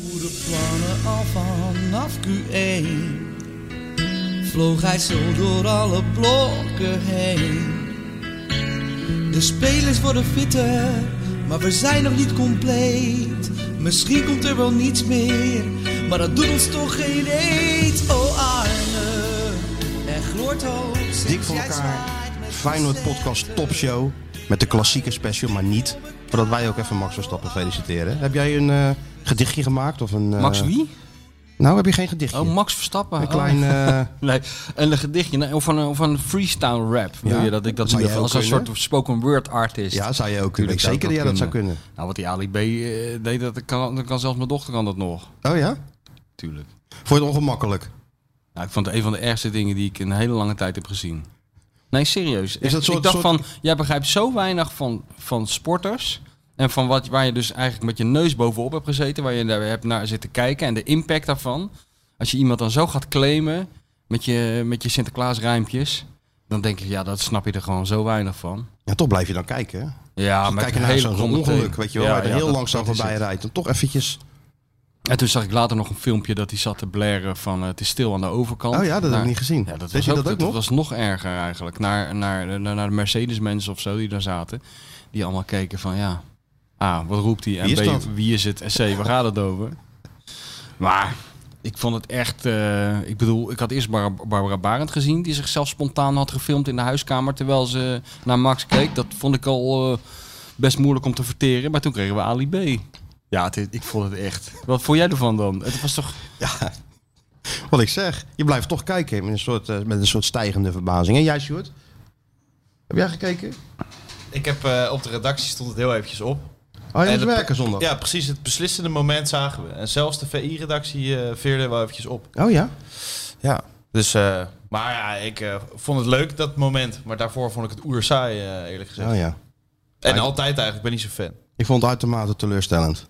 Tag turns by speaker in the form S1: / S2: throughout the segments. S1: Goede plannen al vanaf Q1 Vloog hij zo door alle blokken heen De spelers worden fitter Maar we zijn nog niet compleet Misschien komt er wel niets meer Maar dat doet ons toch geen eet Oh Arne Er gloort hoop sinds
S2: Dik voor
S1: jij
S2: elkaar.
S1: zwaait met
S2: Feyenoord
S1: z'n
S2: Podcast Top Show. Met de klassieke special, maar niet. Voordat wij ook even Max Verstappen feliciteren. Heb jij een eh, gedichtje gemaakt? Of een, eh,
S3: Max wie?
S2: Nou, heb je geen gedichtje.
S3: Oh, Max Verstappen.
S2: Een
S3: Oh.
S2: klein... eh,
S3: Nee, een gedichtje nee, of een, of een freestyle rap. Wil
S2: Ja.
S3: je dat ik dat
S2: Zou
S3: doe?
S2: jij
S3: Als
S2: ook
S3: een
S2: kunnen?
S3: soort spoken word artist.
S2: ja, zou je ook kunnen.
S3: Tuurlijk zou
S2: Zeker dat jij dat zou kunnen.
S3: Nou, wat die Ali B eh, deed, dat kan, dat kan zelfs mijn dochter kan dat nog.
S2: Oh ja?
S3: Tuurlijk.
S2: Vond je het ongemakkelijk?
S3: Nou, ik vond het een van de ergste dingen die ik in een hele lange tijd heb gezien. Nee, serieus.
S2: dat
S3: Echt,
S2: soort-
S3: ik dacht
S2: soort-
S3: van, jij begrijpt zo weinig van, van sporters. En van wat, waar je dus eigenlijk met je neus bovenop hebt gezeten. Waar je daar hebt naar zitten kijken. En de impact daarvan. Als je iemand dan zo gaat claimen met je, met je Sinterklaas rijmpjes. Dan denk ik, ja, dat snap je er gewoon zo weinig van.
S2: Ja, toch blijf je dan kijken. Hè?
S3: Ja,
S2: Dan
S3: maar
S2: kijk je naar zo'n
S3: kronde teen.
S2: ongeluk, weet je wel.
S3: Ja,
S2: waar je er
S3: ja,
S2: heel
S3: dat-
S2: langzaam
S3: dat is
S2: voorbij
S3: het.
S2: rijdt. En toch eventjes...
S3: En toen zag ik later nog een filmpje dat hij zat te blaren van eh, het is stil aan de overkant.
S2: Oh ja, dat heb ik
S3: Naar-
S2: niet gezien.
S3: nou, Ja, dat,
S2: Deed
S3: was
S2: je
S3: ook,
S2: dat
S3: dat,
S2: ook nog?
S3: was nog erger eigenlijk. Naar, naar, naar, naar de Mercedes-mensen of zo die daar zaten. Die allemaal keken van ja, A, wat roept hij? En
S2: Wie is
S3: B,
S2: dat?
S3: wie is het? En C, waar gaat het over? Maar ik vond het echt... eh, ik bedoel, ik had eerst Bar- Barbara Barend gezien... die zichzelf spontaan had gefilmd in de huiskamer... terwijl ze naar Max keek. Dat vond ik al eh, best moeilijk om te verteren. Maar toen kregen we Ali B. Ja, het is- ik vond het echt... Wat vond jij ervan dan? Het was toch...
S2: Ja, wat ik zeg. Je blijft toch kijken met een soort, eh, met een soort stijgende verbazing. En jij, Sjoerd? Heb jij gekeken?
S4: Ik heb eh, op de redactie stond het heel eventjes op.
S3: Eh,
S2: Oh, je
S4: En
S2: moet
S4: de-
S2: werken zondag.
S4: Ja, precies. Het beslissende moment zagen we. En zelfs de VI-redactie veerde wel eventjes op.
S2: Oh ja?
S4: Ja. Dus, eh, maar ja, ik eh, vond het leuk dat moment. Maar daarvoor vond ik het oer saai, eh, eerlijk gezegd.
S2: Oh ja.
S4: En altijd eigenlijk, ik ben niet zo fan.
S2: Ik vond het uitermate teleurstellend.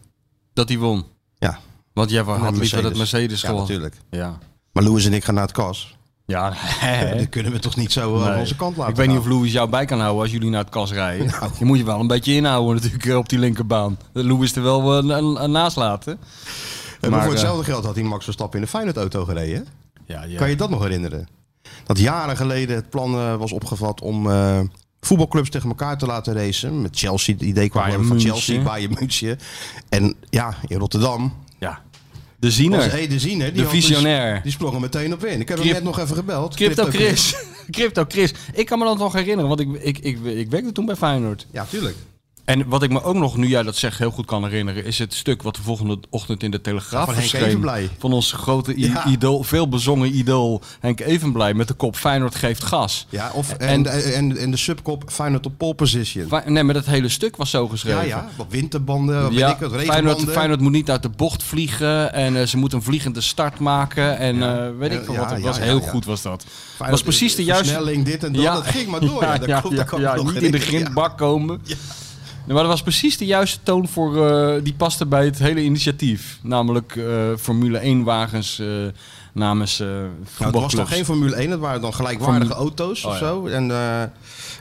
S3: Dat hij won.
S2: Ja.
S3: Want jij had
S2: Met
S3: liever dat Mercedes
S2: Ja,
S3: gewoon.
S2: natuurlijk.
S3: Ja.
S2: Maar Louis en ik gaan naar het kas.
S3: Ja,
S2: Ja, dat kunnen we toch niet zo eh, aan
S3: Nee.
S2: onze kant laten
S3: Ik weet niet of
S2: gaan? Nou.
S3: Louis jou bij kan houden als jullie naar het kas rijden. Je moet je wel een beetje inhouden natuurlijk eh, op die linkerbaan. Dat Louis er wel eh, na- na- naast laten.
S2: En
S3: maar,
S2: voor
S3: eh,
S2: hetzelfde geld had hij Max Verstappen in de Feyenoord-auto gereden. hè?
S3: Ja, ja.
S2: Kan je dat nog herinneren? Dat jaren geleden het plan eh, was opgevat om eh, voetbalclubs tegen elkaar te laten racen. Met Chelsea, het idee kwam
S3: Bayern
S2: van
S3: München.
S2: Chelsea, Bayern München. En ja, in Rotterdam
S3: ja. De
S2: was
S3: ziener.
S2: Ede Ziener. Die
S3: De
S2: had dus-
S3: visionair.
S2: Die sprong er meteen op in. Ik heb hem
S3: Crypt-
S2: net nog even gebeld.
S3: Crypto
S2: Crypto
S3: Chris. Crypto Chris. Ik kan me dat nog herinneren, want ik, ik, ik, ik werkte toen bij Feyenoord.
S2: Ja, tuurlijk.
S3: En wat ik me ook nog, nu jij dat zegt, heel goed kan herinneren... is het stuk wat de volgende ochtend in de Telegraaf
S2: Van Henk
S3: verscheen.
S2: Evenblij.
S3: Van onze grote i-
S2: Ja.
S3: idool, veelbezongen idool Henk Evenblij... met de kop Feyenoord geeft gas.
S2: Ja, of, en,
S3: En-
S2: en, en, de subkop Feyenoord op pole position.
S3: Fe- Nee, maar dat hele stuk was zo
S2: Ja,
S3: geschreven.
S2: ja. Wat winterbanden, wat weet ik wat, regenbanden.
S3: Feyenoord, Feyenoord moet niet uit de bocht vliegen en eh, ze moeten een vliegende start maken en eh, weet ik veel
S2: Ja,
S3: wat. Dat
S2: ja,
S3: was
S2: ja,
S3: heel
S2: ja.
S3: goed was dat.
S2: Feyenoord
S3: was precies de juiste...
S2: Versnelling, dit en dat. Dat ging maar door. Ja, dat klopt, dat kan ik
S3: ja,
S2: nog
S3: niet in de
S2: herinneren, ja.
S3: grindbak komen. Nee, maar dat was precies de juiste toon voor, eh, die paste bij het hele initiatief. Namelijk eh, Formule 1 wagens eh, namens eh
S2: Nou, het was
S3: voetbalclubs.
S2: dan geen Formule 1, het waren dan gelijkwaardige
S3: Formule-
S2: auto's of
S3: Oh, ja.
S2: zo. En eh,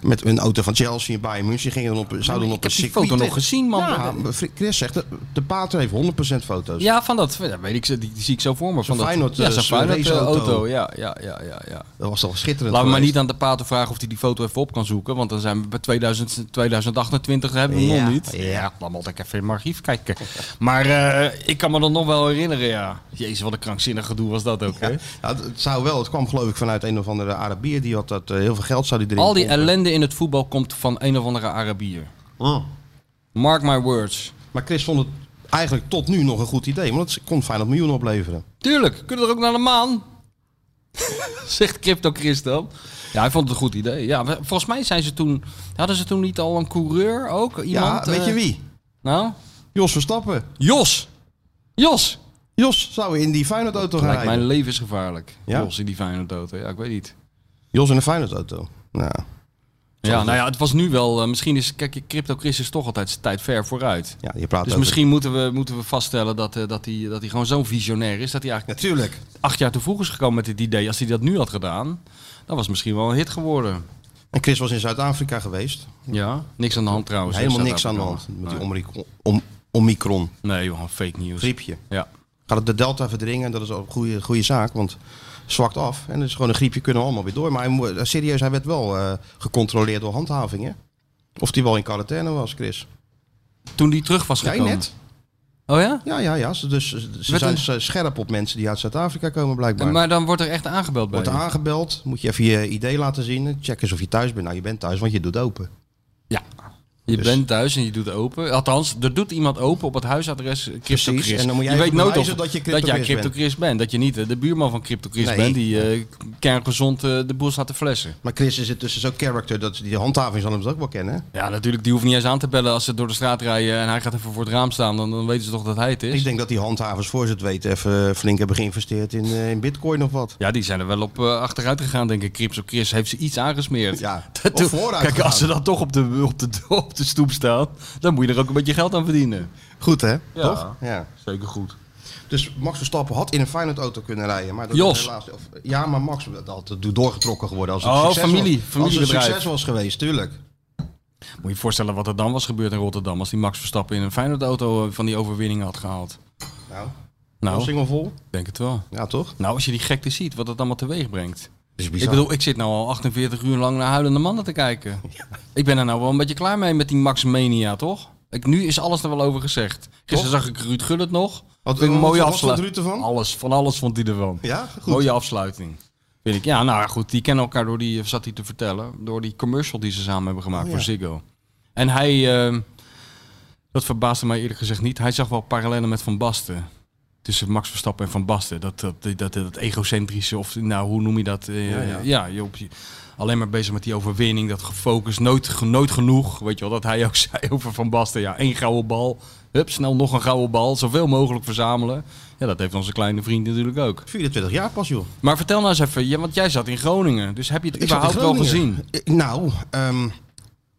S2: met een auto van Chelsea en Bayern München gingen dan op, zouden dan
S3: ik
S2: op een
S3: heb die
S2: circuit...
S3: foto nog
S2: liggen.
S3: gezien, man.
S2: Ja, maar Chris zegt, dat de pater heeft 100% foto's.
S3: Ja, van dat, ja, weet ik, die, die zie ik zo voor me. Van
S2: Zo'n
S3: dat,
S2: Feyenoord,
S3: ja,
S2: eh,
S3: zo'n
S2: zo'n
S3: Feyenoord, eh,
S2: raceauto.
S3: auto. Ja, ja, ja, ja, ja.
S2: Dat was toch schitterend
S3: Laten we maar
S2: geweest.
S3: niet aan de pater vragen of hij die foto even op kan zoeken. Want dan zijn we bij 2000, 2028, hebben we
S2: Ja,
S3: nog niet. Ja, dan moet ik even in mijn archief kijken. Maar eh, ik kan me dat nog wel herinneren, ja. Jezus, wat een krankzinnig gedoe was dat ook, hè?
S2: Ja, het- het zou wel, het kwam geloof ik vanuit een of andere Arabier. Die had dat, eh, heel veel geld zou die erin
S3: Al die
S2: pompen.
S3: ellende in het voetbal komt van een of andere Arabier.
S2: Oh.
S3: Mark my words.
S2: Maar Chris vond het eigenlijk tot nu nog een goed idee. Want het kon Feyenoord miljoenen opleveren.
S3: Tuurlijk, kunnen er ook naar de maan. Zegt Crypto Chris dan. Ja, hij vond het een goed idee. Ja, maar volgens mij zijn ze toen, hadden ze toen niet al een coureur ook? Iemand,
S2: ja, weet je
S3: eh,
S2: wie?
S3: Nou,
S2: Jos Verstappen.
S3: Jos. Jos.
S2: Jos zou in die Feyenoord-auto gaan
S3: Lijkt
S2: rijden.
S3: mij levensgevaarlijk.
S2: Ja?
S3: Jos in die fijne dood. Ja, ik weet niet.
S2: Jos in een Feyenoord-auto. Nou,
S3: Ja, nou ja, het was nu wel. eh, misschien is. Kijk, Crypto Chris is toch altijd zijn tijd ver vooruit.
S2: ja, je praat
S3: Dus
S2: over-
S3: misschien moeten we, moeten we vaststellen dat hij dat die- dat die gewoon zo'n visionair is. Dat hij eigenlijk
S2: Natuurlijk.
S3: acht jaar te vroeg is gekomen met dit idee. Als hij dat nu had gedaan, dan was het misschien wel een hit geworden.
S2: En Chris was in Zuid-Afrika geweest.
S3: Ja, niks aan de hand trouwens.
S2: Helemaal
S3: hè,
S2: niks aan de hand
S3: Zuid-Afrika.
S2: met die omri- om, omicron
S3: Nee, joh, fake news.
S2: griepje.
S3: Ja.
S2: gaat het de delta verdringen. En dat is ook een goede, goede zaak, want het zwakt af. En het is gewoon een griepje, kunnen we allemaal weer door. Maar hij, mo- serieus, hij werd wel eh, gecontroleerd door handhaving, hè? Of die wel in quarantaine was, Chris.
S3: Toen die terug was
S2: Jij
S3: gekomen.
S2: net?
S3: Oh ja?
S2: Ja, ja, ja. Ze- Dus ze
S3: Werd
S2: zijn
S3: een-
S2: ze- scherp op mensen die uit Zuid-Afrika komen, blijkbaar.
S3: Maar dan wordt er echt aangebeld bij
S2: Wordt
S3: je.
S2: aangebeld, moet je even je ID laten zien. Check eens of je thuis bent. Nou, je bent thuis, want je doet open.
S3: Je
S2: Dus-
S3: bent thuis en je doet open. Althans, er doet iemand open op het huisadres CryptoChris.
S2: Precies, en dan moet jij
S3: je weet
S2: even
S3: nooit of
S2: bewijzen dat je
S3: dat jij
S2: CryptoChris
S3: CryptoChris bent. Dat je niet eh, de buurman van CryptoChris
S2: Nee.
S3: bent die eh, kerngezond eh, de boel staat te flessen.
S2: Maar Chris is intussen zo'n character dat die handhaving zal hem dat ook wel kennen. hè?
S3: Ja, natuurlijk, die hoeft niet eens aan te bellen als ze door de straat rijden en hij gaat even voor het raam staan. Dan, dan weten ze toch dat hij het
S2: Ik
S3: is.
S2: denk dat die handhavers voor ze het weten even flink hebben geïnvesteerd in, eh, in bitcoin of wat.
S3: Ja, die zijn er wel op eh, achteruit gegaan, denk ik. CryptoChris heeft ze iets aangesmeerd.
S2: Ja,
S3: Dat
S2: of
S3: doe-
S2: vooruit
S3: Kijk, als ze
S2: gegaan.
S3: dan toch op de, op, de, op de stoep staat, dan moet je er ook een beetje geld aan verdienen.
S2: Goed hè?
S3: Ja.
S2: Toch? Ja.
S3: Zeker goed.
S2: Dus Max Verstappen had in een Feyenoord auto kunnen rijden. Maar dat
S3: Jos.
S2: is helaas, of, ja, maar Max dat had doorgetrokken geworden. Als het
S3: Oh,
S2: succes
S3: familie,
S2: Was, als het
S3: familiebedrijf.
S2: succes was geweest, tuurlijk.
S3: Moet je je voorstellen wat er dan was gebeurd in Rotterdam als die Max Verstappen in een Feyenoord-auto eh, van die overwinning had gehaald.
S2: Nou,
S3: Nou, ik
S2: single vol.
S3: denk het wel.
S2: Ja, toch?
S3: Nou, als je die gekte ziet, wat dat allemaal teweeg brengt.
S2: Dat is
S3: Ik bedoel, ik zit nou al 48 uur lang naar huilende mannen te kijken. Ik ben er nou wel een beetje klaar mee met die Max Mania, toch? Ik, nu is alles er wel over gezegd. Gisteren zag ik Ruud Gullit nog.
S2: Wat-
S3: Vind ik een
S2: wat-
S3: mooie
S2: wat vond
S3: afsluiting.
S2: Ruud ervan?
S3: Alles, van alles vond hij ervan.
S2: ja, goed.
S3: Mooie afsluiting. Vind ik. Ja, nou ja, goed. Die kennen elkaar door die, eh, zat hij te vertellen, door die commercial die ze samen hebben gemaakt
S2: Oh, ja.
S3: voor Ziggo. En hij, eh, dat verbaasde mij eerlijk gezegd niet. Hij zag wel parallellen met Van Basten. Tussen Max Verstappen en Van Basten. Dat, dat, dat, dat, dat egocentrische, of nou, hoe noem je dat? Eh,
S2: Ja,
S3: ja,
S2: ja.
S3: je op je- alleen maar bezig met die overwinning, dat gefocust, nooit, ge- nooit genoeg. Weet je wel, dat hij ook zei over Van Basten. Ja, één gouden bal, hup, snel nog een gouden bal, zoveel mogelijk verzamelen. Ja, dat heeft onze kleine vriend natuurlijk ook.
S2: 24 jaar pas, joh.
S3: Maar vertel nou eens even, ja, want jij zat in Groningen, dus heb je het
S2: Ik zat in
S3: überhaupt wel
S2: Groningen.
S3: gezien?
S2: Eh, Nou, ehm,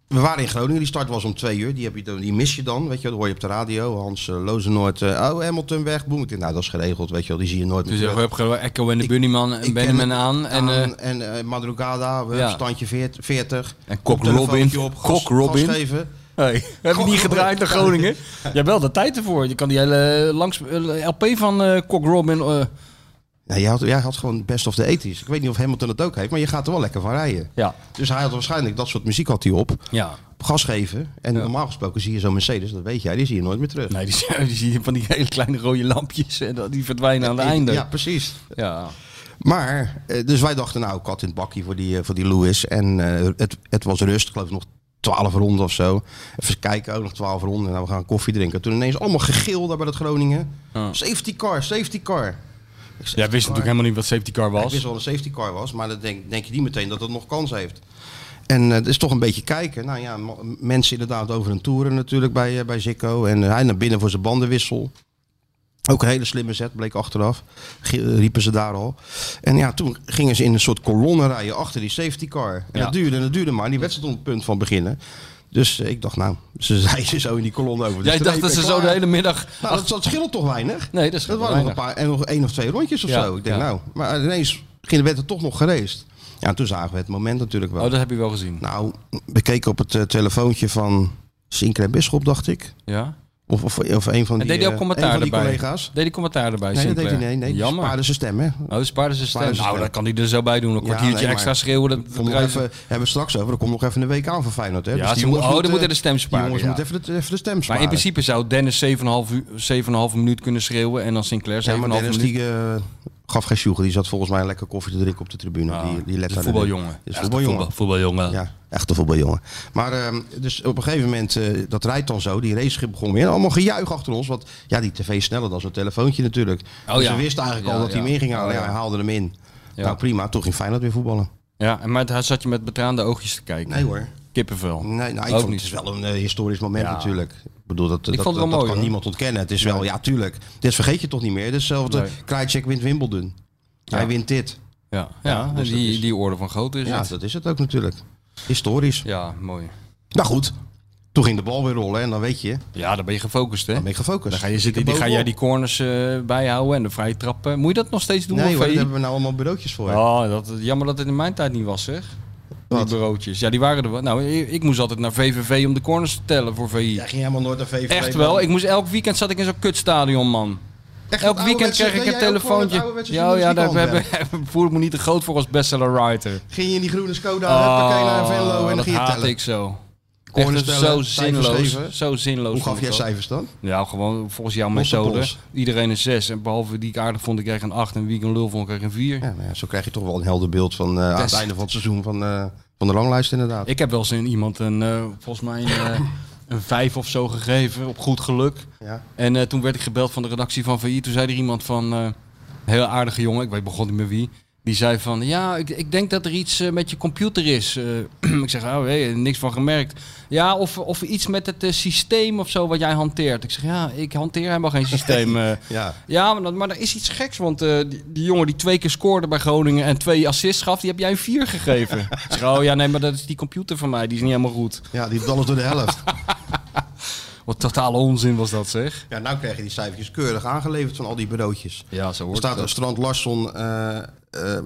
S2: we waren in Groningen. Die start was om twee uur. Die, heb je, dan- die mis je dan. Weet je, wel. dat hoor je op de radio. Hans eh, Lozenoord. eh, oh, Hamilton weg. Boem. Ik denk, nou, dat is geregeld. Weet je, wel. die zie je nooit
S3: Dus
S2: meer.
S3: je
S2: terug.
S3: hebt gewoon Echo en de Bunnyman en
S2: ik ken
S3: Benjamin aan en, eh
S2: Aan- en eh, Madrugada. We
S3: ja.
S2: standje veert- 40.
S3: en Kok
S2: Telefoontje
S3: Robin.
S2: op, gas-
S3: Kok Robin.
S2: gas geven.
S3: Hey, heb je
S2: Kok
S3: niet gedraaid
S2: Robin.
S3: naar Groningen? Ja, wel de tijd ervoor. Je kan die hele eh, langs, eh, LP van eh Kok Robin... eh,
S2: Nou, jij, had, jij had gewoon best of de ethisch. Ik weet niet of Hamilton het ook heeft, maar je gaat er wel lekker van rijden.
S3: ja.
S2: Dus hij had waarschijnlijk dat soort muziek had hij op.
S3: ja.
S2: Gas geven. En normaal gesproken zie je zo'n Mercedes, dat weet jij, die zie je nooit meer terug.
S3: Nee, die, zie- die zie je van die hele kleine rode lampjes en dat- die verdwijnen aan het einde.
S2: Ja, precies.
S3: ja.
S2: Maar, eh, dus wij dachten nou, kat in het bakje voor die, eh, voor die Lewis. En eh, het, het was rust, ik geloof nog twaalf ronden of zo. Even kijken, ook nog twaalf ronden. Nou, we gaan koffie drinken. Toen ineens allemaal gegil daar bij dat Groningen.
S3: Ja.
S2: Safety car, safety car. Ik zeg,
S3: Jij wist natuurlijk helemaal niet wat safety car
S2: Ik
S3: was.
S2: wist wel dat een safety car was, maar dan denk, denk je niet meteen dat het nog kans heeft. En eh, het is toch een beetje kijken. Nou ja, ma- mensen inderdaad over een toeren natuurlijk bij, eh, bij Zikko. En eh, hij naar binnen voor zijn bandenwissel. Ook een hele slimme zet, bleek achteraf. G- eh, riepen ze daar al. En ja, toen gingen ze in een soort kolonne rijden achter die safety car. En
S3: Ja.
S2: dat duurde en dat duurde maar. En die wedstrijd op het punt van beginnen. Dus eh, ik dacht, nou, ze zeiden zo in die kolonne over. de
S3: Jij dacht
S2: streep
S3: dat
S2: en
S3: ze zo de
S2: klaar.
S3: hele middag...
S2: Nou, dat, dat scheelt toch weinig?
S3: Nee, dat is
S2: Dat waren nog een paar en nog één of twee rondjes of
S3: Ja,
S2: zo. Ik denk
S3: ja.
S2: nou, maar ineens ging- werd er toch nog geraced. Ja, toen zagen we het moment natuurlijk wel.
S3: Oh, dat heb je wel gezien.
S2: Nou, we keken op het eh, telefoontje van Sinclair Bisschop, dacht ik.
S3: Ja.
S2: Of, of, of een van die,
S3: En deed hij ook
S2: eh,
S3: commentaar
S2: een van die
S3: erbij?
S2: collega's.
S3: Deed die commentaar erbij?
S2: Nee, dat deed
S3: Sinclair?
S2: hij nee, nee. die
S3: Jammer.
S2: Spaarde zijn stem, hè.
S3: Oh, de spaarde zijn
S2: Spaarde
S3: stem.
S2: zijn
S3: Nou,
S2: stem.
S3: dan kan hij er zo bij doen. Een
S2: Ja,
S3: kwartiertje
S2: nee, maar-
S3: extra schreeuwen. Dat
S2: Kom nog
S3: bedrijf-
S2: even, hebben we straks over. Er komt nog even een week aan van Feyenoord, hè. Dus
S3: Ja,
S2: die
S3: ze moeten-
S2: jongens
S3: oh,
S2: moeten-
S3: dan moeten de stem sparen,
S2: Die jongens
S3: ja.
S2: moeten even de, even de stem
S3: maar
S2: sparen.
S3: in principe zou Dennis 7,5 uur- 7,5 minuut kunnen schreeuwen. En dan Sinclair 7,5
S2: Ja, maar Dennis,
S3: minuut.
S2: die eh, gaf geen sjoegen. Die zat volgens mij lekker koffie te drinken op de tribune.
S3: Ah,
S2: die, die let
S3: is
S2: daar-
S3: een voetbaljongen.
S2: Is
S3: Ja,
S2: voetbaljongen.
S3: voetbal- voetbaljongen.
S2: Ja, echt een voetbaljongen. Maar ehm, dus op een gegeven moment, eh, dat rijdt dan zo, die raceschip begon weer. Allemaal gejuich achter ons, want ja, die tv is sneller dan zo'n telefoontje natuurlijk.
S3: Oh
S2: dus
S3: ja.
S2: we wisten eigenlijk al
S3: Ja,
S2: dat hij
S3: ja.
S2: meer ging halen.
S3: Oh
S2: ja.
S3: ja.
S2: hij haalde hem in.
S3: Ja.
S2: Nou prima, toch ging Feyenoord weer voetballen.
S3: Ja, en maar daar zat je met betraande oogjes te kijken.
S2: Nee hoor.
S3: Kippenvel.
S2: Nee, nou, ik
S3: Ook
S2: vond,
S3: niet.
S2: het is wel een eh, historisch moment
S3: Ja.
S2: natuurlijk. Ik bedoel, dat, dat,
S3: vond het wel
S2: dat, dat
S3: mooi,
S2: kan
S3: hoor.
S2: niemand ontkennen. Het is wel, ja tuurlijk. Dit vergeet je toch niet meer. Het is Hetzelfde,
S3: Nee.
S2: Krajicek wint Wimbledon. Hij
S3: Ja.
S2: wint dit.
S3: Ja,
S2: Ja,
S3: ja,
S2: dus
S3: die,
S2: dat is-
S3: die orde van grootte is
S2: ja,
S3: het.
S2: dat is het ook natuurlijk. Historisch.
S3: Ja, mooi.
S2: Nou goed, toen ging de bal weer rollen en dan weet je,
S3: Ja, dan ben je gefocust, hè?
S2: dan ben je gefocust.
S3: Dan ga, je zitten, die,
S2: Zit er
S3: ga jij die
S2: bovenop.
S3: corners eh, bijhouden en de vrije trappen. Moet je dat nog steeds doen?
S2: Nee
S3: of
S2: hoor,
S3: eh,
S2: daar hebben we nou allemaal bureautjes voor.
S3: Oh, dat, jammer dat het in mijn tijd niet was, zeg.
S2: Wat?
S3: Die bureautjes. Ja, die waren er wel. Nou, ik, ik moest altijd naar VVV om de corners te tellen voor VI.
S2: Jij ging helemaal nooit naar VVV.
S3: Echt
S2: man.
S3: wel. Ik moest elk weekend zat ik in zo'n kutstadion, man.
S2: Echt
S3: Elk
S2: het
S3: weekend
S2: ouderwetse-
S3: kreeg ik
S2: ben
S3: een
S2: jij ook voor het
S3: telefoontje.
S2: ouderwetse
S3: Ja, ja,
S2: journalistiek
S3: daar
S2: handwerk?
S3: hebben- hebben- voel ik me niet te groot voor als bestseller writer.
S2: Ging je in die groene Skoda, huppakee naar Venlo en dan
S3: Oh, dat
S2: ging je
S3: haat
S2: tellen.
S3: ik zo. Echt
S2: Corners
S3: het is
S2: tellen,
S3: zo
S2: cijfers
S3: zinloos.
S2: geven.
S3: Zo zinloos.
S2: Hoe
S3: vond
S2: gaf
S3: ik
S2: jij
S3: dat.
S2: cijfers dan?
S3: Ja, gewoon volgens jouw
S2: Losse
S3: methode.
S2: pols.
S3: Iedereen een 6. En behalve die ik aardig vond, ik kreeg een 8. En wie ik een lul vond, kreeg een 4.
S2: Ja, nou ja, zo krijg je toch wel een helder beeld van eh, aan het
S3: Test.
S2: einde van het seizoen van, eh, van de ranglijst inderdaad.
S3: Ik heb wel eens in iemand een, eh, volgens mij een, eh, een 5 of zo gegeven. Op goed geluk.
S2: Ja.
S3: En eh, toen werd ik gebeld van de redactie van VI. Toen zei er iemand van, eh, een heel aardige jongen, ik weet begon niet meer wie. Die zei van, ja, ik, ik denk dat er iets eh, met je computer is. Eh, ik zeg, oh hé, niks van gemerkt. Ja, of, of iets met het eh, systeem of zo wat jij hanteert. Ik zeg, ja, ik hanteer helemaal geen systeem. eh.
S2: Ja.
S3: ja, maar, dat- maar er is iets geks, want eh, die, die jongen die twee keer scoorde bij Groningen en twee assists gaf, die heb jij een vier gegeven. ik zeg, oh ja, nee, maar dat is die computer van mij, die is niet helemaal goed.
S2: ja, die alles door de helft.
S3: Wat totale onzin was dat, zeg.
S2: ja, nou krijg je die cijfertjes keurig aangeleverd van al die bureautjes.
S3: Ja, zo
S2: Er
S3: hoort
S2: staat
S3: het.
S2: er Strand Larsson, eh, eh,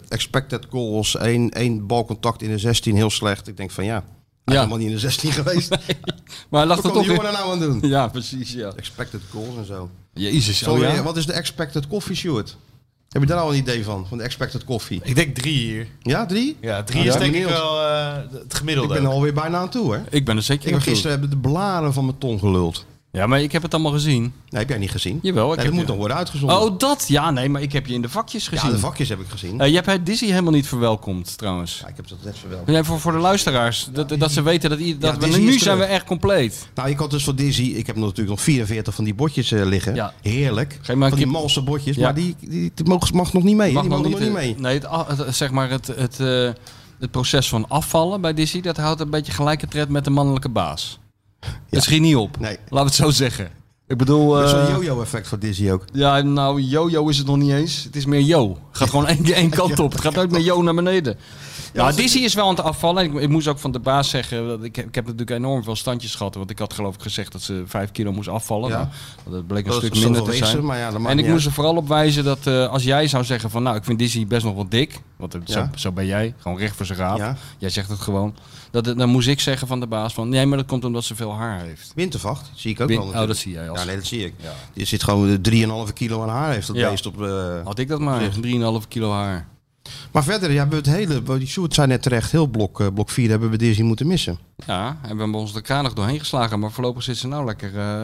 S2: expected goals, één, één balcontact in de 16, heel slecht. Ik denk van ja, hij is
S3: Ja.
S2: helemaal niet in de 16 geweest. Wat
S3: Maar hij lag er
S2: kan die
S3: toch
S2: jongen
S3: weer...
S2: daar nou aan doen?
S3: Ja, precies, ja.
S2: Expected goals en zo.
S3: Jezus,
S2: Zo,
S3: oh ja.
S2: Wat is de expected coffee, Stuart? Heb je daar al een idee van, van de expected coffee?
S4: Ik denk drie hier.
S2: Ja, drie?
S4: Ja, drie
S2: Ja,
S4: is denk
S2: benieuwd.
S4: ik wel eh, het
S2: Ik
S4: gemiddelde.
S2: ben er alweer bijna aan toe, hè?
S3: Ik ben er zeker
S2: Ik heb
S3: aan toe.
S2: gisteren hebben de blaren van mijn tong geluld.
S3: Ja, maar ik heb het allemaal gezien.
S2: Nee, heb jij niet gezien?
S3: Jawel, ik
S2: nee,
S3: heb
S2: dat moet
S3: je-
S2: nog worden uitgezonden.
S3: Oh, dat? Ja, nee, maar ik heb je in de vakjes gezien.
S2: ja, de vakjes heb ik gezien.
S3: Eh, je hebt het Disney helemaal niet verwelkomd, trouwens.
S2: Ja, ik heb dat net verweld.
S3: Nee, voor, voor de luisteraars, dat, dat ze weten dat, i- dat
S2: Ja,
S3: we,
S2: Disney
S3: nu
S2: is
S3: zijn we
S2: terug.
S3: echt compleet.
S2: Nou, ik had dus voor Dizzy, ik heb natuurlijk nog 44 van die botjes eh, liggen.
S3: Ja.
S2: Heerlijk.
S3: Geef maar een
S2: van die
S3: kip-
S2: malse botjes,
S3: Ja.
S2: maar die, die, die mag, mag nog niet mee. die mogen nog niet
S3: eh,
S2: mee.
S3: Nee, het, a- het- zeg maar het, het, eh, het proces van afvallen bij Disney, dat houdt een beetje gelijke tred met de mannelijke baas. Dat schiet niet op.
S2: Nee.
S3: Laten we het zo zeggen. Ik bedoel...
S2: Dat is
S3: eh,
S2: Zo'n yo-yo-effect voor Dizzy ook.
S3: Ja, nou, yo-yo is het nog niet eens. Het is meer yo. Het gaat gewoon één, één kant op. Het gaat nooit meer yo naar beneden. Ja, nou, Dizzy is wel aan het afvallen. Ik, ik moest ook van de baas zeggen, dat ik, heb- ik heb natuurlijk enorm veel standjes gehad. Want ik had geloof ik gezegd dat ze vijf kilo moest afvallen.
S2: Ja.
S3: Nou, dat bleek een
S2: Dat is
S3: stuk
S2: zoveel
S3: minder te
S2: wezen,
S3: zijn.
S2: maar ja, dat maakt
S3: en ik
S2: niet
S3: moest
S2: uit.
S3: er vooral op wijzen dat eh, als jij zou zeggen van... Nou, ik vind Dizzy best nog wel dik. Want het- zo,
S2: Ja.
S3: zo ben jij. Gewoon recht voor zijn raap.
S2: Ja.
S3: Jij zegt het gewoon. Dat, het- dan moest ik zeggen van de baas van... Nee, maar dat komt omdat ze veel haar heeft.
S2: Wintervacht, zie ik ook
S3: Win-
S2: wel.
S3: oh,
S2: natuurlijk.
S3: dat zie jij als-
S2: Ja, nee, dat zie ik.
S3: Ja.
S2: Je zit gewoon eh, 3,5 kilo aan haar heeft dat
S3: Ja.
S2: beest op... eh,
S3: Had ik dat maar. 3,5 kilo haar.
S2: Maar verder, ja, hebben we het hele... want Die Sjoerd zei net terecht, heel blok, eh, blok 4 hebben we Dizzy moeten missen.
S3: Ja, en we hebben ons er kranig doorheen geslagen, maar voorlopig zit ze nou lekker eh,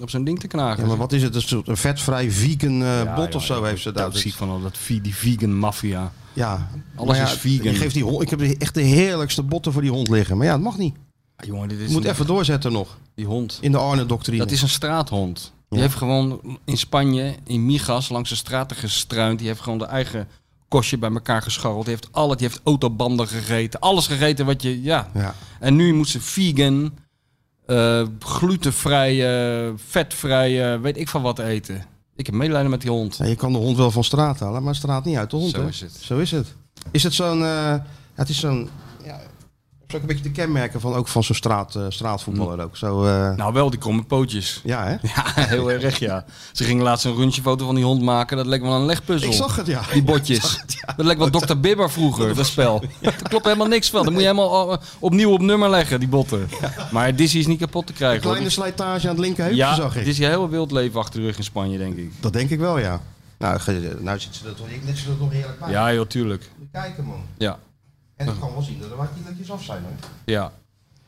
S3: op zijn ding te knagen.
S2: Ja, maar wat is het? Een soort een vetvrij vegan eh,
S3: Ja,
S2: bot
S3: joh,
S2: of zo
S3: ik
S2: heeft ze
S3: ben
S2: daar.
S3: dood ziek van al dat vi- die vegan maffia.
S2: Ja.
S3: Alles
S2: Maar ja,
S3: is vegan.
S2: je geeft die hond, ik heb echt de heerlijkste botten voor die hond liggen. Maar ja, dat mag niet.
S3: Ah, jongen, dit is
S2: Je moet
S3: een-
S2: even doorzetten nog.
S3: die hond.
S2: In de Arne-doctrine.
S3: Dat is een straathond. Die heeft gewoon in Spanje, in Migas, langs de straten gestruind. Die heeft gewoon de eigen kostje bij elkaar gescharreld. Die heeft al het, die heeft autobanden gegeten. Alles gegeten wat je, ja.
S2: Ja.
S3: En nu moet ze vegan, eh, glutenvrij, eh, vetvrij, eh, weet ik van wat eten. Ik heb medelijden met die hond.
S2: Ja, je kan de hond wel van straat halen, maar straat niet uit de hond.
S3: Zo
S2: hè?
S3: is het.
S2: Zo is het. Is het zo'n... eh, ja, het is zo'n... Ja, het is ook een beetje de kenmerken van, ook van zo'n straat, eh, straatvoetballer ook. Zo, eh,
S3: Nou, wel die kromme pootjes.
S2: ja, hè?
S3: Ja, heel erg, ja. Ze gingen laatst een röntgenfoto van die hond maken. Dat leek wel een legpuzzel.
S2: Ik zag het, ja.
S3: Die botjes. Dat leek wel Dr. Bibber vroeger, dat spel. Daar klopt helemaal niks van. Dan moet je helemaal eh, opnieuw op nummer leggen, die botten. Maar Dizzy is niet kapot te
S2: Een
S3: krijgen. hoor.
S2: kleine slijtage aan het linkerheupje
S3: ja,
S2: zag ik.
S3: het is een heel wild leven achter de rug in Spanje, denk ik.
S2: Dat denk ik wel, ja. Nou, ge- nou zit ze er toch, ik leg ze er toch heerlijk bij.
S3: Ja, joh, tuurlijk.
S2: Moet je kijken, man.
S3: Ja,
S2: En ik kan wel zien dat er wat kilo's af zijn, hoor.
S3: ja.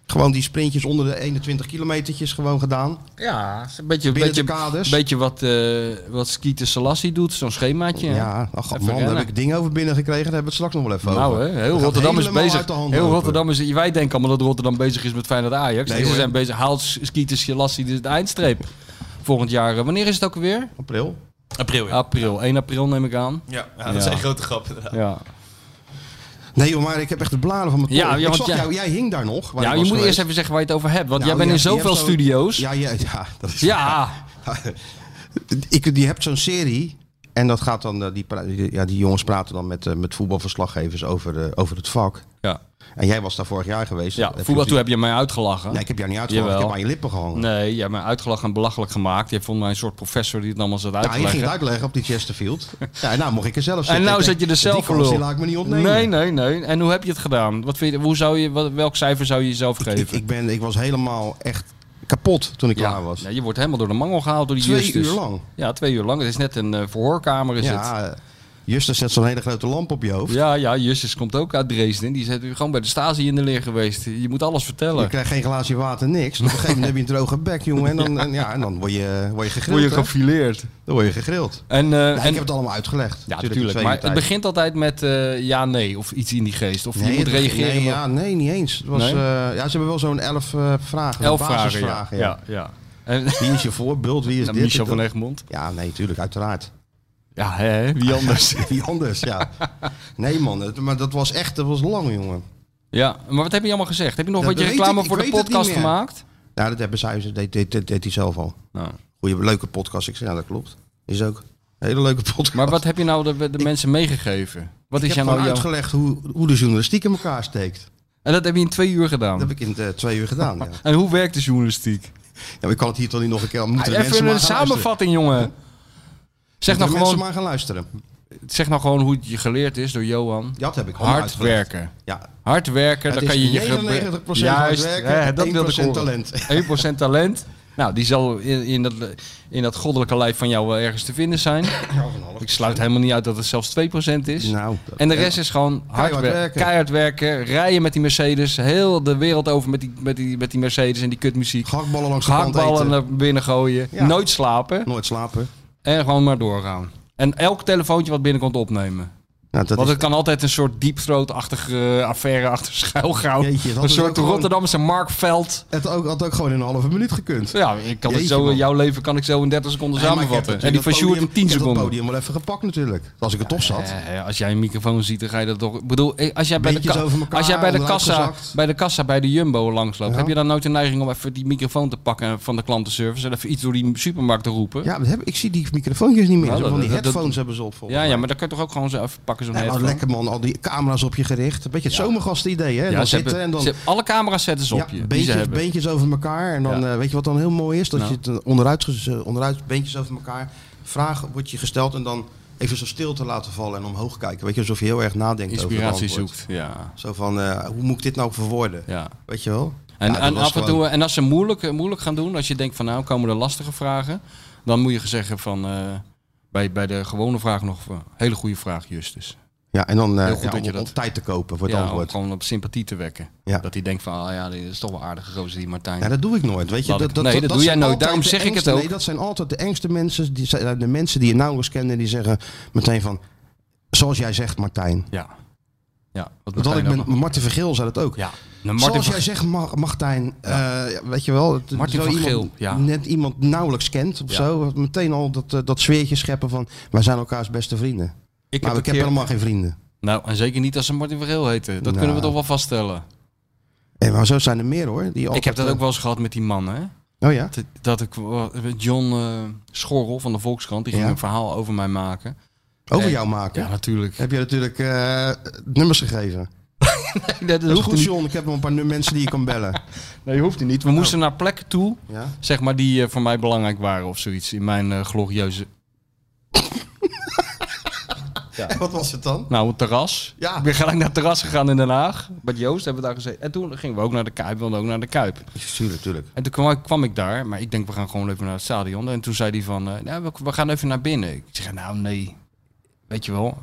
S2: Gewoon die sprintjes onder de 21 kilometertjes gewoon gedaan.
S3: Ja, een beetje,
S2: Binnen
S3: beetje,
S2: de kaders.
S3: beetje wat, eh wat Skeeter Selassie doet, zo'n schemaatje.
S2: Ja, ach,
S3: Even
S2: man, daar
S3: rennen.
S2: heb ik dingen over binnengekregen. Daar hebben we het straks nog wel even
S3: Nou,
S2: over.
S3: hè,
S2: Dat
S3: heel
S2: gaat
S3: Rotterdam is
S2: helemaal
S3: bezig.
S2: uit de hand
S3: Heel
S2: lopen.
S3: Rotterdam is, wij denken allemaal dat Rotterdam bezig is met Feyenoord Ajax.
S2: Nee,
S3: Nee, ze
S2: hoor.
S3: zijn bezig. Haalt Skieters Gelassie de eindstreep. Volgend jaar. eh, Wanneer is het ook weer?
S2: April.
S4: April, ja.
S3: April. 1 april neem ik aan.
S4: Ja, ja, dat
S3: Ja.
S4: zijn grote grappen. inderdaad.
S3: Ja.
S2: Nee, joh, maar ik heb echt de bladen van mijn
S3: Ja,
S2: tong.
S3: ja,
S2: ik
S3: want
S2: zag
S3: jij-
S2: jou, jij hing daar nog. waar
S3: Ja,
S2: ik was
S3: je moet
S2: geweest.
S3: eerst even zeggen waar je het over hebt. Want
S2: Nou,
S3: jij bent
S2: je-
S3: in
S2: je hebt
S3: zoveel
S2: zo'n-
S3: studio's. Ja,
S2: Ja, ja, ja. Dat is... ik, je hebt zo'n serie. En dat gaat dan, eh, die, pra- die- ja, die jongens praten dan met, eh, met voetbalverslaggevers over, eh, over het vak.
S3: ja.
S2: En jij was daar vorig jaar geweest.
S3: ja.
S2: Heb je
S3: voetbal,
S2: natuurlijk-
S3: toen heb je mij uitgelachen.
S2: Nee, ik heb jou niet uitgehaald. Ik
S3: Jawel.
S2: heb aan je lippen gehangen.
S3: Nee, je hebt mij uitgelachen en belachelijk gemaakt. Je vond mij een soort professor die het allemaal zat
S2: Ja, je
S3: uitleggen.
S2: ging het uitleggen op die Chesterfield. Ja, en nou mocht ik er zelf zitten.
S3: en nou
S2: Ik denk,
S3: zet je er
S2: die
S3: zelf voor
S2: kans, Die
S3: lul.
S2: laat ik me niet opnemen.
S3: Nee, nee, nee. En hoe heb je nou, het gedaan? Wat vind je, hoe zou je, wat- welk cijfer zou je jezelf
S2: Ik,
S3: geven?
S2: ik, ben, ik was helemaal echt kapot toen ik
S3: ja,
S2: klaar was.
S3: ja, je wordt helemaal door de mangel gehaald door die
S2: Twee
S3: justus.
S2: uur lang.
S3: Ja, twee uur lang. Het is net een eh, verhoorkamer. Is het.
S2: Ja, eh, Justus zet zo'n hele grote lamp op je hoofd.
S3: Ja, ja, Justus komt ook uit Dresden. Die is gewoon bij de Stasi in de leer geweest. Je moet alles
S2: Je
S3: vertellen.
S2: krijgt geen glaasje water, niks. Op een gegeven moment heb je een droge bek, jongen. En dan, en ja, en dan word, je, word je gegrild. hè?
S3: gefileerd.
S2: Dan word je gegrild.
S3: En, eh,
S2: Nee,
S3: en,
S2: ik heb het allemaal uitgelegd.
S3: ja,
S2: Natuurlijk,
S3: natuurlijk.
S2: de
S3: Maar
S2: tweede tijd.
S3: het begint altijd met eh, ja, nee of iets in die geest. Of je moet
S2: het-
S3: reageren.
S2: Nee,
S3: op-
S2: ja, nee, niet eens. Het was,
S3: Nee?
S2: eh, ja, ze hebben wel zo'n elf eh, vragen.
S3: Elf vragen. Ja,
S2: basisvragen.
S3: ja. ja. En,
S2: Wie is je voorbeeld? Wie is
S3: en
S2: dit?
S3: Michel
S2: en
S3: van
S2: dat?
S3: Egmond.
S2: Ja, nee, tuurlijk, uiteraard.
S3: Ja, hè, hè, wie anders?
S2: Wie anders, ja. Nee, man, het- maar dat was echt, dat was lang, jongen.
S3: ja, maar wat heb je allemaal gezegd? Heb je nog
S2: Dat
S3: wat je
S2: weet
S3: reclame
S2: ik, ik
S3: voor de
S2: weet het niet
S3: podcast
S2: meer.
S3: gemaakt?
S2: Nou, dat hebben zij, dat deed, deed, deed, deed hij zelf al.
S3: Nou.
S2: Goeie, leuke podcast. Ik zei, ja, dat klopt. Is ook een hele leuke podcast.
S3: Maar wat heb je nou de, de mensen meegegeven? Wat
S2: ik
S3: is
S2: heb
S3: jou nou
S2: gewoon
S3: jouw...
S2: uitgelegd hoe, hoe de journalistiek in elkaar steekt.
S3: En dat heb je in twee uur gedaan.
S2: Dat heb ik in eh, twee uur gedaan, ja.
S3: En hoe werkt de journalistiek?
S2: Ja, maar ik kan het hier toch niet nog een keer... Moeten de mensen
S3: Even
S2: maar
S3: een
S2: gaan luisteren.
S3: samenvatting, jongen.
S2: Moeten
S3: Zeg nou,
S2: de mensen
S3: gewoon,
S2: maar gaan luisteren.
S3: zeg nou gewoon hoe het je geleerd is door Johan.
S2: Dat heb ik allemaal
S3: Hard
S2: uitgelegd.
S3: werken.
S2: Ja,
S3: Hard werken,
S2: het
S3: dan kan
S2: is
S3: je je... gebre-
S2: 99%
S3: Juist,
S2: hard werken,
S3: hè, dat wilde ik
S2: 1%
S3: horen.
S2: talent.
S3: 1% talent. Nou, die zal in, in, dat, in dat goddelijke lijf van jou wel ergens te vinden zijn. Ik sluit helemaal niet uit dat het zelfs 2% is.
S2: Nou, dat-
S3: en de rest is gewoon hard
S2: Keihard
S3: wer-
S2: werken.
S3: keihard werken. Rijden met die Mercedes. Heel de wereld over met die, met die, met die Mercedes en die kutmuziek.
S2: Gehaktballen langs de kant
S3: Hakballen
S2: eten.
S3: naar binnen gooien.
S2: Ja.
S3: Nooit slapen.
S2: Nooit slapen.
S3: En gewoon maar doorgaan. En elk telefoontje wat binnenkomt opnemen.
S2: Nou, dat
S3: Want
S2: is-
S3: het kan altijd een soort diepthroat-achtige eh, affaire achter schuil gaan.
S2: Jeetje, dat
S3: een
S2: is
S3: soort
S2: ook gewoon-
S3: Rotterdamse Mark Veld.
S2: het ook, had ook gewoon in een halve minuut gekund.
S3: Ja, ik kan
S2: Jeetje,
S3: het zo,
S2: man.
S3: jouw leven kan ik zo in 30 seconden
S2: Nee, maar ik heb
S3: samenvatten. En die
S2: natuurlijk
S3: van Sjoerd in
S2: dat
S3: 10
S2: podium- Ik heb dat
S3: seconden.
S2: podium wel even gepakt natuurlijk. Als ik er toch zat.
S3: Eh, als jij een microfoon ziet, dan ga je dat toch. Ik bedoel, eh, als jij bij de,
S2: Beentjes
S3: ka-
S2: over elkaar,
S3: als jij bij de,
S2: onderuit
S3: kassa,
S2: gezakt.
S3: bij de kassa bij de Jumbo langsloopt,
S2: Ja.
S3: heb je dan nooit de neiging om even die microfoon te pakken van de klantenservice en even iets door die supermarkt te roepen?
S2: Ja, dat heb, ik zie die microfoontjes niet meer.
S3: Nou,
S2: Zo
S3: dat-
S2: van die
S3: dat- dat-
S2: headphones hebben ze op volgens
S3: Ja, ja,
S2: mij.
S3: maar dan kan je toch ook gewoon zo even pakken zo'n
S2: Nee, maar
S3: headphone?
S2: lekker man, al die camera's op je gericht. Een beetje het zomergasten idee, hè?
S3: Ja,
S2: dan
S3: ze
S2: zitten
S3: hebben,
S2: en dan
S3: ze hebben- alle camera's zetten ze op
S2: ja,
S3: je. die ze
S2: beentjes,
S3: hebben.
S2: beentjes over elkaar. En dan
S3: Ja.
S2: eh, weet je wat dan heel mooi is? Dat
S3: Nou.
S2: je het eh, onderuit, gez- eh, onderuit, beentjes over elkaar. Vragen wordt je gesteld en dan even zo stil te laten vallen en omhoog kijken. Weet je, alsof je heel erg nadenkt over
S3: Inspiratie
S2: het antwoord.
S3: zoekt. Ja.
S2: Zo van, eh, hoe moet ik dit nou verwoorden?
S3: ja.
S2: Weet je wel?
S3: En,
S2: Ja, dat
S3: en
S2: was
S3: af en
S2: gewoon-
S3: toe, en als ze moeilijk, eh, moeilijk gaan doen, als je denkt van nou komen er lastige vragen, dan moet je zeggen van eh, bij, bij de gewone vraag nog van, hele goede vraag, Justus.
S2: Ja, en dan eh,
S3: Heel goed
S2: ja,
S3: dat
S2: om,
S3: je dat-
S2: om tijd te kopen voor het
S3: Ja, om
S2: antwoord.
S3: gewoon op sympathie te wekken.
S2: Ja.
S3: Dat hij denkt van ah ja, dit is toch wel een aardige gozer die Martijn.
S2: Ja, dat doe ik nooit. Weet je,
S3: Laat ik- nee, dat doe
S2: zijn
S3: jij nooit.
S2: altijd
S3: Daarom
S2: de
S3: zeg ik het
S2: engste-
S3: ook.
S2: Nee, dat zijn altijd de engste mensen. Die, zijn de mensen die je nauwelijks kent en die zeggen meteen van... Zoals jij zegt, Martijn.
S3: ja. ja. Wat
S2: Dat had ik
S3: Martijn
S2: met
S3: ook-
S2: Martin Vergeel zei dat ook.
S3: Ja. Nou, Martin
S2: Zoals
S3: van-
S2: jij zegt, Mar- Martijn. eh, ja, weet je wel. het-
S3: Martin
S2: terwijl
S3: van
S2: iemand
S3: Geel, ja.
S2: Net iemand nauwelijks kent of
S3: Ja.
S2: zo. Meteen al dat, eh, dat sfeertje scheppen van... Wij zijn elkaars beste vrienden.
S3: ik
S2: maar
S3: heb, een
S2: ik heb
S3: keer-
S2: helemaal geen vrienden.
S3: Nou, en zeker niet als ze Martin van Geel heten. Dat
S2: Nou.
S3: kunnen we toch wel vaststellen.
S2: En maar zo zijn er meer hoor. Die altijd,
S3: Ik heb dat
S2: eh,
S3: ook wel eens gehad met die man, hè?
S2: Oh ja?
S3: Dat, dat ik John eh, Schorrel van de Volkskrant, die ging
S2: Ja.
S3: een verhaal over mij maken.
S2: Over
S3: Eh,
S2: jou maken.
S3: Ja, natuurlijk.
S2: Heb je natuurlijk eh, nummers gegeven.
S3: Nee,
S2: Dat is goed, John. Ik heb nog een paar nu- mensen die je kan bellen.
S3: Nee, hoeft hij niet. nou- We moesten naar plekken toe,
S2: Ja?
S3: zeg maar, die eh, voor mij belangrijk waren of zoiets. In mijn eh, glorieuze...
S2: Wat was het dan?
S3: Nou, het terras.
S2: Ja.
S3: Ik ben gelijk naar het terras gegaan in Den Haag. Met Joost hebben we daar gezeten. En toen gingen we ook naar de Kuip, wilden ook naar de Kuip.
S2: Tuurlijk, tuurlijk.
S3: En toen kwam, kwam ik daar, maar ik denk, we gaan gewoon even naar het stadion. En toen zei hij van, eh, nou, we, we gaan even naar binnen. Ik zeg, nou nee, weet je wel.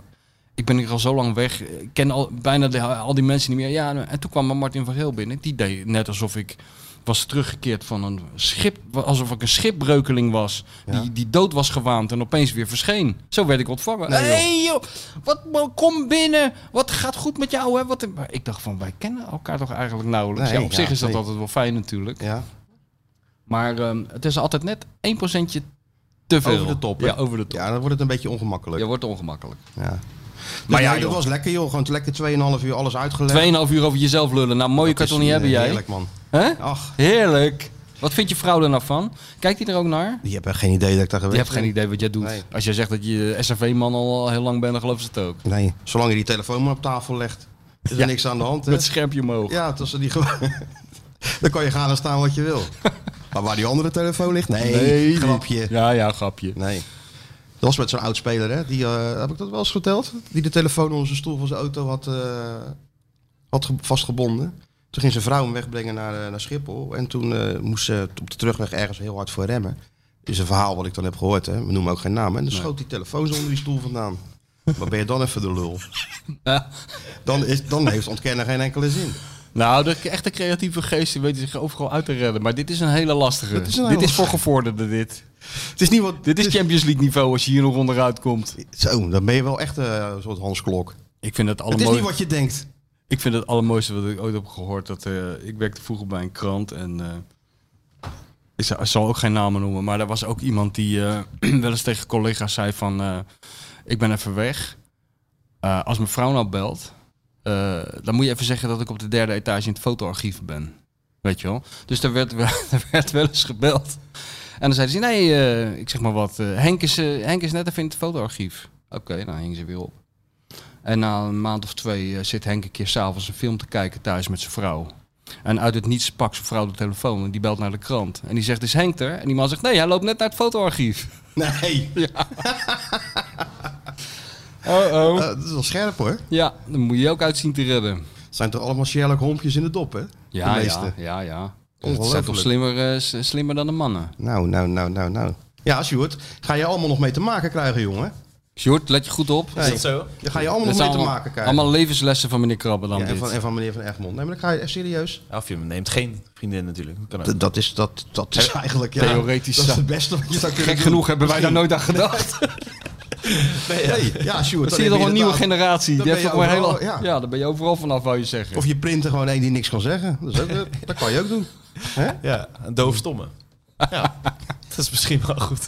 S3: Ik ben hier al zo lang weg. Ik ken al, bijna de- al die mensen niet meer. Ja, en toen kwam Martin van Geel binnen. Die deed net alsof ik was teruggekeerd van een schip. Alsof ik een schipbreukeling was.
S2: Ja.
S3: Die, die dood was gewaand en opeens weer verscheen. Zo werd ik ontvangen.
S2: Nee,
S3: Hé
S2: joh.
S3: hey, joh, wat, man, kom binnen. Wat gaat goed met jou? Hè? Wat, maar ik dacht van, wij kennen elkaar toch eigenlijk nauwelijks.
S2: Nee,
S3: ja, op
S2: ja,
S3: zich is dat
S2: nee.
S3: altijd wel fijn natuurlijk.
S2: Ja.
S3: Maar ehm, het is altijd net 1% te veel.
S2: Over de top, hè?
S3: Ja, over de top.
S2: ja, dan wordt het een beetje ongemakkelijk.
S3: Je
S2: Ja.
S3: wordt ongemakkelijk.
S2: Dus
S3: Maar ja,
S2: nee, dat
S3: joh.
S2: was lekker joh. Gewoon lekker 2,5 uur alles uitgelegd.
S3: Tweeënhalf uur over jezelf lullen. Nou, mooie
S2: Dat
S3: kan
S2: is,
S3: toch niet
S2: eh,
S3: hebben jij?
S2: Heerlijk man.
S3: Hè?
S2: Ach,
S3: Heerlijk. Wat vindt je vrouw er nou van? Kijkt hij er ook naar?
S2: die hebben geen idee dat ik daar
S3: Je
S2: geweest
S3: hebt geen idee wat jij doet.
S2: Nee.
S3: Als jij zegt dat je SRV-man al heel lang bent, dan geloven ze het ook.
S2: idee. Nee, zolang je die telefoon maar op tafel legt, is er
S3: Ja.
S2: niks aan de hand. hè?
S3: Met schermpje omhoog.
S2: Ja, tussen die gewoon... dan kan je gaan en staan wat je wil. maar waar die andere telefoon ligt? Nee, grapje.
S3: Ja, ja, grapje.
S2: Nee. Dat was met zo'n oud speler, hè? Die, eh, heb ik dat wel eens verteld? Die de telefoon onder zijn stoel van zijn auto had, eh, had ge- vastgebonden. Toen ging zijn vrouw hem wegbrengen naar, eh, naar Schiphol. En toen eh, moest ze op de terugweg ergens heel hard voor remmen. Is een verhaal wat ik dan heb gehoord, hè. We noemen ook geen naam. En dan schoot die telefoon zo onder die stoel vandaan. Wat ben je dan even de lul? Dan, is, dan heeft ontkennen geen enkele zin.
S3: Nou, de echte creatieve geesten weten zich overal uit te redden. Maar dit is een hele lastige.
S2: Dit is een hele
S3: dit is voor gevorderden, dit.
S2: Het is niet wat...
S3: Dit is
S2: het
S3: Champions League niveau als je hier nog onderuit komt.
S2: Zo, dan ben je wel echt eh, een soort Hans Klok.
S3: Ik vind het
S2: Het is
S3: allemaal.
S2: niet wat je denkt.
S3: Ik vind het allermooiste wat ik ooit heb gehoord. Dat, eh, ik werkte vroeger bij een krant en eh, ik, zou- ik zal ook geen namen noemen. Maar er was ook iemand die eh, wel eens tegen collega's zei van... eh, ik ben even weg. Eh, als mijn vrouw nou belt, eh, dan moet je even zeggen dat ik op de derde etage in het fotoarchief ben. Weet je wel? Dus daar werd, wel- daar werd wel eens gebeld. En dan zeiden ze, nee, eh, ik zeg maar wat, eh, Henk, is, eh, Henk is net even in het fotoarchief. Oké, nou, dan hingen ze weer op. En na een maand of twee eh, zit Henk een keer s'avonds een film te kijken thuis met zijn vrouw. En uit het niets pakt zijn vrouw de telefoon en die belt naar de krant. En die zegt, is Henk er? En die man zegt, nee, hij loopt net naar het fotoarchief.
S2: Nee.
S3: Oh-oh.
S2: Eh, dat is wel scherp hoor.
S3: Ja, dan moet je je ook uitzien te redden.
S2: Het zijn toch allemaal Sherlock Holmesjes in de dop, hè?
S3: Ja,
S2: De
S3: ja,
S2: meeste.
S3: ja, ja. Het zijn
S2: Ongelooflijk.
S3: toch slimmer, eh, s- slimmer dan de mannen.
S2: Nou, nou, nou, nou, nou. Ja, Sjoerd, ga je allemaal nog mee te maken krijgen, jongen.
S3: Sjoerd, let je goed op.
S2: Nee.
S4: Is dat zo?
S2: Daar ga je allemaal
S3: Dat
S2: nog mee
S3: zijn
S2: te
S3: allemaal,
S2: maken krijgen.
S3: allemaal levenslessen van meneer Krabbe dan
S2: Ja, en,
S3: dit.
S2: van, en van meneer Van Egmond. Nee, maar dan ga je echt serieus.
S4: Of je neemt geen vriendin natuurlijk. Dat Kan ook.
S2: D- Dat is, dat, dat is eigenlijk... Ja,
S3: Theoretisch
S2: Dat is
S3: zou-
S2: het beste wat je zou kunnen
S3: Gek
S2: doen.
S3: genoeg hebben wij daar nooit aan gedacht.
S2: Nee, nee, ja, Sjoerd.
S3: Dan zie je toch een nieuwe
S2: inderdaad-
S3: generatie.
S2: dan
S3: Die
S2: ben
S3: heeft
S2: je
S3: ook maar
S2: overal-
S3: heel, ja.
S2: ja.
S3: dan ben je overal vanaf, wou je zeggen.
S2: Of je print er gewoon één die niks kan zeggen. Dat, is ook, eh, dat kan je ook doen.
S4: Ja, een doofstomme. Ja, dat is misschien wel goed.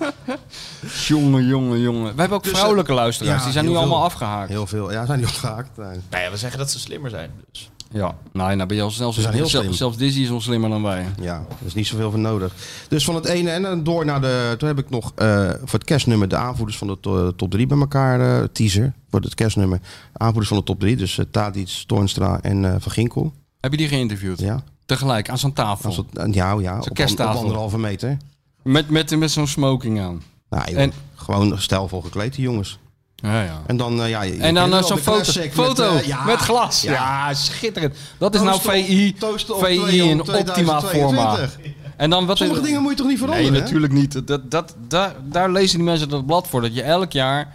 S3: jongen, jongen, jongen. Dus, eh, We hebben ook vrouwelijke luisteraars.
S2: ja,
S3: die zijn nu
S2: heel veel.
S3: allemaal afgehaakt.
S2: Heel veel. Ja, zijn die eh. opgehaakt. Nee.
S4: Nou ja, we zeggen dat ze slimmer zijn. Dus.
S3: Ja, nou, nou ben je al snel
S2: zijn heel
S3: zelf,
S2: slim.
S3: Zelfs Dizzy is ons slimmer dan wij.
S2: Ja, er is niet zoveel voor nodig. Dus van het ene en dan door naar de... Toen heb ik nog eh, voor het kerstnummer de aanvoerders van de to- top 3 bij elkaar. eh, teaser voor het kerstnummer. Aanvoerders van de top 3. Dus eh Tadic, Toornstra en eh Van Ginkel.
S3: Heb je die geïnterviewd?
S2: Ja,
S3: Tegelijk, aan zo'n tafel.
S2: als het, eh, ja, ja op, an- op
S3: kersttafel.
S2: anderhalve meter.
S3: Met, met, met zo'n smoking aan.
S2: Nou, joh,
S3: En-
S2: gewoon stijlvol gekleed die jongens.
S3: Ja, ja.
S2: En dan, eh, ja, je- je
S3: En
S2: kent
S3: dan
S2: het wel,
S3: eh, zo'n
S2: de
S3: foto,
S2: classic
S3: foto
S2: eh,
S3: met,
S2: ja,
S3: glas. Ja.
S2: ja.
S3: schitterend. Dat is nou
S2: Toaster op-
S3: VI,
S2: toaster op
S3: VI
S2: twee-
S3: in
S2: op
S3: optima forma.
S2: 2022.
S3: En dan wat
S2: Sommige dingen moet je toch niet veranderen?
S3: Nee,
S2: hè?
S3: natuurlijk niet. Dat, dat, daar, daar lezen die mensen dat blad voor. Dat je elk jaar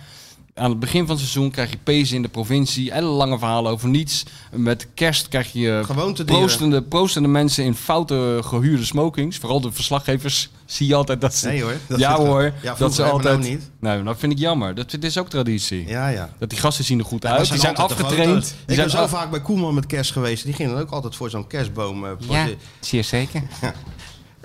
S3: aan het begin van het seizoen krijg je pezen in de provincie. En lange verhalen over niets. Met kerst krijg je
S2: Gewoontedieren.
S3: proostende, proostende mensen in foute gehuurde smokings. Vooral de verslaggevers zie je altijd dat ze...
S2: Nee, hoor. Dat
S3: ja
S2: is-
S3: hoor,
S2: Ja,
S3: dat
S2: vroeger,
S3: ze
S2: maar nou
S3: altijd...
S2: niet.
S3: Nou, dat vind ik jammer. Dat, dit is ook traditie.
S2: Ja, ja.
S3: Dat die gasten zien er goed
S2: Ja,
S3: uit.
S2: dat
S3: die zijn
S2: altijd de
S3: afgetraind.
S2: foto's.
S3: Die
S2: Ik ben
S3: zijn
S2: zo vaak bij Koeman met kerst geweest. Die gingen dan ook altijd voor zo'n kerstboom. eh,
S3: Ja,
S2: plaatsen.
S3: zeer zeker.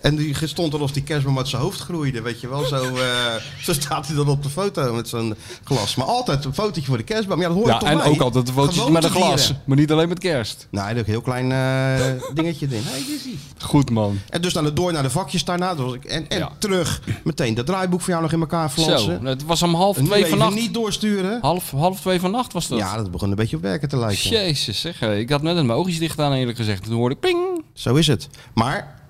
S2: En die stond alsof die kerstboom uit zijn hoofd groeide. Weet je wel, zo, eh, zo staat hij dan op de foto met zo'n glas. Maar altijd een fotootje voor de kerstboom. Ja, dat hoort
S3: Ja,
S2: toch
S3: en
S2: bij.
S3: ook altijd de foto's met een glas.
S2: Gewoontedieren.
S3: Maar niet alleen met kerst.
S2: Nee, er Nou, ook een heel klein eh, dingetje in. Hey, dit is ie.
S3: Goed man.
S2: En dus dan door naar de vakjes daarna. dat was ik- en en
S3: Ja.
S2: terug meteen dat draaiboek voor jou nog in elkaar flansen.
S3: Zo, het was om half
S2: Nu
S3: twee
S2: even
S3: vannacht.
S2: niet doorsturen.
S3: Half, half twee vannacht was dat.
S2: Ja, dat begon een beetje op werken te lijken.
S3: Jezus, zeg. hé. Ik had net mijn oogjes dicht aan eerlijk gezegd. Toen hoorde ik ping.
S2: Zo is het. Maar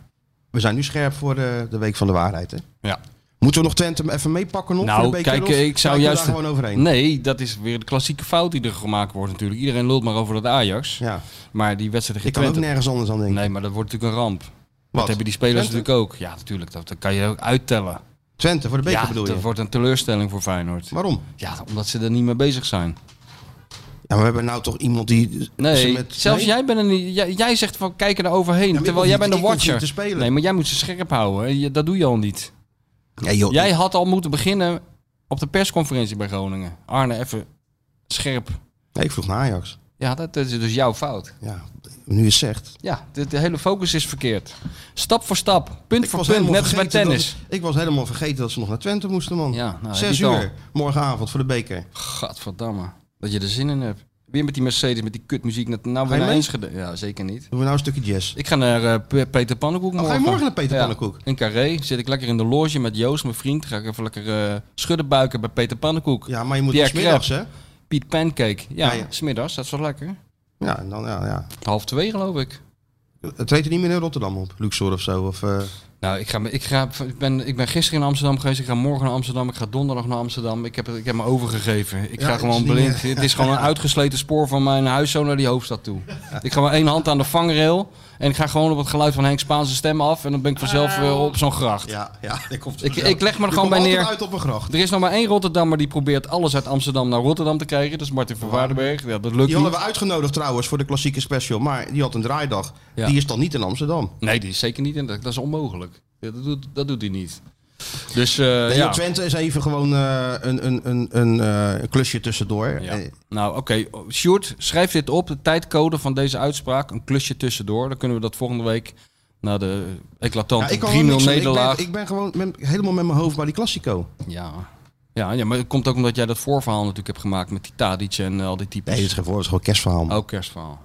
S2: we zijn nu scherp voor de, de Week van de Waarheid. Hè?
S3: Ja.
S2: Moeten we nog Twente even meepakken nog? voor de
S3: Nou,
S2: beker
S3: kijk,
S2: of
S3: ik zou
S2: kijken we
S3: juist...
S2: daar gewoon overheen.
S3: Nee, dat is weer de klassieke fout die er gemaakt wordt natuurlijk. Iedereen lult maar over dat Ajax.
S2: Ja,
S3: Maar die wedstrijd
S2: ik
S3: tegen
S2: kan ook
S3: Twente...
S2: nergens anders aan denken.
S3: Nee, maar dat wordt natuurlijk een ramp.
S2: Wat?
S3: Dat hebben die spelers
S2: Twente?
S3: natuurlijk ook. Ja, natuurlijk. Dat, dat kan je ook uittellen.
S2: Twente voor de beker
S3: ja,
S2: bedoel je?
S3: dat wordt een teleurstelling voor Feyenoord.
S2: Waarom?
S3: Ja, omdat ze er niet mee bezig zijn.
S2: Ja, maar we hebben nou toch iemand die... ze
S3: Nee,
S2: met-
S3: zelfs
S2: Nee?
S3: jij bent er niet. Jij, jij zegt van kijken er nou
S2: maar
S3: overheen,
S2: ik
S3: terwijl
S2: hoef
S3: jij
S2: niet-
S3: bent de
S2: ik hoef niet
S3: watcher.
S2: te spelen.
S3: Nee, maar jij moet ze scherp houden. En je- Dat doe je al niet.
S2: Nee, joh,
S3: Jij had al moeten beginnen op de persconferentie bij Groningen. Arne, even scherp.
S2: Nee, ik vroeg naar Ajax.
S3: Ja, dat is dus jouw fout.
S2: Ja, nu je het zegt.
S3: Ja, de, de hele focus is verkeerd. Stap voor stap, punt
S2: Ik
S3: voor
S2: was
S3: punt,
S2: helemaal
S3: net als bij
S2: vergeten
S3: tennis.
S2: dat- ik was helemaal vergeten dat ze nog naar Twente moesten, man.
S3: Ja, nou,
S2: Zes
S3: heb je het
S2: uur, morgenavond voor de beker.
S3: Gadverdamme, dat je er zin in hebt. Weer met die Mercedes, met die kutmuziek. net- Nou,
S2: Ga
S3: weer
S2: je
S3: naar
S2: mee?
S3: Enschede. Ja, zeker niet.
S2: Doen we nou een stukje jazz.
S3: Ik ga naar eh, Pe- Peter Pannenkoek
S2: Oh, ga
S3: morgen.
S2: je morgen naar Peter
S3: Ja,
S2: Pannenkoek?
S3: In Carré zit ik lekker in de loge met Joost, mijn vriend. Ga ik even lekker eh, schudden buiken bij Peter Pannenkoek.
S2: Ja, maar je moet
S3: Pierre
S2: ook smiddags, hè?
S3: Piet Pancake. Ja,
S2: Ja, ja.
S3: smiddags. Dat is wel lekker.
S2: Ja, en dan, ja, ja.
S3: Half twee geloof ik.
S2: Het heet er niet meer in Rotterdam op, Luxor of zo. Of, eh,
S3: Nou, ik, ga, me- ik, ga, ik, ben, ik ben gisteren in Amsterdam geweest. Ik ga morgen naar Amsterdam. Ik ga donderdag naar Amsterdam. Ik heb, het- ik heb me overgegeven. Ik
S2: Ja,
S3: ga
S2: het
S3: gewoon
S2: is niet
S3: blind. Het is gewoon een uitgesleten spoor van mijn huis zo naar die hoofdstad toe. Ik ga maar één hand aan de vangrail. En ik ga gewoon op het geluid van Henk Spaanse stem af. En dan ben ik vanzelf weer op zo'n gracht.
S2: Ja, ja. Ik, komt
S3: Ik,
S2: vanzelf.
S3: ik leg me er
S2: Je
S3: gewoon bij
S2: komt altijd
S3: neer.
S2: uit op een gracht.
S3: Er is nog maar één Rotterdammer die probeert alles uit Amsterdam naar Rotterdam te krijgen. Dat is Martin van Waardenberg. Ja, dat lukt
S2: Die
S3: niet.
S2: hadden we uitgenodigd trouwens voor de klassieke special. Maar die had een draaidag.
S3: Ja.
S2: Die is dan niet in Amsterdam.
S3: Nee, die is zeker niet. in. Dat, dat is onmogelijk. Dat doet, dat doet hij niet. Dus eh,
S2: Heel
S3: ja.
S2: Twente is even gewoon eh, een, een, een, een eh, klusje tussendoor.
S3: Ja.
S2: Eh,
S3: Nou, oké. Sjoerd, schrijf dit op. De tijdcode van deze uitspraak. Een klusje tussendoor. Dan kunnen we dat volgende week na de
S2: ja,
S3: eclatante
S2: ik kan
S3: 3-0
S2: wel niks doen. Ik
S3: nederlaag.
S2: ben, ik ben gewoon met- helemaal met mijn hoofd bij die Classico.
S3: Ja. Ja, ja, maar het komt ook omdat jij dat voorverhaal natuurlijk hebt gemaakt met die Tadic en eh, al die types.
S2: Nee, het is gewoon, het is gewoon kerstverhaal.
S3: Oh, kerstverhaal.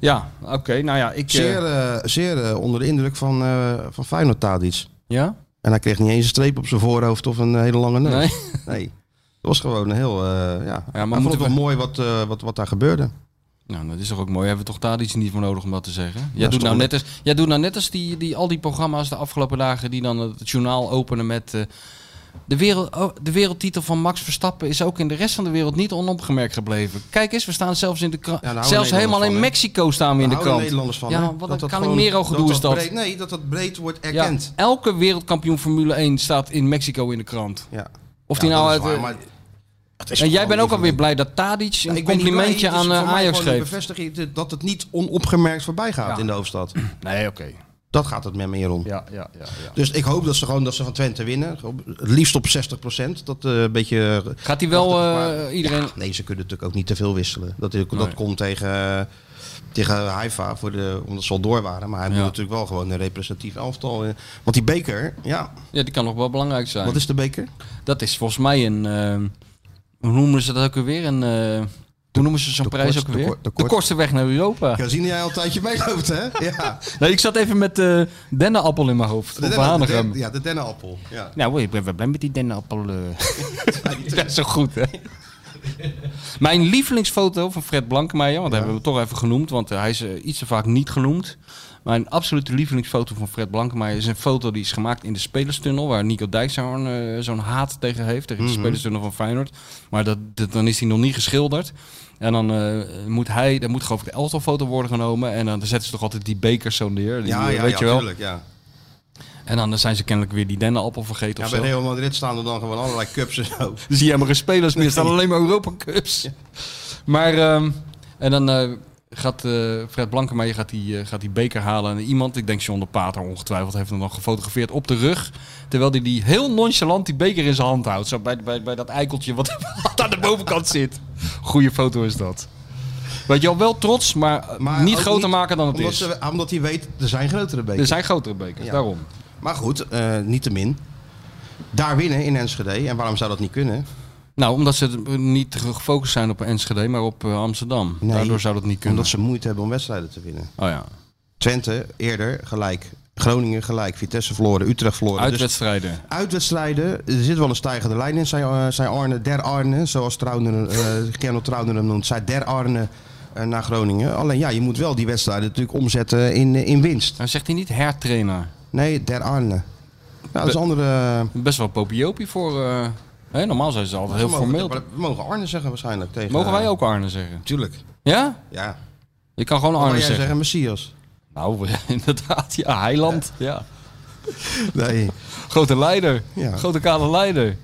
S3: Ja, oké. nou ja, ik... eh,
S2: Zeer, eh, zeer eh, onder de indruk van, eh van Feyenoord Tadic.
S3: ja?
S2: En hij kreeg niet eens een streep op zijn voorhoofd of een eh, hele lange neus.
S3: Nee?
S2: Nee. Het was gewoon een heel... eh, ja. maar
S3: maar
S2: vond
S3: moeten
S2: het wel
S3: we-
S2: mooi wat, eh, wat, wat daar gebeurde.
S3: Nou, dat is toch ook mooi. Hebben we toch daar iets niet voor nodig om dat te zeggen? Jij,
S2: Ja,
S3: doet,
S2: stom.
S3: nou net als, jij doet nou net als die, die, al die programma's de afgelopen dagen die dan het journaal openen met... eh, de, wereld, oh, de wereldtitel van Max Verstappen is ook in de rest van de wereld niet onopgemerkt gebleven. Kijk eens, we staan zelfs in de krant.
S2: daar houden
S3: zelfs helemaal
S2: Nederlanders
S3: in
S2: van, hè?
S3: Mexico staan we in de
S2: Daar houden
S3: krant.
S2: Nederlanders van.
S3: Ja,
S2: hè?
S3: maar wat
S2: Dat
S3: een
S2: dat
S3: Calimero
S2: gewoon-
S3: gedoe is dat.
S2: breed- nee, dat dat breed wordt
S3: Ja,
S2: erkend.
S3: elke wereldkampioen Formule 1 staat in Mexico in de krant.
S2: Ja.
S3: Of
S2: Ja,
S3: die nou
S2: dat
S3: uit...
S2: is waar,
S3: eh,
S2: maar het is
S3: en jij
S2: gewoon
S3: bent ook
S2: niet
S3: alweer
S2: van-
S3: blij dat Tadic
S2: Ja,
S3: een
S2: ik ben niet blij.
S3: complimentje
S2: Het is
S3: aan eh,
S2: voor mij
S3: Ajax
S2: gewoon een
S3: geeft.
S2: bevestiging dat het niet onopgemerkt voorbij gaat
S3: Ja.
S2: in de hoofdstad.
S3: Nee, oké.
S2: Dat gaat het met meer om.
S3: Ja, ja, ja, ja.
S2: Dus ik hoop dat ze gewoon dat ze van Twente winnen. Op- Het liefst op 60%. Dat eh, een beetje. eh,
S3: Gaat hij wel
S2: prachtig,
S3: eh,
S2: maar-
S3: iedereen...
S2: Ja, nee, ze kunnen natuurlijk ook niet te veel wisselen. Dat, dat
S3: Nee.
S2: komt tegen, eh, tegen Haifa, voor de, omdat ze al door waren. Maar hij
S3: Ja.
S2: moet natuurlijk wel gewoon een representatief elftal. eh, Want die beker, ja,
S3: Ja, die kan nog wel belangrijk zijn.
S2: wat is de beker?
S3: Dat is volgens mij een. ehm, hoe noemen ze dat ook weer? Een, eh, hoe noemen ze zo'n
S2: de
S3: prijs
S2: kortste-
S3: ook weer?
S2: de
S3: De,
S2: kor- de kortste-
S3: kortste weg naar Europa.
S2: Ja, zien jij al een tijdje meeloopt, hè? Ja,
S3: Nee, ik zat even met eh dennenappel in mijn hoofd. op
S2: dennen-
S3: Hanegem.
S2: den- ja de dennenappel. Ja.
S3: Nou, ik ben wel blij met die dennenappel. eh. dat is zo goed, hè? Mijn lievelingsfoto van Fred Blankenmeijer, want dat hebben we hem toch even genoemd, want eh, hij is eh, iets te vaak niet genoemd. Mijn absolute lievelingsfoto van Fred Blankenmeijer is een foto die is gemaakt in de spelerstunnel, waar Nico Dijk zo'n eh, zo'n haat tegen heeft, tegen
S2: Mhm.
S3: de spelerstunnel van Feyenoord. Maar dat, dat- dan is hij nog niet geschilderd. En dan eh, moet hij, dan moet geloof ik de elftalfoto worden genomen. En dan zetten ze toch altijd die bekers zo neer. Die,
S2: Ja,
S3: eh,
S2: ja,
S3: weet
S2: ja,
S3: je wel.
S2: tuurlijk, ja.
S3: En dan zijn ze kennelijk weer die dennenappel vergeten
S2: ja.
S3: of
S2: Bij
S3: zo.
S2: Real Madrid staan er dan gewoon allerlei cups en zo.
S3: Dan zie je helemaal geen Dus spelers meer. Er staan alleen maar Europa Cups. Maar, ehm, en dan eh, gaat eh, Fred Blankenmeijer gaat die, eh, gaat die beker halen. En iemand, ik denk John de Pater ongetwijfeld, heeft hem dan gefotografeerd op de rug. Terwijl hij die heel nonchalant die beker in zijn hand houdt. Zo bij, bij, bij dat eikeltje wat, wat aan de bovenkant zit. Goeie foto is dat. Weet je wel, wel trots, maar, eh,
S2: Maar
S3: niet
S2: ook
S3: groter maken dan het
S2: omdat
S3: is.
S2: ze- omdat hij weet, er zijn grotere bekers.
S3: Er zijn grotere bekers,
S2: Ja.
S3: daarom.
S2: Maar goed, eh niettemin. Daar winnen in Enschede. En waarom zou dat niet kunnen?
S3: Nou, omdat ze eh, niet gefocust zijn op Enschede, maar op eh, Amsterdam.
S2: Nee,
S3: Daardoor zou dat niet kunnen.
S2: Omdat ze moeite hebben om wedstrijden te winnen.
S3: Oh ja,
S2: Twente eerder gelijk. Groningen gelijk. Vitesse verloren. Utrecht verloren. Dus
S3: uitwedstrijden.
S2: uitwedstrijden. Er zit wel een stijgende lijn in. Zij, eh, zij Arne, der Arne. Zoals Trouwner, eh Kernel Trouwner hem noemt. Zij der Arne eh, naar Groningen. Alleen ja, je moet wel die wedstrijden natuurlijk omzetten in, eh, in winst.
S3: Nou zegt hij niet hertrainer.
S2: Nee, der Arne. Nou, dat is een andere...
S3: Best wel popiopie voor... eh, hè, normaal zijn ze altijd heel
S2: we mogen-
S3: formeel.
S2: We mogen Arne zeggen waarschijnlijk. Tegen, eh,
S3: Mogen wij ook Arne zeggen?
S2: Tuurlijk.
S3: Ja?
S2: Ja.
S3: Je kan gewoon
S2: Arne
S3: Arne
S2: jij
S3: zeggen.
S2: zeggen. Messias.
S3: Nou, inderdaad. Ja, Heiland. Ja.
S2: Nee.
S3: Grote leider.
S2: Ja.
S3: Grote kale leider.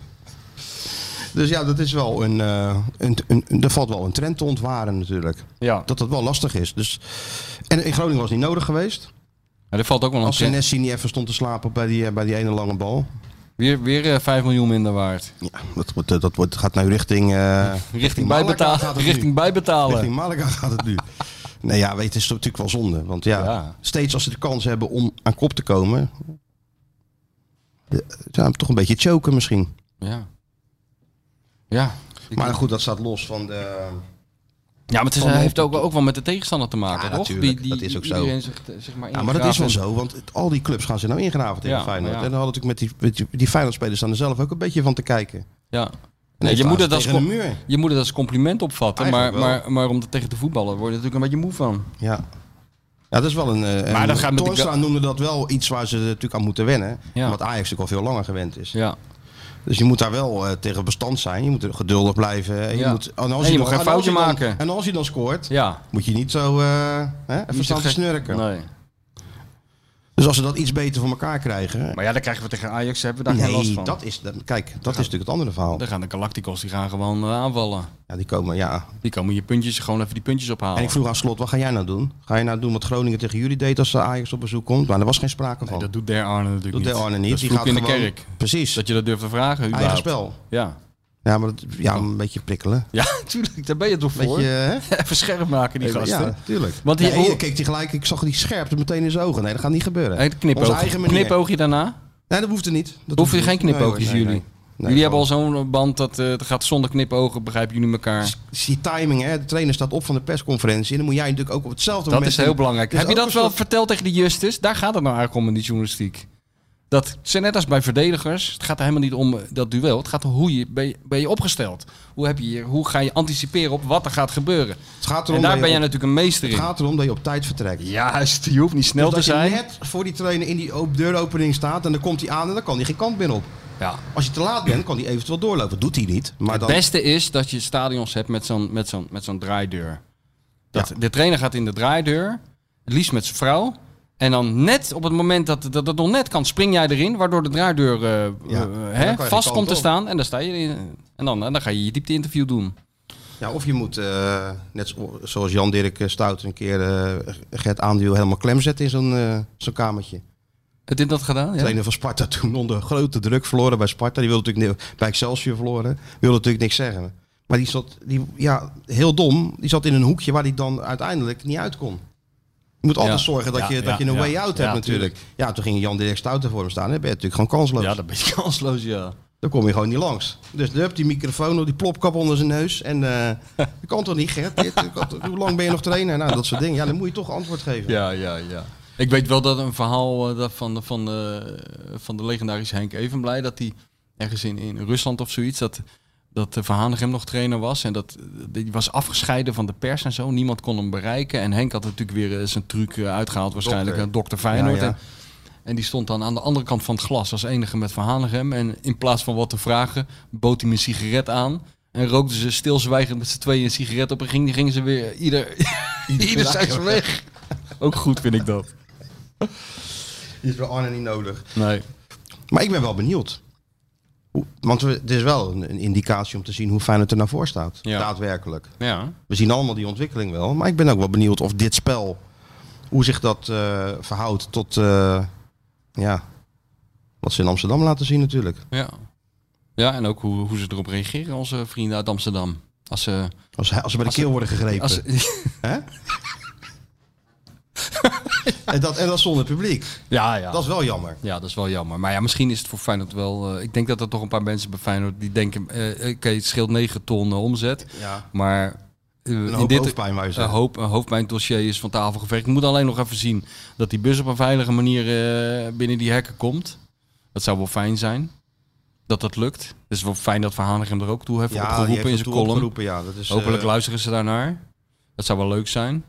S2: Dus ja, dat is wel een, eh, een, een, een- Er valt wel een trend te ontwaren natuurlijk.
S3: Ja.
S2: Dat dat wel lastig is. Dus, en in Groningen was het niet nodig geweest.
S3: Ja, er valt ook wel een...
S2: Als
S3: trend.
S2: Senesi niet even stond te slapen bij die, eh, bij die ene lange bal.
S3: Weer, weer eh, 5 miljoen minder waard.
S2: Ja, dat, wordt, eh, dat wordt, gaat nu richting... eh,
S3: Richting,
S2: Malaga
S3: bijbetalen.
S2: gaat het nu.
S3: Richting bijbetalen.
S2: Richting Malaga gaat het nu. nee, ja, weet, je, het is natuurlijk wel zonde. Want ja,
S3: Ja.
S2: steeds als ze de kans hebben om aan kop te komen... eh, Ja, toch een beetje choken misschien.
S3: Ja. Ja. Ik-
S2: Maar goed, dat staat los van de...
S3: ja, maar het is-
S2: Van-
S3: heeft ook, wel- ook wel met de tegenstander te maken,
S2: Ja,
S3: toch?
S2: natuurlijk. Dat is ook zo.
S3: iedereen zich, zeg maar,
S2: Ja, maar dat is wel
S3: ingraven.
S2: zo, want het- al die clubs gaan ze nou ingraven tegen
S3: Ja,
S2: Feyenoord.
S3: ja.
S2: En dan hadden natuurlijk met die, met die, die Feyenoord-spelers staan er zelf ook een beetje van te kijken.
S3: Ja.
S2: En
S3: Nee, je
S2: staan
S3: moet
S2: ze
S3: het als
S2: tegen de
S3: kom-
S2: muur.
S3: Je moet het als compliment opvatten, maar,
S2: Eigenlijk wel.
S3: maar, maar om dat tegen te voetballen word je natuurlijk een beetje moe van.
S2: Ja. Ja, dat is wel een... eh,
S3: Maar
S2: een-
S3: dat gaat met de
S2: Toornstra
S3: ga-
S2: noemde dat wel iets waar ze natuurlijk aan moeten wennen.
S3: Ja.
S2: Omdat Ajax natuurlijk al veel langer gewend is.
S3: Ja.
S2: Dus je moet daar wel eh, tegen bestand zijn. Je moet geduldig blijven. En je
S3: Ja.
S2: moet, en als
S3: En je
S2: dan-
S3: mag geen
S2: en als je
S3: foutje
S2: dan-
S3: maken.
S2: en als je dan scoort,
S3: Ja.
S2: moet je niet zo eh hè, even
S3: Niet zo
S2: staan te
S3: gek.
S2: snurken.
S3: Nee.
S2: Dus als ze dat iets beter voor elkaar krijgen...
S3: Maar ja, dan krijgen we tegen Ajax, hebben we daar geen last
S2: nee,
S3: van.
S2: dat is, dat- kijk, dat is natuurlijk het andere verhaal.
S3: Dan gaan de Galacticos, die gaan gewoon eh, aanvallen.
S2: Ja, die komen, ja.
S3: Die komen je puntjes, gewoon even die puntjes ophalen.
S2: En ik vroeg aan Slot, wat ga jij nou doen? Ga je nou doen wat Groningen tegen jullie deed als eh, Ajax op bezoek komt? Maar daar was geen sprake
S3: Nee,
S2: van.
S3: dat doet Der Arne natuurlijk
S2: doet
S3: niet.
S2: de Arne niet.
S3: Dat is
S2: die
S3: vloek
S2: gaat
S3: in de
S2: gewoon,
S3: kerk.
S2: Precies.
S3: Dat je dat durft te vragen,
S2: Eigen
S3: überhaupt.
S2: spel.
S3: Ja.
S2: Ja, maar dat, ja, een beetje prikkelen.
S3: ja, tuurlijk, daar ben je toch
S2: Een
S3: voor.
S2: beetje, hè?
S3: Even scherp maken, die gasten.
S2: Ja, tuurlijk.
S3: Want
S2: Want
S3: die-
S2: die, ja, en keek die gelijk, ik zag die scherpte meteen in zijn ogen. Nee, dat gaat niet gebeuren.
S3: Hey, knipoog.
S2: Onze eigen manier.
S3: Knipoogje daarna?
S2: Nee, dat hoeft er niet. Dat
S3: Hoeven
S2: hoeft
S3: geen
S2: er niet.
S3: knipoogjes,
S2: Nee, hoor,
S3: jullie?
S2: nee, nee. Nee,
S3: Jullie hebben al
S2: gewoon-
S3: zo'n band dat eh, het gaat zonder knipogen, begrijpen jullie elkaar.
S2: is Dus Die timing, hè? De trainer staat op van de persconferentie. En dan moet jij natuurlijk ook op hetzelfde
S3: Dat
S2: moment...
S3: is heel belangrijk.
S2: Het is
S3: Heb je
S2: Dus ook
S3: dat
S2: een
S3: wel
S2: soort-
S3: verteld tegen de Justus? Daar gaat het nou eigenlijk om in die journalistiek. Dat het zijn net als bij verdedigers. Het gaat er helemaal niet om eh, dat duel. Het gaat om hoe je ben je, ben je opgesteld. Hoe, heb je, je- hoe ga je anticiperen op wat er gaat gebeuren?
S2: Het gaat
S3: En
S2: erom,
S3: daar
S2: dat
S3: ben
S2: je
S3: jij
S2: op,
S3: natuurlijk een meester
S2: het
S3: in.
S2: gaat erom dat je op tijd vertrekt.
S3: Juist, je hoeft niet snel
S2: Dus
S3: te
S2: dat je
S3: zijn.
S2: net voor die trainer in die op- deuropening staat en dan komt hij aan en dan kan hij geen kant meer op.
S3: Ja.
S2: Als je te laat bent, kan hij eventueel doorlopen. Doet hij niet. Maar
S3: het
S2: dan,
S3: beste is dat je stadions hebt met zo'n, met zo'n, met zo'n draaideur. Dat De trainer gaat in de draaideur, het liefst met zijn vrouw. En dan net op het moment dat dat, dat nog net kan, spring jij erin, waardoor de draaideur eh,
S2: Ja.
S3: eh,
S2: En
S3: hè,
S2: dan kan je die
S3: vast komt te
S2: kant op.
S3: staan. En dan, sta je in, en dan, eh, dan ga je je diepte-interview doen.
S2: ja, of je moet, eh, net zo- zoals Jan-Dirk eh, Stout een keer eh Gert Aanduw helemaal klem zetten in zo'n eh, zo'n kamertje.
S3: Heb je dat gedaan? Ja?
S2: trainer van Sparta toen onder grote druk verloren bij Sparta. Die wilde natuurlijk ni- bij Excelsior verloren. Wilde natuurlijk niks zeggen. Maar die zat, die, ja, heel dom. Die zat in een hoekje waar hij dan uiteindelijk niet uit kon. Je moet altijd
S3: Ja.
S2: zorgen dat,
S3: Ja,
S2: je, dat
S3: ja,
S2: je een
S3: ja.
S2: way out hebt
S3: Ja,
S2: natuurlijk. Ja, toen ging Jan Dirk Stouten voor hem staan. Dan ben je natuurlijk gewoon kansloos.
S3: dat ben je kansloos, ja.
S2: Dan kom je gewoon niet langs. Dus hup, die microfoon op die plopkap onder zijn neus. En eh, dat kan toch niet, Gert? Dit, dat kan toch- hoe lang ben je nog trainer? Nou, dat soort dingen. Ja, dan moet je toch antwoord geven.
S3: Ja, ja, ja. Ik weet wel dat een verhaal eh, dat van, de- van, de, van de legendarische Henk Evenblij... dat hij ergens in, in Rusland of zoiets... dat, dat eh, Van Hanegem nog trainer was. En dat eh, die was afgescheiden van de pers en zo. Niemand kon hem bereiken. En Henk had natuurlijk weer eh, zijn truc eh, uitgehaald. Waarschijnlijk
S2: Dokter.
S3: een dokter Feyenoord.
S2: Ja, ja.
S3: En, en die stond dan aan de andere kant van het glas als enige met Van Hanegem. En in plaats van wat te vragen, bood hij hem een sigaret aan... En rookten ze stilzwijgend met z'n tweeën een sigaret op en ging- gingen ze weer ieder, ieder zijn weg. Ook goed vind ik dat.
S2: Die is bij Arne niet nodig.
S3: Nee.
S2: Maar ik ben wel benieuwd. Hoe- Want we, het is wel een, een indicatie om te zien hoe fijn het er naar voor staat.
S3: Ja.
S2: Daadwerkelijk.
S3: Ja.
S2: We zien allemaal die ontwikkeling wel. Maar ik ben ook wel benieuwd of dit spel, hoe zich dat eh, verhoudt tot eh, ja, wat ze in Amsterdam laten zien natuurlijk.
S3: Ja, ja en ook hoe, hoe ze erop reageren, onze vrienden uit Amsterdam. Als ze...
S2: Als, hij- als ze bij de
S3: Als ze-
S2: keel worden gegrepen.
S3: Als
S2: Hè? en, dat, en dat zonder publiek.
S3: ja, ja.
S2: Dat is wel jammer.
S3: Ja, dat is wel jammer. Maar ja, misschien is het voor Feyenoord wel... eh, ik denk dat er toch een paar mensen bij Feyenoord die denken... eh, Oké, het scheelt 9 ton eh, omzet.
S2: Ja.
S3: Maar eh,
S2: Een
S3: in
S2: hoop
S3: dit
S2: hoofdpijn wou je
S3: een
S2: zeggen.
S3: hoop, een hoop mijn dossier is van tafel geveegd. Ik moet alleen nog even zien dat die bus op een veilige manier eh, binnen die hekken komt. Dat zou wel fijn zijn. Dat dat lukt. Het is wel fijn dat Van Hanegem er ook toe heeft
S2: Ja, die heeft
S3: opgeroepen in
S2: het
S3: zijn
S2: toe
S3: column.
S2: opgeroepen, ja, dat is, eh,
S3: Hopelijk luisteren ze daarnaar. Dat zou wel leuk zijn.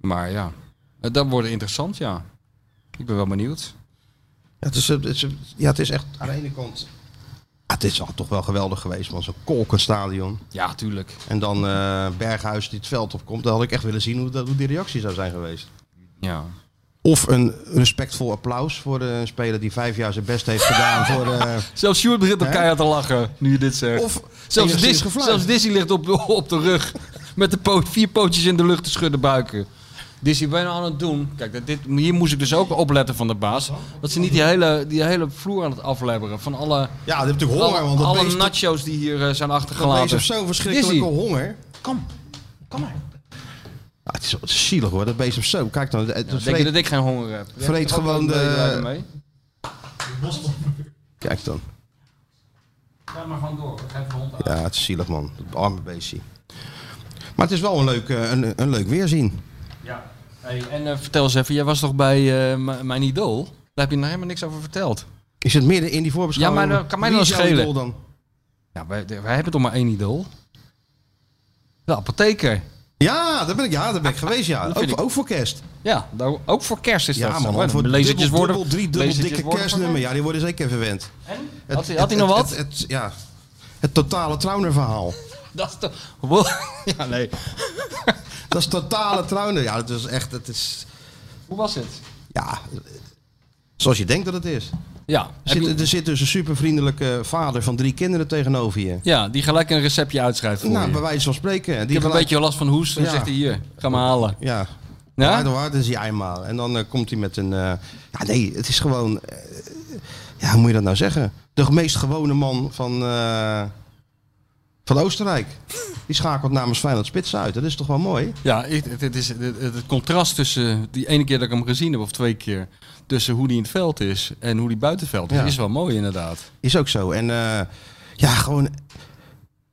S3: Maar ja, eh, dat wordt interessant, ja. Ik ben wel benieuwd.
S2: Ja, het is, het is- ja, het is echt aan de ene kant. ah, het is al toch wel geweldig geweest, man. Zo'n kolkenstadion.
S3: Ja, tuurlijk.
S2: En dan eh, Berghuis die het veld opkomt. Dan had ik echt willen zien hoe, dat, hoe die reactie zou zijn geweest.
S3: Ja.
S2: Of een respectvol applaus voor eh, een speler die vijf jaar zijn best heeft gedaan. Voor, eh,
S3: Zelfs Sjoerd begint al
S2: Hè?
S3: keihard te lachen nu je dit zegt.
S2: of
S3: zelfs,
S2: enigszins
S3: Dis,
S2: gefluit.
S3: zelfs Dizzy ligt op, op de rug met de poot, vier pootjes in de lucht te schudden buiken. Dizzy, ben je nou aan het doen? Kijk, dat dit, hier moest ik dus ook opletten van de baas. Dat ze niet die hele, die hele vloer aan het aflebberen van alle,
S2: Ja, die heeft natuurlijk honger.
S3: alle,
S2: Want dat
S3: alle
S2: beest, dat
S3: nachos die hier eh, zijn
S2: beest
S3: achtergelaten.
S2: heeft zo'n verschrikkelijke
S3: Dizzy.
S2: honger.
S3: Kom, kom maar.
S2: Ah, het is wel zielig hoor, dat beest heeft zo. Kijk dan, het, het
S3: Denk
S2: vreet-
S3: je dat ik geen honger heb?
S2: vreet
S3: Heb je er ook
S2: gewoon
S3: een
S2: de-
S3: medelijden mee?
S2: Kijk dan.
S3: Ga maar gewoon door. Geef de hond aan.
S2: Ja, het is zielig man. Dat arme beestje. Maar het is wel een leuk, eh, een, een leuk weerzien.
S3: Ja. Hey, en eh, vertel eens even, jij was toch bij eh, m- mijn idool? Daar heb je nog helemaal niks over verteld.
S2: Is het midden in die voorbeschouwing?
S3: Ja, maar dat kan mij
S2: Wie
S3: dan
S2: is jouw
S3: schelen.
S2: idool dan?
S3: Ja, wij, wij hebben toch maar één idool? De apotheker.
S2: Ja, daar ben ik, ja, daar ben ik geweest, ja.
S3: Ah, Dat
S2: Ook,
S3: vind ik-
S2: ook voor kerst.
S3: ja, daar- ook voor kerst is
S2: Ja,
S3: dat.
S2: man.
S3: zo.
S2: Voor
S3: Lezertjes
S2: dubbel,
S3: worden.
S2: dubbel, drie dubbel
S3: lezertjes
S2: dikke
S3: worden
S2: kerstnummer. Ja, die worden zeker verwend.
S3: verkocht. Had hij, had hij nog wat?
S2: Het, het, het- ja, het totale Trauner-verhaal.
S3: Dat is toch... Wow. Ja, nee.
S2: Dat is totale Trauner. Ja, dat is echt... Het is,
S3: Hoe was het?
S2: ja, zoals je denkt dat het is.
S3: Ja, heb
S2: Zit,
S3: je-
S2: Er zit dus een supervriendelijke vader van drie kinderen tegenover je.
S3: ja, die gelijk een receptje uitschrijft voor
S2: Nou,
S3: je.
S2: bij wijze van spreken. Die
S3: Ik heb een
S2: gelijk-
S3: beetje last van hoest. Dan
S2: Ja.
S3: zegt hij hier, ga me halen.
S2: Ja.
S3: Ja?
S2: Hard of hard is hij eenmaal. En dan eh, komt hij met een... eh, ja, nee, het is gewoon... eh, ja, hoe moet je dat nou zeggen? De meest gewone man van, eh, van Oostenrijk. Die schakelt namens Feyenoord Spits uit. Dat is toch wel mooi?
S3: Ja, ik- het, het, is, het, het- het contrast tussen die ene keer dat ik hem gezien heb, of twee keer, tussen hoe die in het veld is en hoe die buiten het veld is,
S2: Ja.
S3: is wel mooi inderdaad.
S2: Is ook zo. En eh, ja, gewoon...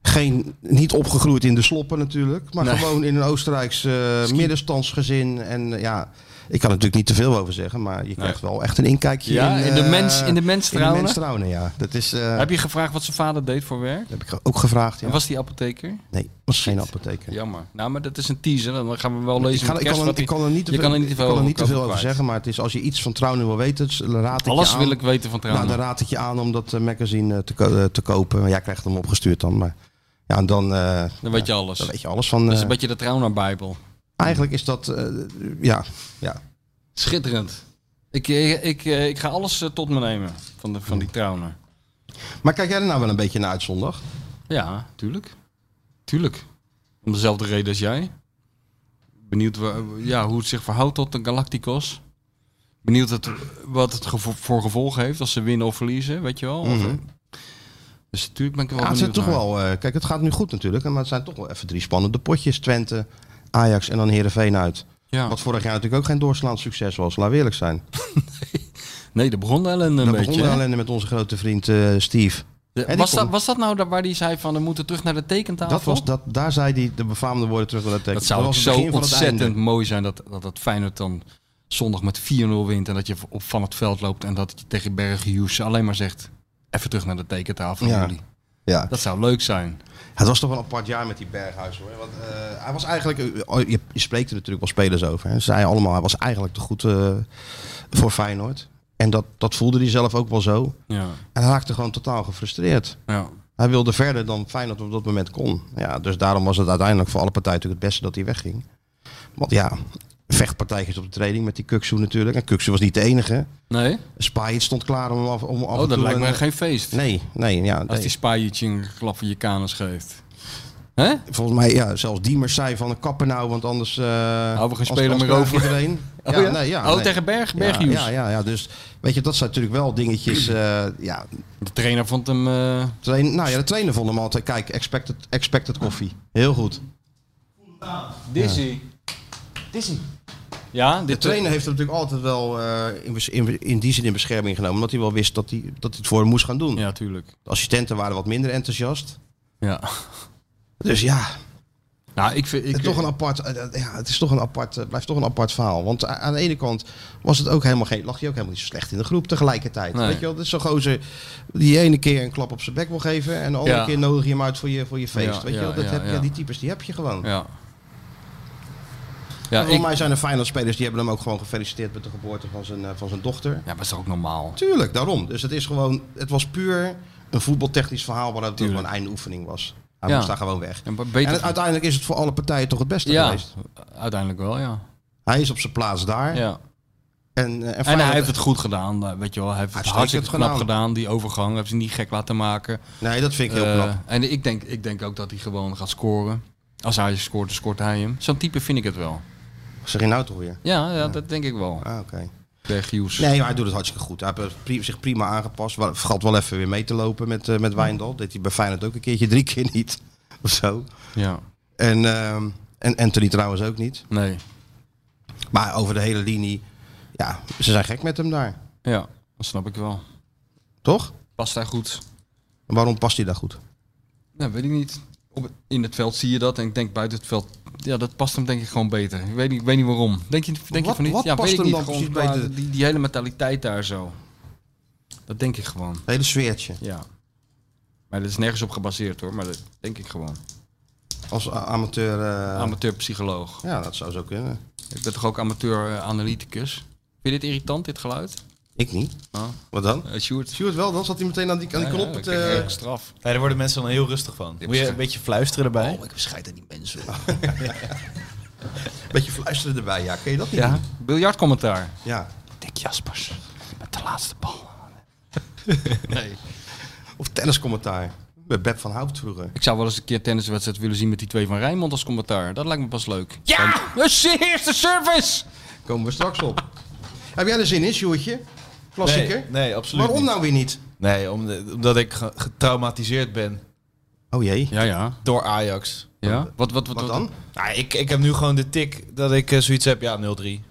S2: Geen, niet opgegroeid in de sloppen natuurlijk. Maar
S3: Nee.
S2: gewoon in een Oostenrijks eh, middenstandsgezin. En eh, ja... Ik kan er natuurlijk niet te veel over zeggen, maar je krijgt wel echt een inkijkje
S3: Ja, in de
S2: eh,
S3: mens- in de mens
S2: In de
S3: trouwen.
S2: mens trouwen, ja. Dat is, eh,
S3: heb je gevraagd wat zijn vader deed voor werk?
S2: Dat heb ik ook gevraagd. Ja.
S3: En was die apotheker?
S2: Nee, was geen apotheker.
S3: Jammer. Nou, maar dat is een teaser. Dan gaan we wel lezen.
S2: Ik, ga,
S3: met
S2: ik,
S3: kerst
S2: kan er,
S3: wat
S2: ik
S3: hij-
S2: kan er niet te
S3: je
S2: veel-
S3: kan er niet te
S2: ik
S3: veel
S2: kan er
S3: over
S2: niet te veel
S3: kwijt.
S2: over zeggen, maar het is, als je iets van Trouwen wil weten, het is- dus raad ik
S3: Alles
S2: je aan.
S3: wil ik weten van
S2: nou,
S3: trouwens.
S2: dan raad ik je aan om dat eh, magazine eh, te, ko- eh, te kopen. Maar jij krijgt hem opgestuurd dan. Maar ja, en dan, eh,
S3: dan weet je alles.
S2: dan
S3: Dat
S2: weet je alles van.
S3: is
S2: eh,
S3: een beetje de Trauma-bijbel.
S2: Eigenlijk is dat, eh, ja, ja.
S3: Schitterend. Ik, ik, ik, eh, ik ga alles eh, tot me nemen van, de, van die Trauma.
S2: Maar kijk jij er nou wel een beetje naar uit zondag?
S3: Ja, tuurlijk. Tuurlijk. Om dezelfde reden als jij. Benieuwd wa- ja, hoe het zich verhoudt tot de Galacticos. Benieuwd het, wat het gevo- voor gevolgen heeft als ze winnen of verliezen, weet je wel. Of-
S2: Mhm.
S3: Dus natuurlijk ben ik er wel
S2: Ja, het zijn
S3: benieuwd
S2: toch
S3: naar.
S2: wel. eh, kijk, het gaat nu goed natuurlijk, maar het zijn toch wel even drie spannende potjes: Twente, Ajax en dan Herenveen uit.
S3: Ja.
S2: Wat vorig jaar natuurlijk ook geen doorslaand succes was. Laat we eerlijk zijn.
S3: Nee, daar begon de ellende een
S2: Dan begon
S3: beetje.
S2: de
S3: hè?
S2: ellende met onze grote vriend eh, Steve.
S3: De-
S2: die
S3: was, dat,
S2: kon-
S3: was dat nou daar waar hij zei van, we moeten terug naar de tekentafel?
S2: Dat was, dat, daar zei hij de befaamde woorden terug naar de tekst.
S3: Dat zou ook
S2: was het
S3: zo
S2: begin van het
S3: ontzettend
S2: einde.
S3: mooi zijn dat, dat het Feyenoord dan zondag met 4-0 wint en dat je op van het veld loopt en dat je tegen Berghuis alleen maar zegt even terug naar de tekentafel
S2: Ja.
S3: jullie.
S2: Ja.
S3: Dat zou leuk zijn.
S2: Het was toch wel een apart jaar met die Berghuis hoor. Want, eh, hij was eigenlijk, eh, oh, je, je spreekt er natuurlijk wel spelers over. Hè. Ze zeiden allemaal, hij was eigenlijk te goed eh, voor Feyenoord. En dat, dat voelde hij zelf ook wel zo.
S3: Ja.
S2: En hij raakte gewoon totaal gefrustreerd.
S3: Ja.
S2: Hij wilde verder dan Feyenoord op dat moment kon. Ja, dus daarom was het uiteindelijk voor alle partijen natuurlijk het beste dat hij wegging. Want ja, vechtpartijtjes op de training met die Kuksu natuurlijk. En Kuksu was niet de enige.
S3: Nee?
S2: Spijt stond klaar om hem af, om af en
S3: oh,
S2: toe
S3: dat lijkt me
S2: een-
S3: geen feest.
S2: Nee, nee, ja.
S3: Als
S2: nee.
S3: die spaaietje een klap van je kanus geeft. Hè?
S2: Volgens mij, ja, zelfs Diemers zei van een kappen nou, want anders... eh
S3: we gaan
S2: anders-
S3: spelen
S2: anders
S3: maar over.
S2: klaagt iedereen.
S3: Oh,
S2: ja, nee, ja,
S3: oh
S2: nee.
S3: tegen Berg,
S2: ja,
S3: Berghuis.
S2: ja, ja, ja, dus weet je, dat zijn natuurlijk wel dingetjes. eh, ja,
S3: De trainer vond hem... eh,
S2: train, nou ja, de trainer vond hem altijd, kijk, expected, expected koffie. Heel goed.
S3: Dizzy. Dizzy. Ja,
S2: De
S3: dit
S2: trainer heeft hem natuurlijk altijd wel eh, in, bes- in, in die zin in bescherming genomen, omdat hij wel wist dat hij, dat hij het voor hem moest gaan doen.
S3: Ja, tuurlijk.
S2: De assistenten waren wat minder enthousiast.
S3: Ja.
S2: Dus ja,
S3: Nou, ik vind... Ik,
S2: Het, is toch een apart, eh, eh, ja, het is toch een apart, eh, blijft toch een apart verhaal. Want a- aan de ene kant was het ook helemaal geen, lag hij ook helemaal niet zo slecht in de groep tegelijkertijd.
S3: Nee.
S2: Weet je wel, dat is zo'n gozer die ene keer een klap op zijn bek wil geven en de andere
S3: Ja.
S2: keer nodig je hem uit voor je, voor je feest.
S3: Ja,
S2: Weet
S3: ja,
S2: je wel, dat
S3: ja,
S2: heb, je-
S3: ja.
S2: die types die heb je gewoon.
S3: Ja. Ja,
S2: Voor
S3: ik...
S2: mij zijn er Feyenoord spelers die hebben hem ook gewoon gefeliciteerd met de geboorte van zijn, eh, van zijn dochter.
S3: Ja, maar is toch ook normaal?
S2: Tuurlijk, daarom. Dus het is gewoon, het was puur een voetbaltechnisch verhaal waar het ook wel een einde oefening was. Hij
S3: Ja.
S2: moest daar gewoon weg.
S3: En beter...
S2: En uiteindelijk is het voor alle partijen toch het beste
S3: ja,
S2: geweest.
S3: uiteindelijk wel, ja.
S2: Hij is op zijn plaats daar.
S3: ja.
S2: En, eh, en
S3: En hij
S2: Feyenoord-
S3: heeft het goed gedaan, eh, weet je wel. Hij heeft het
S2: Uitstekend
S3: hartstikke knap
S2: gedaan.
S3: gedaan, die overgang. Heeft ze niet gek laten maken.
S2: Nee, dat vind ik heel
S3: Eh,
S2: knap.
S3: En ik denk, ik denk ook dat hij gewoon gaat scoren. Als hij scoort, dan scoort hij hem. Zo'n type vind ik het wel.
S2: Zeg je nou toch weer?
S3: Ja, ja, dat denk ik wel.
S2: Ah, oké.
S3: Berghuis.
S2: Nee, maar hij doet het hartstikke goed. Hij heeft eh, pri- zich prima aangepast. Wel- Vergat wel even weer mee te lopen met, eh met Wijndal. Deed hij bij Feyenoord ook een keertje drie keer niet. Of zo.
S3: Ja,
S2: En, ehm en Anthony trouwens ook niet.
S3: nee.
S2: Maar over de hele linie, ja, ze zijn gek met hem daar.
S3: Ja, dat snap ik wel.
S2: Toch?
S3: Past hij goed?
S2: En waarom past hij daar goed?
S3: Nou, weet ik niet. Op- in het veld zie je dat en ik denk buiten het veld... Ja, dat past hem denk ik gewoon beter. Ik weet niet, ik weet niet waarom. Denk je, denk je
S2: Wat-
S3: van niet?
S2: wat
S3: ja,
S2: past hem
S3: weet ik niet.
S2: dan
S3: Gewoon
S2: precies
S3: qua-
S2: beter?
S3: Die, die hele mentaliteit daar zo. Dat denk ik gewoon.
S2: Het hele sfeertje.
S3: Ja. Maar dat is nergens op gebaseerd hoor, maar dat denk ik gewoon.
S2: Als a- amateur. eh,
S3: Amateurpsycholoog.
S2: ja, dat zou zo kunnen.
S3: Ik ben toch ook amateur-analyticus? Vind je dit irritant, dit geluid?
S2: Ik niet.
S3: Oh.
S2: Wat dan?
S3: Eh, Sjoerd?
S2: Stuart wel, dan zat hij meteen aan die, aan die knop.
S3: ik
S2: het,
S3: krijg
S2: eh,
S3: echt straf.
S4: Nee, daar worden mensen dan heel rustig van. Moet je een beetje fluisteren erbij?
S3: Oh, ik bescheid aan die mensen.
S2: beetje fluisteren erbij. Ja, ken je dat niet?
S3: Ja, biljartcommentaar.
S2: Ja.
S3: Dick Jaspers, met de laatste bal.
S2: Of tenniscommentaar. Bij Beb van Houpt vroeger.
S3: Ik zou wel eens een keer een tenniswedstrijd willen zien met die twee van Rijnmond als commentaar. Dat lijkt me pas leuk. Ja! De eerste service!
S2: Komen we straks op. Heb jij er zin in, Sjoerdje? Klassieker?
S4: Nee, nee, absoluut
S2: Waarom
S4: niet.
S2: nou weer niet?
S4: Nee, om de- omdat ik ge- getraumatiseerd ben
S2: Oh jee.
S3: Ja, ja.
S4: door Ajax.
S3: ja. Wat, wat, wat,
S2: Wat dan?
S4: Nou, ik, ik heb nu gewoon de tik dat ik eh, zoiets heb, ja, 0-3.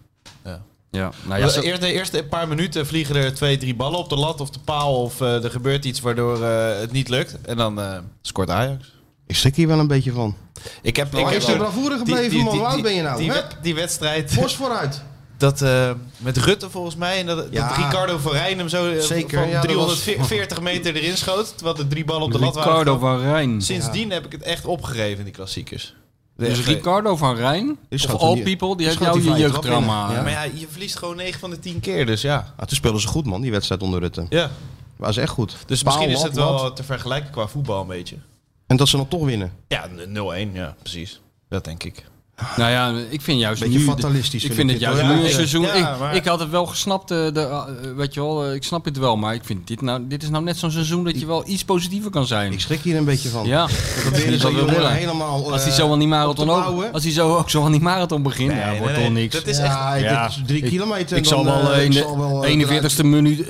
S3: Ja, nou ja,
S4: Ja,
S3: zo-
S4: eerst, de eerste paar minuten vliegen er twee, drie ballen op de lat of de paal of eh, er gebeurt iets waardoor eh, het niet lukt. En dan eh, scoort Ajax.
S2: Ik schrik hier wel een beetje van.
S4: Ik heb,
S2: Waar is die
S4: wel-
S2: bravoure gebleven, man? Hoe oud ben je nou?
S4: Die,
S2: Hup.
S4: wed- die wedstrijd,
S2: Fors vooruit.
S4: dat eh, met Rutte volgens mij, en dat,
S2: Ja.
S4: dat Ricardo van Rijn hem zo eh,
S2: Zeker,
S4: van
S2: ja, dat
S4: 340 meter erin schoot, terwijl de drie ballen op de lat waren.
S3: Ricardo van Rijn.
S4: Sindsdien heb ik het echt opgegeven, die klassiekers.
S3: Dus
S4: Echt,
S3: Ricardo van Rijn,
S2: Die
S3: of
S2: schoot
S3: All
S2: hem hier-
S3: People, die
S2: die
S3: heeft
S2: schoot
S3: jou
S2: die
S3: je
S2: vrije trap
S3: jeugdtrauma.
S2: in,
S4: Ja,
S3: Ja,
S4: maar ja, je verliest gewoon 9 van de 10 keer, dus ja.
S2: Ah, toen speelden ze goed, man, die wedstrijd onder Rutte.
S4: ja.
S2: Waren ze echt goed.
S4: Dus
S2: Paal,
S4: misschien is
S2: lat,
S4: het wel
S2: lat.
S4: te vergelijken qua voetbal een beetje.
S2: En dat ze dan toch winnen.
S4: Ja, 0-1, ja, precies. Dat denk ik.
S3: Nou ja, ik vind juist
S2: Beetje
S3: nu...
S2: fatalistisch
S3: Ik
S2: vind
S3: vind
S2: ik
S3: het
S2: dit,
S3: juist
S4: hoor.
S3: nu een
S4: Ja,
S3: seizoen...
S4: ja,
S3: ik,
S4: maar-
S3: ik had het wel gesnapt, eh, de, eh, weet je wel, eh, ik snap het wel. Maar ik vind dit nou, dit is nou net zo'n seizoen dat je wel iets positiever kan zijn.
S2: Ik schrik hier een beetje van.
S3: Ja.
S2: We proberen
S3: Dat
S2: zo'n
S3: wil
S2: jongen
S3: willen.
S2: helemaal...
S3: Als hij
S2: eh,
S3: zo aan die marathon
S2: op te
S3: ook,
S2: bouwen.
S3: als hij zo ook zo aan die marathon begint,
S4: Nee,
S3: ja,
S4: nee,
S3: wordt
S4: nee,
S3: toch niks.
S4: dat is echt-
S2: ja, ik-
S4: Ja.
S2: dit is drie
S3: Ik-
S2: kilometer.
S3: Ik
S2: en
S3: zal
S2: dan,
S3: wel
S2: eh,
S3: eh, in
S2: ik zal wel,
S3: de
S2: eh,
S3: 41ste minuut,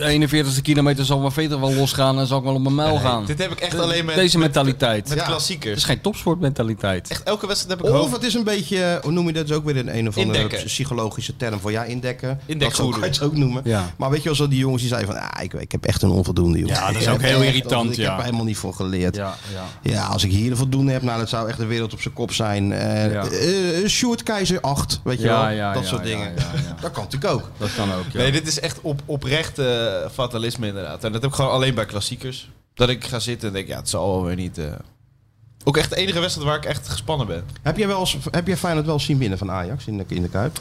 S3: 41ste kilometer zal mijn veter wel losgaan en zal ik wel op mijn muil gaan.
S4: Dit heb ik echt
S3: De-
S4: alleen met,
S3: Deze
S4: met,
S3: mentaliteit.
S4: met
S3: Het
S2: Ja. Dus
S4: klassiekers.
S3: is geen topsportmentaliteit.
S4: Echt elke wedstrijd heb ik
S2: Of
S4: hoofd.
S2: het is een beetje, eh, hoe noem je dat? is ook weer een, een of andere
S4: Indekken.
S2: psychologische term voor ja, indekken. dat
S4: Indekgoeroe.
S2: zou kan je het ook noemen.
S3: Ja.
S2: Maar weet je wel, zo die jongens die zeiden van, ah, ik, ik heb echt een onvoldoende jongen.
S3: Ja, dat is
S2: Ik heb
S3: ook heel
S2: echt-
S3: irritant,
S2: Ik
S3: ja.
S2: heb er helemaal niet voor geleerd. Ja.
S3: Ja, ja.
S2: als ik hier een voldoende heb, nou, dat zou echt de wereld op zijn kop zijn. Eh
S3: Ja.
S2: eh, Sjoerd Keizer 8, weet je
S3: Ja,
S2: wel.
S3: ja,
S2: dat
S3: ja,
S2: soort
S3: ja,
S2: dingen.
S3: ja, ja.
S2: Dat kan natuurlijk ook.
S3: Dat kan ook. Ja.
S4: Nee, dit is echt op, oprecht eh, fatalisme inderdaad. En dat heb ik gewoon alleen bij klassiekers. Dat ik ga zitten en denk, ja, het zal wel weer niet... eh. Ook echt de enige wedstrijd waar ik echt gespannen ben.
S2: Heb jij, wel eens, heb jij Feyenoord wel eens zien winnen van Ajax in de, in de Kuip?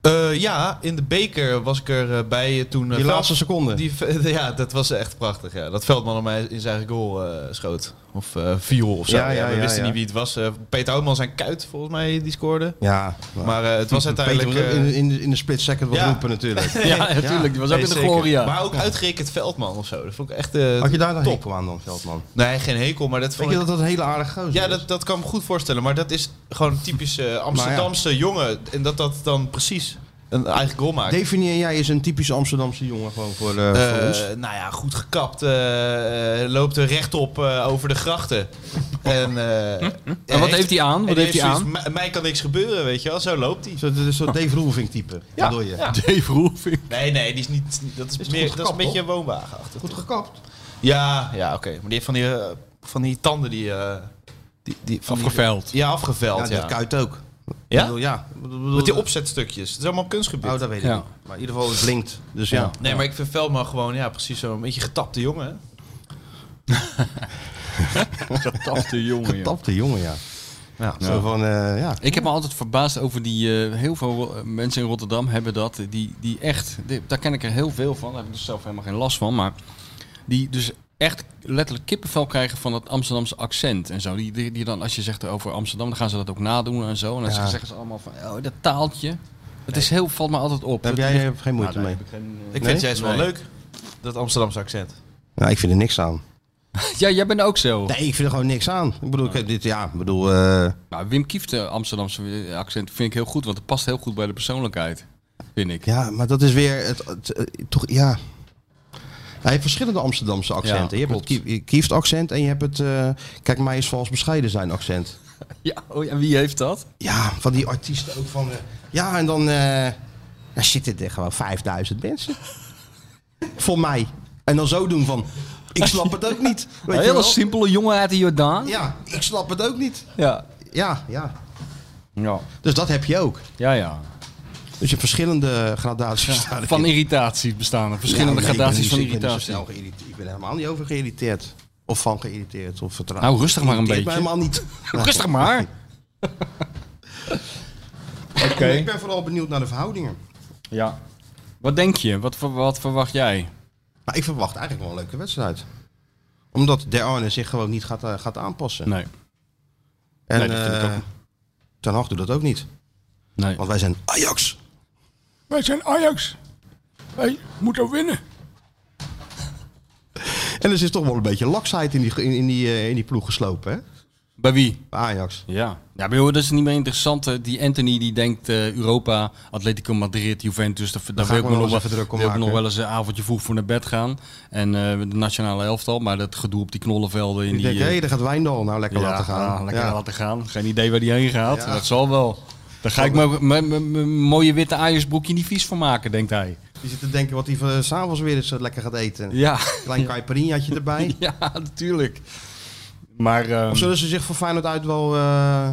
S4: Eh, ja, in de beker was ik er eh, bij eh, toen... eh,
S2: Die
S4: Veld-
S2: laatste seconde.
S4: Die, ve- ja, dat was echt prachtig. Ja. Dat Veldman om mij in zijn eigen goal eh, schoot. Of eh viel of zo.
S2: Ja,
S4: Ja,
S2: ja,
S4: we
S2: ja,
S4: wisten
S2: ja.
S4: niet wie het was. Eh, Peter Houtman zijn kuit volgens mij die scoorde.
S2: Ja,
S4: Maar eh, het was uiteindelijk...
S2: Peter,
S4: eh,
S2: in, in, de- in de split second wat
S4: Ja.
S2: roepen natuurlijk.
S3: ja, natuurlijk. Die was ook
S4: nee,
S3: in de
S4: zeker.
S3: gloria.
S4: Maar ook uitgerekend Veldman of zo. Dat vond ik echt... eh,
S2: Had je daar dan
S4: top.
S2: hekel aan dan, Veldman?
S4: Nee, geen hekel, maar dat
S2: Weet
S4: vond
S2: je
S4: ik...
S2: dat dat een hele aardige gozer
S4: Ja,
S2: is?
S4: dat, dat kan ik me goed voorstellen. Maar dat is gewoon een typische Amsterdamse jongen. En dat dat dan precies een eigen goal maakt.
S2: Definieer jij eens een typische Amsterdamse jongen gewoon voor, eh,
S4: Eh,
S2: voor ons?
S4: nou ja, goed gekapt. eh, eh, loopt er rechtop eh, over de grachten. en, eh,
S3: En wat heeft hij aan? Wat
S4: en
S3: heeft hij
S4: zoiets,
S3: aan?
S4: "Mij- Mij kan niks gebeuren, weet je wel. Zo loopt hij.
S2: Zo, dat is zo'n Dave Roelvink type. Ja, bedoel je?
S3: Dave Roelving.
S4: Nee, nee, die is niet... Dat is,
S2: Is het
S4: meer,
S2: goed
S4: dat is
S2: gekapt,
S4: een beetje woonwagenachtig.
S2: Goed gekapt.
S4: Ja, ja oké. Maar die heeft van die, eh, van die tanden die... eh, die, die van die-
S3: Afgeveld.
S4: ja,
S2: Ja,
S4: afgeveld, ja.
S2: dat kuit ook. Ik
S4: Ja?
S2: bedoel, ja. Ik bedoel,
S4: Met die opzetstukjes. Het is allemaal kunstgebied.
S2: Oh, dat weet ik
S3: Ja.
S2: niet. Maar in ieder geval, het blinkt. Dus ja.
S4: Nee, maar ik vind Veldman gewoon ja, precies zo'n beetje getapte jongen. hè.
S3: Getapte jongen. joh.
S2: Getapte jongen, ja.
S4: Ja.
S2: Zo van, eh, ja.
S3: Ik heb me altijd verbaasd over die. eh, heel veel Ro- mensen in Rotterdam hebben dat. Die, die echt. die- daar ken ik er heel veel van. Daar heb ik dus zelf helemaal geen last van. Maar die dus echt letterlijk kippenvel krijgen van dat Amsterdamse accent en zo. Die, die, die dan, als je zegt over Amsterdam, dan gaan ze dat ook nadoen en zo. En dan
S2: Ja.
S3: zeggen ze allemaal van. Oh, dat taaltje. Het is heel, valt me altijd op.
S2: Daar heb
S3: Dat
S2: jij
S3: ligt-
S2: eh, geen moeite
S3: Nou, daar
S2: mee.
S3: heb ik geen, eh,
S4: Ik
S2: Nee?
S4: vind jij is wel
S3: Nee.
S4: leuk. Dat Amsterdamse accent.
S2: Nou, ik vind er niks aan.
S3: Ja, jij bent ook zo.
S2: Nee, ik vind er gewoon niks aan. Ik bedoel, ik heb dit, ja, ik bedoel... eh,
S3: Nou, Wim Kieft eh, Amsterdamse eh, accent vind ik heel goed, want het past heel goed bij de persoonlijkheid, vind ik.
S2: Ja, maar dat is weer het, het, eh, toch ja. Hij heeft verschillende Amsterdamse accenten. je hebt
S3: klopt.
S2: het Kie- Kieft accent en je hebt het eh, kijk mij is vals bescheiden zijn accent.
S3: Ja, oh, en wie heeft dat?
S2: Ja, van die artiesten ook van eh, ja en dan eh dan zitten er gewoon 5000 mensen voor mij en dan zo doen van ik snap het ook niet. Weet
S3: Een
S2: je
S3: hele
S2: wel?
S3: simpele jongen uit de Jordaan.
S2: Ja, ik snap het ook niet.
S3: Ja.
S2: Ja, ja.
S3: Ja,
S2: Dus dat heb je ook.
S3: ja. ja.
S2: Dus je hebt verschillende gradaties. daarin.
S3: Van irritatie bestaan er. Verschillende
S2: Ja, nee,
S3: gradaties
S2: ik ben
S3: van
S2: niet- ik ben niet zo snel
S3: irritatie.
S2: geïrriteerd. Ik ben helemaal niet over geïrriteerd. Of van geïrriteerd of vertraagd.
S3: Nou, rustig maar een
S2: Irriteert
S3: beetje.
S2: mij helemaal niet.
S3: Rustig maar.
S4: Oké.
S2: Ik ben vooral benieuwd naar de verhoudingen.
S3: Ja. Wat denk je? Wat, ver- wat verwacht jij?
S2: Maar ik verwacht eigenlijk wel een leuke wedstrijd. Omdat De Arne zich gewoon niet gaat, eh, gaat aanpassen.
S3: Nee.
S2: en
S3: nee, dat vind ik
S2: eh,
S3: ook.
S2: Ten Hag doet dat ook niet.
S3: nee.
S2: Want wij zijn Ajax.
S5: Wij zijn Ajax. Wij moeten winnen.
S2: En er is toch wel een beetje laksheid in die, in, in die, eh, in die ploeg geslopen, hè?
S3: Bij wie?
S2: Bij Ajax.
S3: Ja. Ja, maar joh, dat is niet meer interessant. hè. Die Anthony die denkt eh, Europa, Atletico Madrid, Juventus. Daar, daar
S2: ga
S3: wil
S2: ik
S3: ik
S2: me
S3: me nog,
S2: nog eens
S3: wel-
S2: even druk om
S3: wil ik
S2: maken,
S3: nog
S2: hè.
S3: wel eens een avondje vroeg voor naar bed gaan. En eh, de nationale elftal. Maar dat gedoe op die knollenvelden.
S2: Ik
S3: In die,
S2: denk, hé,
S3: eh,
S2: daar gaat Wijndal nou lekker
S3: ja,
S2: laten gaan.
S3: ah, lekker
S2: Ja.
S3: laten gaan. Geen idee waar die heen gaat.
S2: Ja.
S3: Dat zal wel. Daar ga ik mijn- mijn mijn- mijn mooie witte Ajaxbroekje niet vies van maken, denkt hij.
S2: Die zit te denken wat hij van, eh, s'avonds weer eens eh, lekker gaat eten.
S3: Ja,
S2: Klein caipirinhaatje erbij.
S3: ja natuurlijk. Maar ehm,
S2: Of zullen ze zich voor Feyenoord uit wel... eh,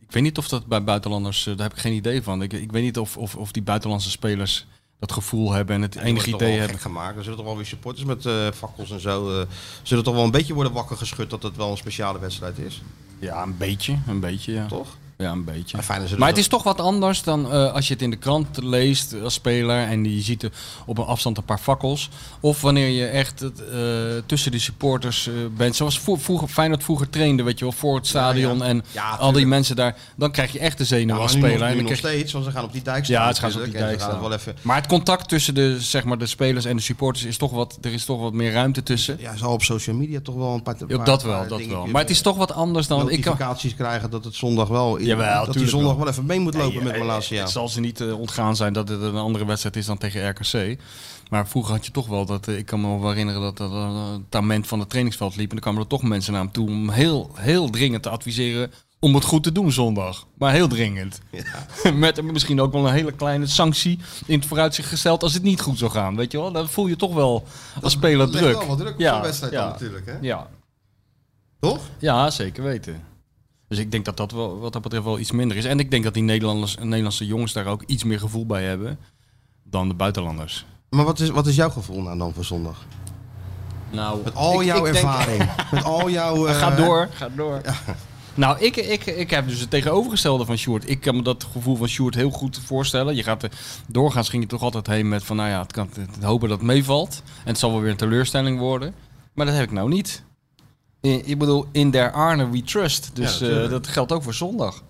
S3: ik weet niet of dat bij buitenlanders, eh, daar heb ik geen idee van. Ik, ik weet niet of, of, of die buitenlandse spelers dat gevoel hebben en het
S2: Ja, die
S3: enige
S2: worden toch
S3: idee
S2: wel
S3: hebben.
S2: gek gemaakt. Er zullen toch wel weer supporters met eh fakkels en zo. eh, zullen toch wel een beetje worden wakker geschud dat het wel een speciale wedstrijd is.
S3: Ja, een beetje. Een beetje, ja.
S2: Toch?
S3: Ja, een beetje.
S2: Maar Feyenoord zullen
S3: Maar
S2: dat-
S3: het
S2: dus
S3: is toch wat anders dan eh, als je het in de krant leest als speler en je ziet er op een afstand een paar fakkels. Of wanneer je echt het, eh, tussen de supporters eh, bent. Zoals vro- vroeger, Feyenoord vroeger trainde, weet je wel, voor het stadion en
S2: Ja,
S3: al die
S2: tuurlijk.
S3: mensen daar. Dan krijg je echt de
S2: Ja,
S3: zenuwen
S2: maar
S3: als
S2: nu nog-
S3: speler.
S2: nu
S3: en dan
S2: nog
S3: krijg je-
S2: steeds, want ze gaan op die dijk staan.
S3: ja, het gaat op die
S2: natuurlijk.
S3: dijk
S2: En ze gaan
S3: staan.
S2: wel even...
S3: Maar het contact tussen de, zeg maar, de spelers en de supporters is toch wat, er is toch wat meer ruimte tussen.
S2: Ja, zal op social media toch wel een paar...
S3: Ja,
S2: paar-
S3: dat
S2: paar
S3: wel, dat
S2: dingetjes, eh,
S3: wel. Maar het is toch wat anders dan... Ik kan,
S2: notificaties krijgen dat het zondag wel...
S3: Jawel,
S2: dat die
S3: tuurlijk
S2: zondag
S3: wel.
S2: wel even mee moet lopen
S3: Nee,
S2: met
S3: eh,
S2: Malasia.
S3: Het zal ze niet eh, ontgaan zijn dat het een andere wedstrijd is dan tegen RKC. Maar vroeger had je toch wel dat... eh, ik kan me wel herinneren dat dat eh, het tament van het trainingsveld liep. En dan kwamen er toch mensen naar hem toe om heel, heel dringend te adviseren... om het goed te doen zondag. Maar heel dringend. Met misschien ook wel een hele kleine sanctie in het vooruitzicht gesteld... als het niet goed zou gaan, weet je wel. Dan voel je toch wel als speler
S2: legt
S3: druk.
S2: wel wat druk op zo'n wedstrijd dan natuurlijk, hè?
S3: Ja,
S2: Toch?
S3: ja, zeker weten. Dus ik denk dat dat wel, wat dat betreft wel iets minder is. En ik denk dat die Nederlanders, Nederlandse jongens daar ook iets meer gevoel bij hebben dan de buitenlanders.
S2: Maar wat is, wat is jouw gevoel nou dan voor zondag?
S3: Nou,
S2: Met al jouw ervaring. Met al jouw... eh,
S3: Ga door. Ga door. Nou, ik, ik, ik heb dus het tegenovergestelde van Sjoerd. Ik kan me dat gevoel van Sjoerd heel goed voorstellen. Je gaat er, doorgaans ging je toch altijd heen met van, nou ja, het kan het, het hopen dat het meevalt. En het zal wel weer een teleurstelling worden. Maar dat heb ik nou niet. I- Ik bedoel, in der Arne we trust. Dus eh,
S2: natuurlijk.
S3: dat geldt ook voor zondag.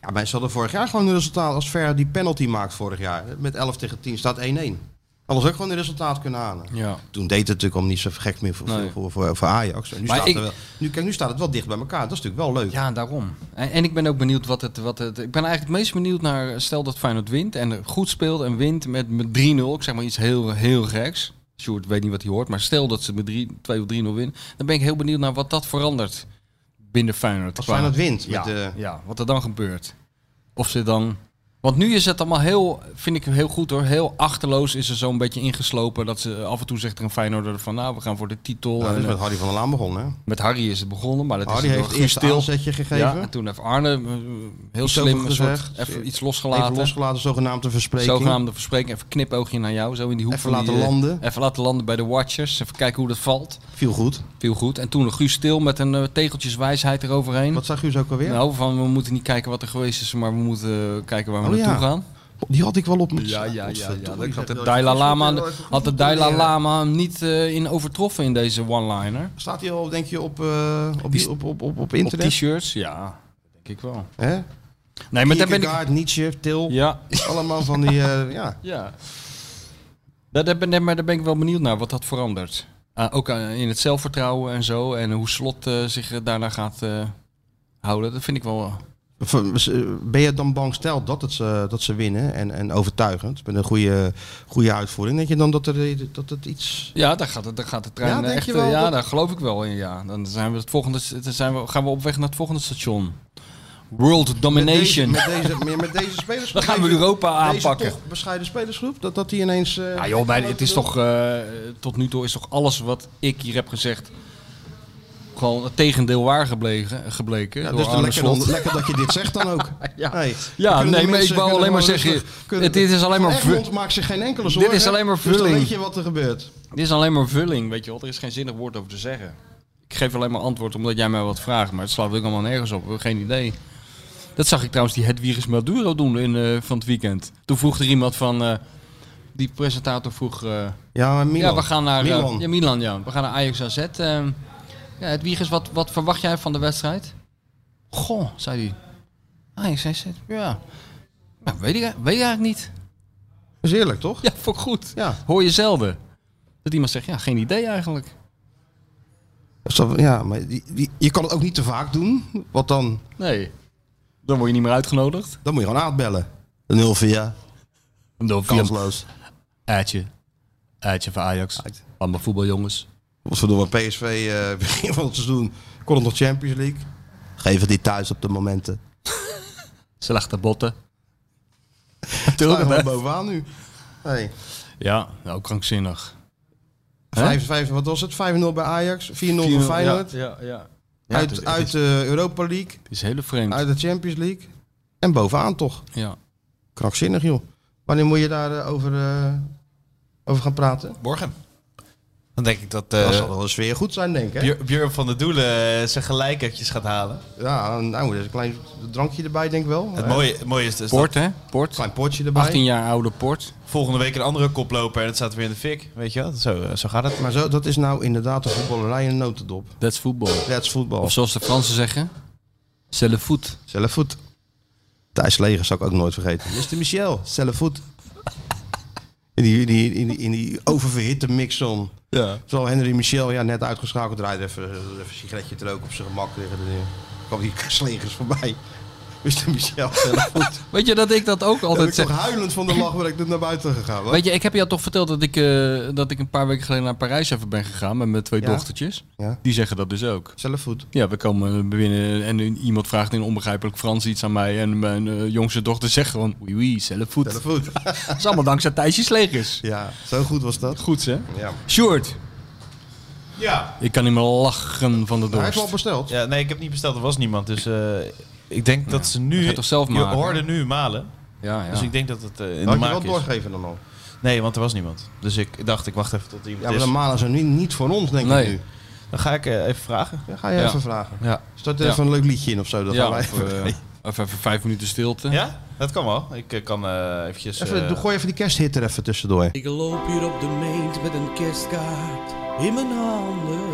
S2: Ja, wij hadden vorig jaar gewoon een resultaat als Ver die penalty maakt vorig jaar. Met 11 tegen 10 staat 1-1. Hadden ze ook gewoon een resultaat kunnen halen.
S3: Ja.
S2: Toen deed het natuurlijk al niet zo gek meer voor,
S3: Nee.
S2: voor, voor, voor Ajax. En nu,
S3: Maar
S2: staat
S3: ik-
S2: er wel, nu, kijk, nu staat het wel dicht bij elkaar. Dat is natuurlijk wel leuk.
S3: Ja, daarom. En, en ik ben ook benieuwd wat het, wat het... Ik ben eigenlijk het meest benieuwd naar... eh, Stel dat Feyenoord wint en goed speelt en wint met, met 3-0. Ik zeg maar iets heel, heel geks. Sjoerd weet niet wat hij hoort. Maar stel dat ze met 3 2 of 3-0 winnen. Dan ben ik heel benieuwd naar wat dat verandert binnen Feyenoord.
S2: Als
S3: Qua-
S2: Feyenoord wint.
S3: Ja,
S2: Met, eh,
S3: ja, wat er dan gebeurt. Of ze dan... Want nu is het allemaal heel, vind ik heel goed hoor, heel achterloos is er zo'n beetje ingeslopen. Dat ze af en toe zegt er een Feyenoorder van, nou we gaan voor de titel.
S2: nou, dat
S3: en,
S2: is
S3: eh,
S2: met Harry van der Laan begonnen. hè?
S3: met Harry is het begonnen, maar dat
S2: Harry
S3: is
S2: heeft
S3: door
S2: het eerste
S3: Guus Til-
S2: aanzetje gegeven.
S3: ja, en toen heeft Arne eh, heel
S2: Iets
S3: slim
S2: over
S3: een soort,
S2: gezegd.
S3: even iets
S2: Even
S3: losgelaten.
S2: losgelaten, zogenaamde verspreking.
S3: Zogenaamde verspreking, even knipoogje naar jou, zo in die hoek.
S2: Even
S3: van die,
S2: laten
S3: eh,
S2: landen.
S3: Even laten landen bij de Watchers, even kijken hoe dat valt.
S2: Viel goed.
S3: Viel goed. En toen Guus Stil met een eh, tegeltjeswijsheid eroverheen.
S2: Wat zag u zo ook alweer?
S3: nou, van we moeten niet kijken wat er geweest is, maar we moeten eh, kijken waar we
S2: Oh,
S3: naartoe
S2: ja.
S3: gaan.
S2: Die had ik wel op mijn
S3: Ik had de Dalai Lama, had de Dalai Lama hem niet eh, in overtroffen in deze one-liner.
S2: Staat hij al, denk je, op, eh, op, die- op, op, op, op
S3: Op
S2: internet?
S3: t-shirts, ja, denk ik wel.
S2: Hè?
S3: Nee, maar daar ben ik...
S2: Kierkegaard, Nietzsche, Til.
S3: Ja,
S2: Allemaal van die, eh, ja.
S3: Ja. Daar, daar ben, maar daar ben ik wel benieuwd naar wat dat verandert. Ah, ook aan- in het zelfvertrouwen en zo. En hoe slot eh, zich eh, daarna gaat eh, houden. Dat vind ik wel.
S2: Van- eh, Ben je dan bang, stel dat, het ze, dat ze winnen en, en overtuigend, met een goede, goede uitvoering, denk je dan dat, er, eh, dat het iets...
S3: Ja, daar gaat, het- daar gaat de trein
S2: Ja, denk
S3: echt.
S2: je wel
S3: eh, ja,
S2: dat-
S3: daar geloof ik wel in. Ja. Dan, zijn we het volgende, dan zijn we, gaan we op weg naar het volgende station. World Domination.
S2: Met deze, met deze, meer met deze spelers.
S3: Dan gaan we Europa aanpakken.
S2: Deze toch bescheiden spelersgroep, dat, dat die ineens... eh,
S3: Ja joh, maar het is toch, eh, tot nu toe is toch alles wat ik hier heb gezegd gewoon het tegendeel waar gebleken. gebleken
S2: Ja,
S3: door
S2: dus dan
S3: Arne
S2: lekker,
S3: Slot.
S2: dan- lekker dat je dit zegt dan ook.
S3: Ja.
S2: Hey, dan
S3: Ja,
S2: kunnen
S3: nee,
S2: die
S3: maar
S2: mensen-
S3: ik wou alleen
S2: kunnen gewoon
S3: maar zeggen,
S2: rustig- kunnen-
S3: het is alleen maar vu-
S2: Egmond maakt zich geen enkele zorgen.
S3: is alleen maar
S2: Dus
S3: vulling.
S2: dan weet je wat er gebeurt.
S3: Dit is alleen maar vulling, weet je wel. Er is geen zinnig woord over te zeggen. Ik geef alleen maar antwoord omdat jij mij wat vraagt. Maar het slaat ook allemaal nergens op. Geen idee. Dat zag ik trouwens die Hedwiges Maduro doen in, eh, van het weekend. Toen vroeg er iemand van... eh, die presentator vroeg... eh,
S2: Ja, maar Milan.
S3: ja, we gaan naar... eh,
S2: Milan.
S3: ja, Milan, ja. We gaan naar Ajax AZ. ehm. ja, Hedwiges, wat, wat verwacht jij van de wedstrijd? Goh, zei hij. Ajax AZ, ja. Nou, weet ik, weet ik eigenlijk niet.
S2: Dat is eerlijk, toch?
S3: Ja, voor goed.
S2: Ja.
S3: Hoor je zelden. Dat iemand zegt, ja, geen idee eigenlijk.
S2: Dat is toch- ja maar die- die- je kan het ook niet te vaak doen. Want dan,
S3: Nee. Dan word je niet meer uitgenodigd.
S2: dan moet je gewoon aardbellen. Een 0-4,
S3: Dan
S2: kansloos.
S3: Eitje. Eitje van Ajax.
S2: Eitje.
S3: Allemaal voetbaljongens.
S2: Wat we doen met PSV eh, begin van het seizoen. Kon het nog Champions League. Geven die thuis op de momenten.
S3: Slechte botten.
S2: Staan
S3: Natuurlijk.
S2: we
S3: hè?
S2: bovenaan nu. Hey.
S3: Ja, ook krankzinnig. Hè?
S2: Vijf, vijf, wat was het? 5-0 bij Ajax, 4-0 voor Feyenoord.
S3: Ja, ja.
S2: uit
S3: het, is,
S2: uit de Europa League,
S3: het is hele vreemd.
S2: uit de Champions League. En bovenaan toch.
S3: Ja.
S2: Krankzinnig joh. Wanneer moet je daar eh, over, eh, over gaan praten?
S4: Morgen. Dan denk ik dat
S2: dat
S4: eh
S2: zal wel eens weer goed zijn, denk ik. hè?
S4: Björ- Björn van der Doelen eh, zijn gelijkertjes gaat halen.
S2: Ja, nou, er is een klein drankje erbij, denk ik wel.
S4: Het
S2: Eh,
S4: mooie, het mooie is dus dat
S3: Port, hè? Port.
S2: Klein potje erbij.
S3: 18 jaar oude Port.
S4: volgende week een andere koploper en het staat weer in de fik. Weet je wel? Zo, eh, zo gaat het.
S2: Maar zo, dat is nou inderdaad de voetballerij in een notendop.
S3: That's voetbal.
S2: That's voetbal.
S3: Of zoals de Fransen zeggen. Celle voet.
S2: Zelf voet. Thijs Leger zou ik ook nooit vergeten. Mr. Michel, zelf voet. In die, in die, in die, in die oververhitte mixon.
S4: Ja.
S2: Terwijl Henry Michel, ja, net uitgeschakeld, draaide even, even een sigaretje te roken op zijn gemak liggen. Er kwam die slingers voorbij. Mr. Michel, zelf voet.
S3: Weet je dat ik dat ook
S2: Dat ik
S3: altijd zeg?
S2: toch huilend van de lach ben ik toen naar buiten gegaan. hoor.
S3: Weet je, ik heb je toch verteld dat ik, eh, dat ik een paar weken geleden naar Parijs even ben gegaan met mijn twee
S2: Ja.
S3: dochtertjes.
S2: Ja.
S3: Die zeggen dat dus ook.
S2: Zelf voet.
S3: Ja, we komen binnen en iemand vraagt in onbegrijpelijk Frans iets aan mij. En mijn eh, jongste dochter zegt gewoon, oui, oui, zelf voet.
S2: Zelf voet.
S3: Dat is allemaal dankzij Thijsje Slegers.
S2: Ja, zo goed was dat.
S3: Goed, hè?
S2: Ja.
S3: Sjoerd,
S4: Ja.
S3: ik kan niet meer lachen van de
S2: Hij heeft
S3: dorst.
S2: al besteld.
S4: ja. Nee, ik heb niet besteld. Er was niemand. Dus eh, ik denk dat ze nu...
S3: gaat toch zelf
S4: Je
S3: maken?
S4: hoorde nu malen.
S3: Ja, ja.
S4: Dus ik denk dat het eh,
S2: Had
S4: in de
S2: je wel
S4: maak is.
S2: doorgegeven dan al?
S4: Nee, want er was niemand. Dus ik dacht, ik wacht even tot er
S2: Ja,
S4: iemand
S2: maar
S4: is.
S2: de manen zijn nu niet voor ons, denk
S3: Nee.
S2: ik nu.
S4: Dan ga ik eh, even vragen.
S2: Ja, ga je
S3: Ja.
S2: even vragen.
S4: Ja.
S2: Start
S3: Ja.
S2: even een leuk liedje in of zo. Dat
S3: ja,
S2: gaan wij
S3: of,
S2: even...
S3: eh, of even vijf minuten stilte.
S4: Ja? Dat kan wel. Ik eh, kan eh, eventjes...
S2: even
S4: eh,
S2: doe- Gooi even die kersthit er even tussendoor.
S1: Ik loop hier op de meent met een kerstkaart in mijn handen.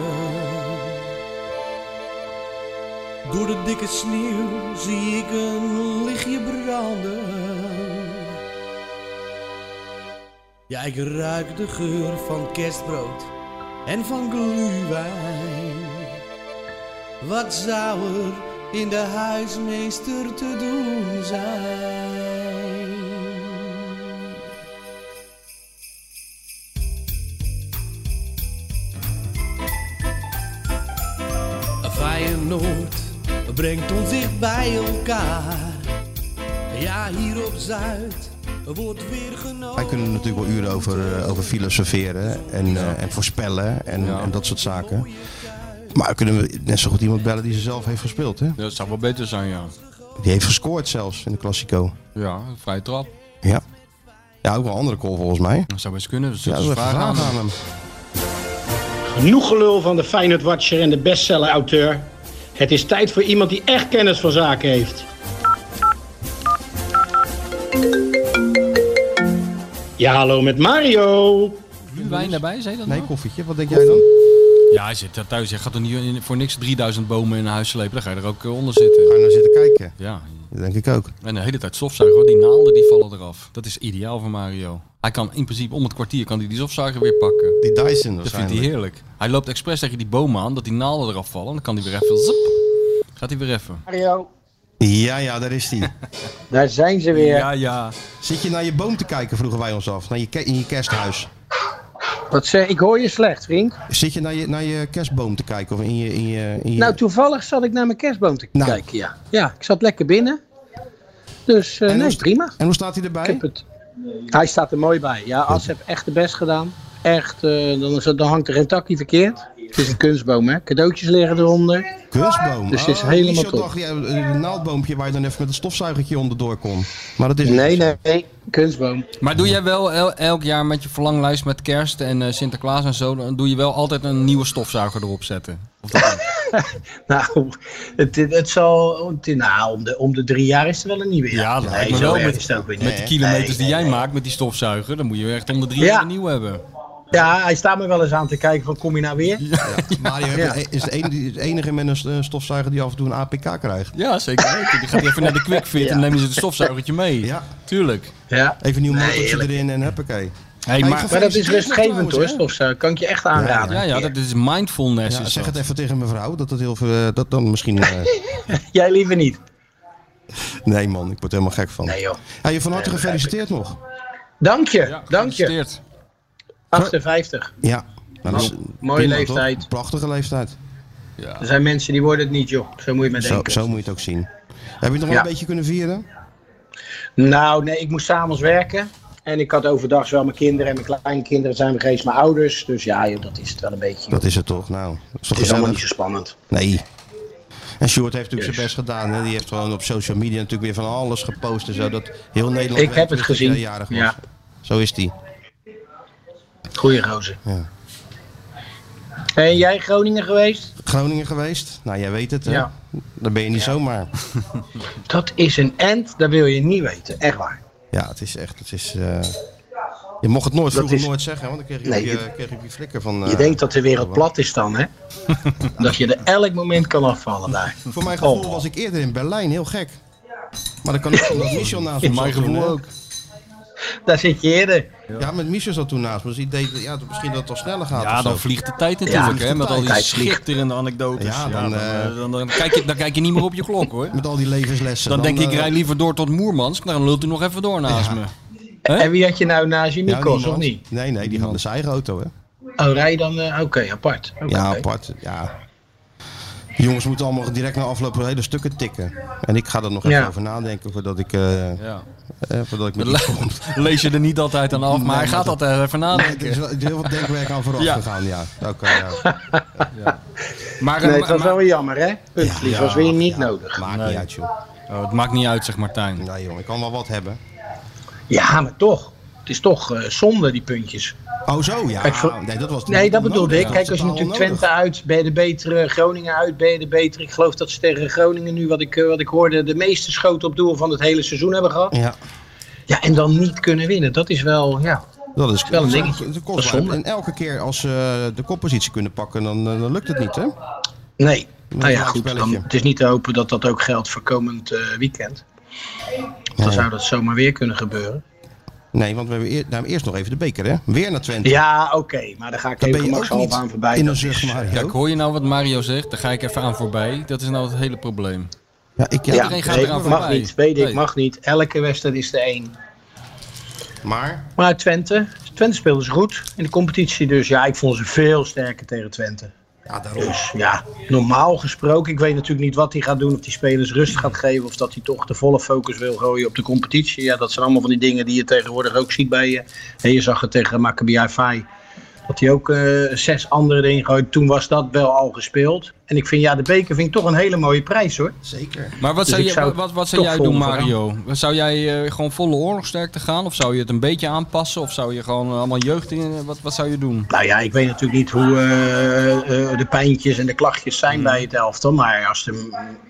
S1: Door de dikke sneeuw zie ik een lichtje branden. Ja, ik ruik de geur van kerstbrood en van glühwein. Wat zou er in de huismeester te doen zijn? Feyenoord brengt ons dicht bij elkaar. Ja, hier op Zuid wordt weer genomen.
S2: Wij kunnen natuurlijk wel uren over, eh, over filosoferen en, eh, en voorspellen en, en dat soort zaken. Maar kunnen we net zo goed iemand bellen die ze zelf heeft gespeeld, hè?
S3: Dat zou wel beter zijn, ja.
S2: Die heeft gescoord zelfs in de Classico.
S3: Ja, een vrije trap.
S2: Ja. Ja, ook wel een andere call volgens mij.
S3: Dat zou best kunnen. Dus
S2: Ja,
S3: dat
S2: dat
S3: is
S2: we
S3: een
S2: even
S3: vraag aan
S2: vragen
S3: hem.
S2: aan hem.
S6: Genoeg gelul van de Feyenoord Watcher en de bestseller auteur. Het is tijd voor iemand die echt kennis van zaken heeft. Ja, hallo met Mario.
S3: Glühwein erbij, zei je dat
S2: Nee,
S3: nou?
S2: koffietje. Wat denk jij dan?
S3: Ja, hij zit daar thuis. Hij gaat er niet in- voor niks 3000 bomen in huis slepen. Dan ga je er ook eh, onder zitten.
S2: Ga je naar zitten kijken?
S3: Ja,
S2: Dat denk ik ook.
S3: En de hele tijd stofzuigen, hoor. die naalden die vallen eraf. Dat is ideaal voor Mario. Hij kan in principe om het kwartier kan hij die stofzuiger weer pakken.
S2: Die Dyson
S3: Dat vindt hij
S2: waarschijnlijk.
S3: heerlijk. Hij loopt expres tegen die bomen aan, dat die naalden eraf vallen. Dan kan hij weer even... Zop, gaat hij weer even.
S7: Mario,
S2: Ja, ja, daar is hij.
S7: daar zijn ze weer.
S3: Ja, ja.
S2: Zit je naar je boom te kijken, vroegen wij ons af. Naar je, ke- in je kersthuis.
S7: Wat ze, ik hoor je slecht, vriend.
S2: Zit je naar je, naar je kerstboom te kijken? Of in je, in je, in je...
S7: Nou, toevallig zat ik naar mijn kerstboom te
S2: Nou.
S7: kijken, ja. Ja, ik zat lekker binnen. Dus eh
S2: En
S7: nee,
S2: hoe-
S7: prima.
S2: En hoe staat hij
S7: Ik
S2: erbij?
S7: heb het. Hij staat er mooi bij. Ja, As heeft echt de best gedaan. Echt, eh, dan, is het, dan hangt er geen takje verkeerd. Het is een kunstboom, hè? Cadeautjes liggen eronder.
S2: Kunstboom.
S7: Dus het is
S2: Oh,
S7: helemaal
S2: Michel
S7: top.
S2: dacht, ja, een naaldboompje waar je dan even met een stofzuigertje onderdoor kon. Maar dat is het
S7: Nee,
S2: niet.
S7: nee, nee. Kunstboom.
S3: Maar doe jij wel el- elk jaar met je verlanglijst met kerst en eh, Sinterklaas en zo, dan doe je wel altijd een nieuwe stofzuiger erop zetten? Of dat niet?
S7: Nou, het, het, het zal. het- nou, om de, om de drie jaar is er wel een nieuwe.
S3: Ja, dat lijkt me
S7: zo
S3: wel
S7: erg
S3: met-
S7: is het ook weer niet.
S3: met die kilometers
S7: Nee,
S3: die jij
S7: nee, nee.
S3: maakt met die stofzuiger, dan moet je echt om de drie
S7: Ja.
S3: jaar een nieuw hebben.
S7: Ja, hij staat me wel eens aan te kijken: van kom je nou weer?
S2: Mario
S7: Ja.
S2: is de enige, is de enige met een s- eh, stofzuiger die af en toe een APK krijgt.
S3: Ja, zeker weten. Die gaat even naar de quickfit en
S7: Ja.
S3: nemen ze het stofzuigertje mee.
S2: Ja.
S3: Tuurlijk.
S7: Ja.
S2: Even een nieuw
S7: Nee,
S2: motortje
S7: eerlijk.
S2: erin en huppakee.
S3: Hey,
S2: Hey,
S3: maar,
S2: gevo-
S7: Maar dat is
S2: Trouwens,
S7: rustgevend hoor,
S2: hè?
S7: stofzuiger. Kan ik je echt aanraden.
S3: ja, ja, dat is mindfulness.
S2: Ja,
S3: is
S2: zeg
S3: dat.
S2: het even tegen mevrouw, dat het heel veel, eh, dat dan misschien... eh,
S7: Jij liever niet.
S2: nee man, ik word er helemaal gek van.
S7: Nee joh.
S2: Hey, van harte
S7: Nee, begrijp
S2: gefeliciteerd nog.
S7: Dank je,
S3: Ja,
S7: dank je.
S3: gefeliciteerd.
S7: 58.
S2: Ja. Nou, dat is
S7: mooie
S2: prima,
S7: leeftijd.
S2: toch? Prachtige leeftijd.
S7: Er zijn mensen die worden het niet joh. Zo moet je maar
S2: Zo,
S7: denken.
S2: zo moet je het ook zien. Heb je het nog wel
S7: Ja.
S2: een beetje kunnen vieren?
S7: Nou, nee, ik moest s'avonds werken. En ik had overdag wel mijn kinderen en mijn kleinkinderen zijn geweest, mijn ouders. Dus ja, joh, dat is het wel een beetje. joh.
S2: Dat is het toch? Nou, dat is toch
S7: Het is
S2: gezellig?
S7: allemaal niet zo spannend.
S2: Nee. En Sjoerd heeft natuurlijk
S7: Yes.
S2: zijn best gedaan. Hè? Die heeft gewoon op social media natuurlijk weer van alles gepost en zo. Dat heel Nederland
S7: Ik heb
S2: weet
S7: het
S2: dat jij
S7: gezien.
S2: jarig was.
S7: Ja.
S2: Zo is die.
S7: Goeie rozen.
S2: Ja.
S7: En jij Groningen geweest?
S2: Groningen geweest. Nou, jij weet het. Hè?
S7: Ja.
S2: Daar ben je niet zomaar.
S7: Dat is een end, dat wil je niet weten. Echt waar.
S2: Ja, het is echt. Het is, eh, Je mocht het nooit
S7: Dat
S2: vroeger
S7: is-
S2: nooit zeggen, want dan kreeg je,
S7: Nee,
S2: op, je,
S7: je-
S2: kreeg je op je flikker van.
S7: Je
S2: eh,
S7: denkt dat de wereld plat is dan, hè? dat je er elk moment kan afvallen daar.
S2: Voor mijn gevoel
S7: Oh.
S2: was ik eerder in Berlijn, heel gek. Maar dan kan ik omdat Michel naast me
S3: Mijn
S2: zat toen,
S3: gevoel
S2: hè.
S3: ook.
S7: Daar zit je eerder.
S2: Ja, met Michel zat toen naast me. Dus ik deed, ja, misschien dat het al sneller gaat.
S3: Ja,
S2: of zo.
S3: Ah, dan vliegt de tijd natuurlijk,
S2: Ja,
S3: hè? Met al die
S7: tijd vliegt.
S3: schitterende anekdotes.
S2: Ja,
S3: Ja,
S2: dan,
S3: dan, eh,
S2: eh,
S3: dan, dan kijk je, dan kijk je niet meer op je klok, hoor.
S2: Met al die levenslessen.
S3: Dan denk je, ik
S2: eh,
S3: rij liever door tot Moermansk. Dan lult u nog even door naast me. Hè?
S7: En wie had je nou naast je
S2: ja,
S7: Nikos, of
S2: niemand.
S7: niet?
S2: Nee, nee, die gaat met zijn eigen auto, hè.
S7: Oh, rij je dan... eh, Oké, apart. Oké,
S2: Ja,
S7: oké.
S2: apart. Ja. Die jongens moeten allemaal direct na afloop hele stukken tikken. En ik ga er nog
S7: Ja.
S2: even over nadenken voordat ik, eh,
S3: Ja.
S2: eh, voordat ik met
S3: Le- Lees je er niet altijd aan af, maar hij gaat altijd even
S2: Nee, er
S3: nadenken.
S2: is wel- er is heel wat denkwerk aan vooraf
S3: Ja.
S2: gegaan, ja. Oké, ja.
S3: Maar, eh,
S7: Nee, het
S3: maar-
S7: was wel weer jammer, hè? Puntvlies
S2: Ja,
S7: was weer niet
S2: ja.
S7: nodig.
S2: Maakt niet uit, joh.
S3: maar- oh, het maakt niet uit, zegt Martijn.
S2: Nee, joh, ik kan wel wat hebben.
S7: Ja, maar toch. Het is toch eh, zonde, die puntjes.
S2: Oh, zo, ja.
S7: Kijk, voor-
S2: Nee, dat was
S7: Nee, dat bedoelde ik.
S2: onnodig.
S7: Kijk,
S2: Dat
S7: als je
S2: was
S7: natuurlijk
S2: totaal
S7: Twente uit, ben je de betere. Groningen uit, ben je de betere. Ik geloof dat ze tegen Groningen nu, wat ik, eh, wat ik hoorde, de meeste schoten op doel van het hele seizoen hebben gehad.
S2: onnodig. Ja,
S7: Ja, en dan niet kunnen winnen. Dat is wel, ja.
S2: dat is
S7: Wel een dingetje.
S2: dat is
S7: Dat is zonde.
S2: kostbaar. En elke keer als ze de koppositie kunnen pakken, dan, eh, dan lukt het niet, hè?
S7: Nee.
S2: een
S7: Nou ja, goed.
S2: gelijkspelletje.
S7: Dan, het is niet te hopen dat dat ook geldt voor komend eh, weekend. Dan zou dat zomaar weer kunnen gebeuren.
S2: Nee, want we hebben eer- nou, eerst nog even de beker, hè? Weer naar Twente.
S7: Ja, oké. maar daar ga ik
S2: Dan ben
S7: even
S2: je ook
S7: gemakshalve
S2: niet
S7: aan voorbij.
S2: in
S7: Dat
S2: een zucht,
S7: is-
S2: Mario.
S3: Kijk, hoor je nou wat Mario zegt? Daar ga ik even aan voorbij. Dat is nou het hele probleem.
S2: Ja, ik, ja,
S7: Ja,
S3: Iedereen gaat
S7: nee,
S3: eraan
S7: mag
S3: voorbij.
S7: niet. Weet ik,
S3: Nee.
S7: mag niet. Elke wedstrijd is de één.
S2: Maar,
S7: Maar Twente, Twente speelde ze goed in de competitie. Dus ja, ik vond ze veel sterker tegen Twente.
S2: ja, daarom.
S7: Dus ja, normaal gesproken, ik weet natuurlijk niet wat hij gaat doen. Of die spelers rust gaat geven. Of dat hij toch de volle focus wil gooien op de competitie. Ja, dat zijn allemaal van die dingen die je tegenwoordig ook ziet bij je. En je zag het tegen Maccabi Haifa. Dat hij ook eh, zes anderen erin gooit. Toen was dat wel al gespeeld. En ik vind, ja, de beker vind ik toch een hele mooie prijs hoor.
S2: Zeker.
S3: Maar wat
S7: Dus
S3: zou,
S7: ik
S3: je-
S7: zou
S3: wat, wat- wat zou
S7: toch
S3: jij doen,
S7: volgen,
S3: Mario? Zou jij eh, gewoon volle oorlogsterkte gaan? Of zou je het een beetje aanpassen? Of zou je gewoon eh, allemaal jeugd in... Wat, wat zou je doen?
S7: Nou ja, ik weet natuurlijk niet hoe eh, eh, de pijntjes en de klachtjes zijn
S2: Hmm.
S7: bij het elftal. Maar als er,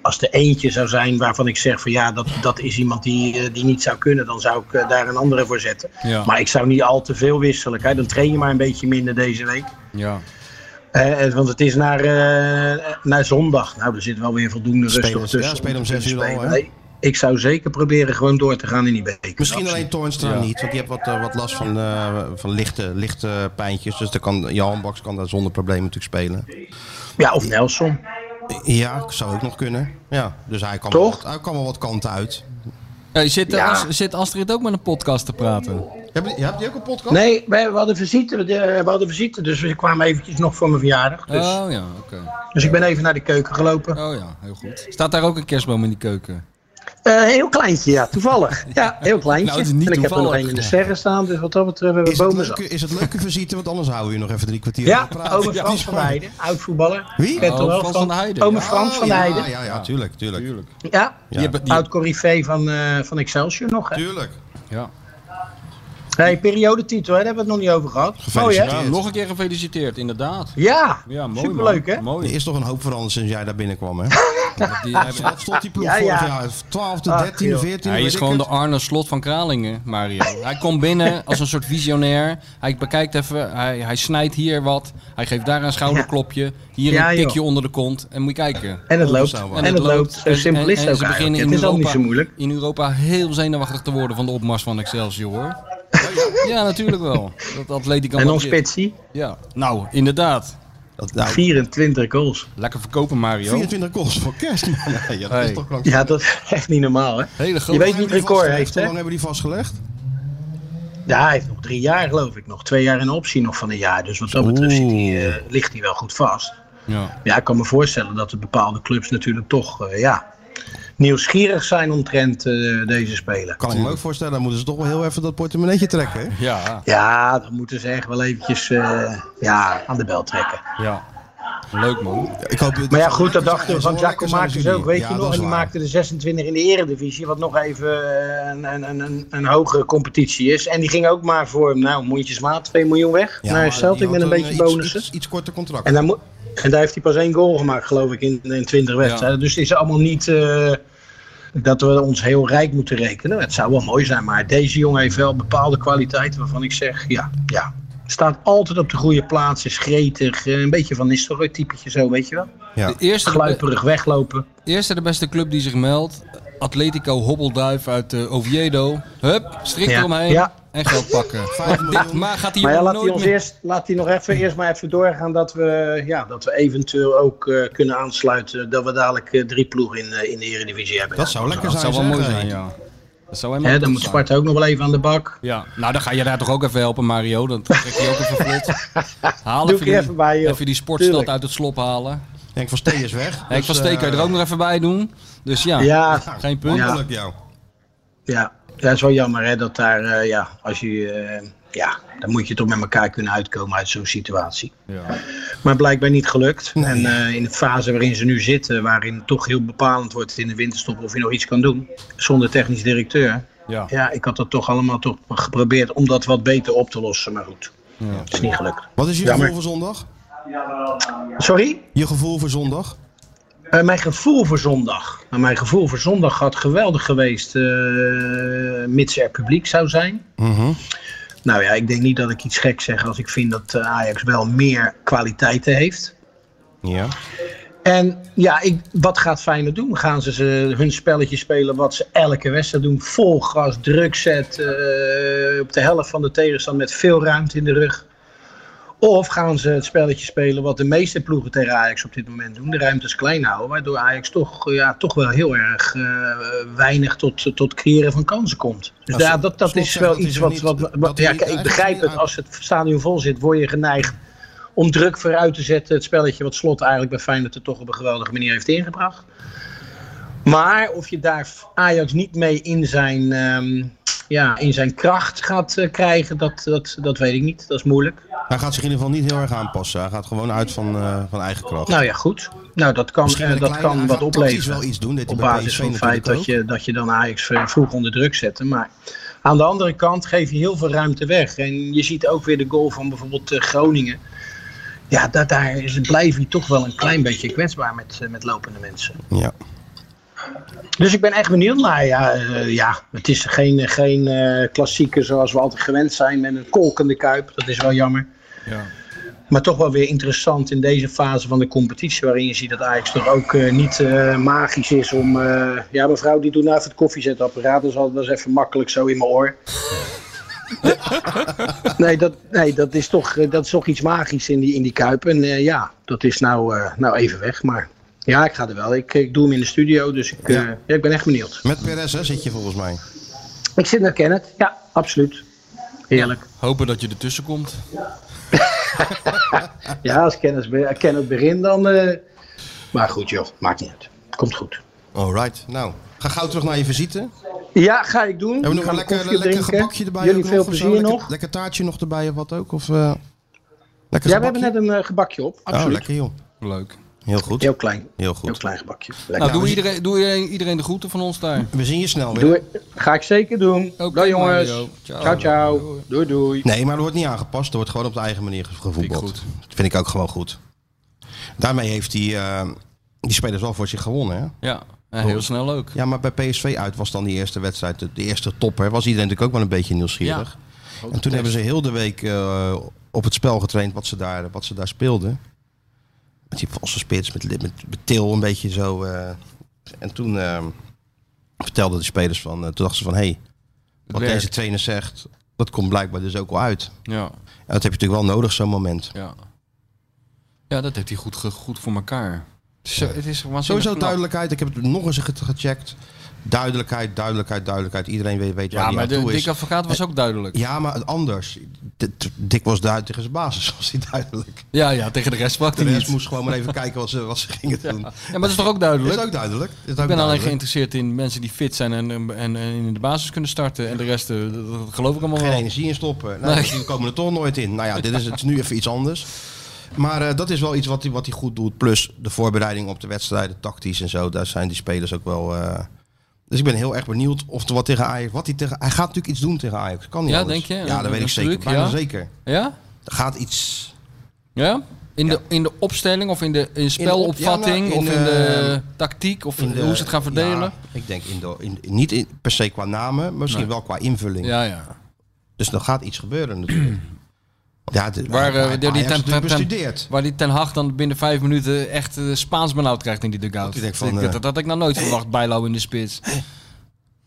S7: als er eentje zou zijn waarvan ik zeg van ja, dat, dat is iemand die, eh, die niet zou kunnen, dan zou ik eh, daar een andere voor zetten.
S3: Ja.
S7: Maar ik zou niet al te veel wisselen. Kijk, dan train je maar een beetje minder deze week.
S3: Ja.
S7: Eh, eh, want het is naar, eh, naar zondag. Nou, er zit wel weer voldoende rust
S2: Spelen-
S7: nog tussen.
S2: ja, spelen om
S7: te
S2: zes uur al,
S7: spelen.
S2: hè?
S7: Nee, ik zou zeker proberen gewoon door te gaan in die beker.
S2: Misschien
S7: Absoluut.
S2: alleen Toornstra
S3: Ja.
S2: niet, want die heeft wat, eh, wat last van, eh, van lichte, lichte pijntjes. Dus dan kan, Johan Baks kan daar zonder probleem natuurlijk spelen.
S7: Ja, of Nelson.
S2: Ja, zou ook nog kunnen. Ja, dus hij kan,
S7: Toch?
S2: Wel, wat, hij kan wel wat kanten uit.
S3: Hey, zit, eh,
S7: Ja.
S3: As- zit Astrid ook met een podcast te praten?
S2: Heb je, heb je ook een podcast?
S7: Nee, we, we hadden visite, de- we hadden visite, dus we kwamen eventjes nog voor mijn verjaardag. Dus,
S3: Oh ja, oké.
S7: dus ik ben even naar de keuken gelopen.
S3: Oh ja, heel goed. Staat daar ook een kerstboom in die keuken?
S7: Eh, heel kleintje, ja, toevallig. Ja, heel kleintje.
S3: Nou, het is niet
S7: en ik heb er nog
S3: toevallig.
S7: één in de serre staan, dus wat dat betreft hebben we
S2: Is het,
S7: bomen zat.
S2: leuke, is het leuke visite? Want anders houden we hier nog even drie kwartier
S7: Ja,
S2: aan te praten.
S7: ome Frans van Heijden, oud voetballer.
S2: Wie?
S7: Kent hem
S3: Oh,
S7: wel,
S3: Frans van Heijden.
S7: Ome
S3: Ja,
S7: Frans van
S2: Oh, ja,
S7: Heijden.
S2: Ja, ja, tuurlijk, tuurlijk. Tuurlijk.
S7: Ja,
S2: Ja.
S3: Die hebben, die,
S7: oud corrivé van, eh, van Excelsior nog. Hè.
S3: ja.
S7: Hey, periodetitel, hè, daar hebben we het nog niet over gehad. Mooi hè?
S3: Ja, nog een keer gefeliciteerd, inderdaad.
S7: Ja,
S3: Ja, mooi,
S7: superleuk
S3: man.
S7: hè?
S2: Er
S3: Mooi.
S2: is toch een hoop veranderd sinds jij daar binnenkwam, hè?
S3: Die hebben-
S2: Wat stond die ploeg
S7: Ja, ja.
S2: vorig jaar? 12e,
S7: Ach,
S2: 13e,
S7: joh.
S2: 14e?
S3: Hij
S2: weet
S3: is
S2: ik
S3: gewoon
S2: het.
S3: de Arne Slot van Kralingen, Mario. Hij komt binnen als een soort visionair. Hij bekijkt even, hij, hij snijdt hier wat. Hij geeft daar een schouderklopje. Hier
S7: Ja,
S3: een
S7: joh.
S3: tikje onder de kont. En moet je kijken. Oh,
S7: En het loopt.
S2: Onbestaan,
S7: En,
S2: man.
S7: het loopt. Zo
S3: En-
S7: simpel is
S3: en-
S7: het
S3: en
S7: ook
S3: ze beginnen
S7: eigenlijk. Het
S3: in
S7: is ook niet
S3: Europa-
S7: zo moeilijk.
S3: In Europa heel zenuwachtig te worden van de opmars van Excelsior. hoor. Ja, natuurlijk wel. Dat Atletico
S7: En ons
S3: Madrid.
S7: Pitsie,
S3: Ja. Nou, inderdaad.
S2: Dat- nou,
S7: 24 goals.
S3: Lekker verkopen, Mario.
S2: 24 goals voor kerst. man. Ja, ja, dat
S3: Hey.
S2: is toch lang.
S7: Ja, dat is echt niet normaal hè?
S3: Hele
S7: Je
S3: grote.
S7: weet wie het record heeft
S2: Hoe
S7: hè?
S2: lang hebben die vastgelegd?
S7: Ja, hij heeft nog drie jaar geloof ik nog. Twee jaar een optie nog van een jaar. Dus wat dat betreft zit hij, eh, ligt hij wel goed vast.
S3: Ja.
S7: Ja, ik kan me voorstellen dat de bepaalde clubs natuurlijk toch eh, ja, nieuwsgierig zijn omtrent eh, deze speler.
S2: Kan ik me ook voorstellen. Dan moeten ze toch wel heel even dat portemonneetje trekken. hè?
S3: Ja.
S7: Ja, dan moeten ze echt wel eventjes eh, ja, aan de bel trekken.
S3: ja. Leuk, man.
S2: Ik hoop,
S7: Maar ja, goed,
S2: dus
S7: dat dachten we van Jacco Marcus
S2: Marcus
S7: ook, weet je nog. En die maakte de 26 in de eredivisie, wat nog even eh, een, een, een, een, een hogere competitie is. En die ging ook maar voor, nou, mondjesmaat, 2 miljoen weg naar Celtic met een beetje bonussen.
S2: eh, Iets, iets korter contract.
S7: En, daar moet- en daar heeft hij pas één goal gemaakt, geloof ik, in, in 20 wedstrijden. Dus het is allemaal niet eh, dat we ons heel rijk moeten rekenen. Het zou wel mooi zijn, maar deze jongen heeft wel bepaalde kwaliteiten waarvan ik zeg, ja, ja. Staat altijd op de goede plaats, is gretig, eh, een beetje van Nistelrooy-typetje zo, weet je wel.
S2: Ja.
S3: De eerste,
S7: Gluiperig weglopen.
S3: Eerste de beste club die zich meldt. Atletico Hobbelduif uit eh, Oviedo. Hup, strik
S7: Ja.
S3: eromheen.
S7: Ja.
S3: En geld pakken.
S2: Vijf
S3: Dit
S2: miljoen.
S3: maar gaat hij
S7: Maar ja,
S3: hier
S7: laat hij,
S3: nooit
S7: ons
S3: meer-
S7: eerst, laat hij nog even, eerst maar even doorgaan dat we, ja, dat we eventueel ook eh, kunnen aansluiten. Dat we dadelijk eh, drie ploegen in, eh, in de Eredivisie hebben.
S2: Dat zou lekker
S3: Dat
S2: zijn.
S3: zou wel mooi
S2: zeg.
S3: zijn, ja. Dat zou helemaal
S7: Hè,
S3: top
S7: dan moet
S3: zijn.
S7: Sparta ook nog wel even aan de bak.
S3: Ja, nou dan ga je daar toch ook even helpen, Mario. Dan trek je ook even vlot. Haal
S7: Doe
S3: even,
S7: ik er even bij,
S3: die,
S7: joh.
S3: even die sportstad
S7: Tuurlijk.
S3: uit het slop halen.
S2: Henk van Steen is weg. dus, eh,
S3: Henk van Steek kan je er ook nog even bij doen. Dus ja,
S7: Ja,
S3: geen punt.
S7: Ja.
S2: Gelukkig jou.
S7: Ja, dat is wel jammer hè, dat daar, eh, ja, als je, eh, ja, dan moet je toch met elkaar kunnen uitkomen uit zo'n situatie. Maar blijkbaar niet gelukt. En eh, in de fase waarin ze nu zitten, waarin toch heel bepalend wordt in de winterstop of je nog iets kan doen, zonder technisch directeur.
S3: Ja.
S7: ja, ik had dat toch allemaal toch geprobeerd om dat wat beter op te lossen, maar goed. Het is niet gelukt.
S2: Wat is je
S7: Jammer.
S2: gevoel voor zondag?
S7: Sorry?
S2: Je gevoel voor zondag?
S7: Eh, mijn gevoel voor zondag. Nou, mijn gevoel voor zondag had geweldig geweest, eh, mits er publiek zou zijn. Nou ja, ik denk niet dat ik iets gek zeg als ik vind dat eh, Ajax wel meer kwaliteiten heeft.
S2: Ja.
S7: En ja, ik, wat gaat Feyenoord doen? Gaan ze, ze hun spelletje spelen wat ze elke wedstrijd doen? Vol gas, druk zet, eh, op de helft van de tegenstander met veel ruimte in de rug. Of gaan ze het spelletje spelen wat de meeste ploegen tegen Ajax op dit moment doen? De ruimtes klein houden, waardoor Ajax toch, eh, ja, toch wel heel erg eh, weinig tot, tot creëren van kansen komt. Dus
S2: Als-
S7: ja, dat, dat
S2: Slot
S7: is
S2: zegt
S7: wel
S2: dat hij
S7: iets
S2: er
S7: wat...
S2: niet-
S7: wat,
S2: dat
S7: wat-
S2: hij
S7: ja,
S2: niet-
S7: kijk, ik
S2: eigenlijk
S7: begrijp
S2: niet
S7: het,
S2: uit-
S7: als het stadion vol zit, word je geneigd om druk vooruit te zetten. Het spelletje wat Slot eigenlijk bij Feyenoord er toch op een geweldige manier heeft ingebracht. Maar of je daar Ajax niet mee in zijn, ehm, ja, in zijn kracht gaat eh, krijgen, dat, dat, dat weet ik niet. Dat is moeilijk.
S2: Hij gaat zich in ieder geval niet heel erg aanpassen. Hij gaat gewoon uit van, eh, van eigen kracht.
S7: Nou ja, goed. Nou, dat kan,
S2: Misschien
S7: eh,
S2: met een
S7: dat
S2: kleine- hij
S7: kan wat
S2: gaat tactisch
S7: opleveren.
S2: wel iets doen. Dit
S7: op
S2: bij
S7: basis
S2: PSV
S7: van het feit dat
S2: natuurlijk ook.
S7: je, dat je dan Ajax v- vroeg onder druk zette. Maar aan de andere kant geef je heel veel ruimte weg. En je ziet ook weer de goal van bijvoorbeeld eh, Groningen. Ja, daar, daar is, blijf je toch wel een klein beetje kwetsbaar met, eh, met lopende mensen.
S2: Ja.
S7: Dus ik ben echt benieuwd. Maar ja, eh, ja het is geen, geen eh klassieker zoals we altijd gewend zijn. Met een kolkende kuip. Dat is wel jammer.
S3: Ja.
S7: Maar toch wel weer interessant in deze fase van de competitie. Waarin je ziet dat Ajax toch ook eh, niet eh, magisch is om. eh, ja, mevrouw, die doet nou even het koffiezetapparaat. dus Dat is altijd wel eens even makkelijk zo in mijn oor. nee, dat, nee dat, is toch, eh, dat is toch iets magisch in die, in die kuip. En eh, ja, dat is nou, eh, nou even weg. Maar ja, ik ga er wel. Ik, ik doe hem in de studio. Dus ik, eh,
S2: Ja.
S7: ja, ik ben echt benieuwd.
S2: Met Perez hè, zit je volgens mij.
S7: Ik zit naar Kenneth. Ja, absoluut. Heerlijk.
S3: Hopen dat je ertussen komt.
S7: eh, Ja, als Kenneth, be- Kenneth begint dan... eh, Maar goed joh, maakt niet uit. Komt goed.
S2: Alright, nou. Ga gauw terug naar je visite.
S7: Ja, ga ik doen.
S2: Hebben we nog
S7: Ik
S2: een
S7: ga koffie
S2: lekker, lekker
S7: drinken.
S2: gebakje erbij?
S7: Jullie
S2: ook
S7: veel
S2: nog of zo?
S7: plezier
S2: Lekker-
S7: nog.
S2: Lekker taartje nog erbij of wat ook? Of, eh lekker
S7: Ja, we
S2: gebakje?
S7: hebben net een eh, gebakje op.
S2: Oh,
S7: Absoluut.
S2: lekker joh.
S3: Leuk.
S2: Heel goed.
S7: Heel klein.
S2: Heel
S7: Heel
S2: goed.
S7: klein gebakje.
S3: Nou,
S7: Lekker.
S3: doe, iedereen, doe iedereen, iedereen de groeten van ons daar.
S2: We zien je snel weer.
S7: Doe ik- Ga ik zeker doen.
S3: Oké,
S7: Dag jongens.
S3: Mario. Ciao.
S7: Ciao, ciao. Doei, doei.
S2: Nee, maar er wordt niet aangepast. Er wordt gewoon op de eigen manier ge- gevoetbald.
S3: Vind ik goed.
S2: Dat vind ik ook gewoon goed. Daarmee heeft die, eh, die spelers wel voor zich gewonnen. Hè?
S3: Ja, en heel snel ook.
S2: Ja, maar bij PSV uit was dan die eerste wedstrijd, de, de eerste topper. Was iedereen natuurlijk ook wel een beetje nieuwsgierig. en toen hebben ze heel de week eh, op het spel getraind wat ze daar, wat ze daar speelden. Met die valse spits, met, met, met Til een beetje zo. eh. en toen eh, vertelden de spelers van, eh, toen dachten ze van... hé, hey, wat
S3: werkt.
S2: deze trainer zegt, dat komt blijkbaar dus ook wel uit. En
S3: Ja,
S2: dat heb je natuurlijk wel nodig, zo'n moment.
S3: ja. Ja, dat heeft hij goed, ge- goed voor elkaar. Zo, het is waanzinnig
S2: Sowieso
S3: knap.
S2: duidelijkheid. Ik heb het nog eens ge- gecheckt. Duidelijkheid, duidelijkheid, duidelijkheid. Iedereen weet, weet waar
S3: Ja, Eh,
S2: die
S3: maar
S2: aan
S3: de
S2: toe is.
S3: dikke advocaat was ook duidelijk.
S2: Ja, maar het anders. D- d- Dick was duidelijk tegen zijn basis, was hij duidelijk.
S3: Ja, ja, tegen de rest sprak
S2: De
S3: hij
S2: rest
S3: niet.
S2: moest gewoon maar even kijken wat ze, wat ze gingen doen.
S3: Ja, maar dat is toch ook
S2: Is
S3: duidelijk?
S2: ook duidelijk. Is ook
S3: Ik ben alleen
S2: duidelijk.
S3: geïnteresseerd in mensen die fit zijn en, en, en in de basis kunnen starten. En de rest, eh, dat, dat geloof ik allemaal
S2: geen
S3: wel.
S2: energie in stoppen. Nou,
S3: Nee.
S2: Die komen er toch nooit in. Nou ja, dit is, het is nu even iets anders. Maar eh, dat is wel iets wat hij wat hij goed doet. Plus de voorbereiding op de wedstrijden, tactisch en zo. Daar zijn die spelers ook wel... eh, dus ik ben heel erg benieuwd of er wat tegen Ajax... Wat hij, tegen, hij gaat natuurlijk iets doen tegen Ajax. Kan niet
S3: Ja,
S2: anders.
S3: denk je?
S2: Ja, dat weet ik zeker.
S3: Natuurlijk,
S2: Bijna
S3: ja.
S2: zeker.
S3: Ja?
S2: Er gaat iets...
S3: Ja? In, De, in de opstelling of in de in spelopvatting
S2: ja, nou, in
S3: of in de
S2: de-
S3: tactiek of
S2: In de-
S3: hoe ze het gaan verdelen?
S2: Ja, ik denk in de, in, niet in, per se qua namen, maar misschien wel qua invulling.
S3: Ja, ja.
S2: Dus er gaat iets gebeuren natuurlijk. Ja, de,
S3: Waar, eh,
S2: Ajax
S3: die- die-
S2: heeft natuurlijk
S3: ten- ten-
S2: bestudeerd.
S3: Waar die Ten Hag dan binnen vijf minuten echt eh, Spaans benauwd krijgt in die dugout.
S2: ik denk van,
S3: dat,
S2: eh,
S3: dat, dat had ik nou nooit verwacht, Bijlo in de spits.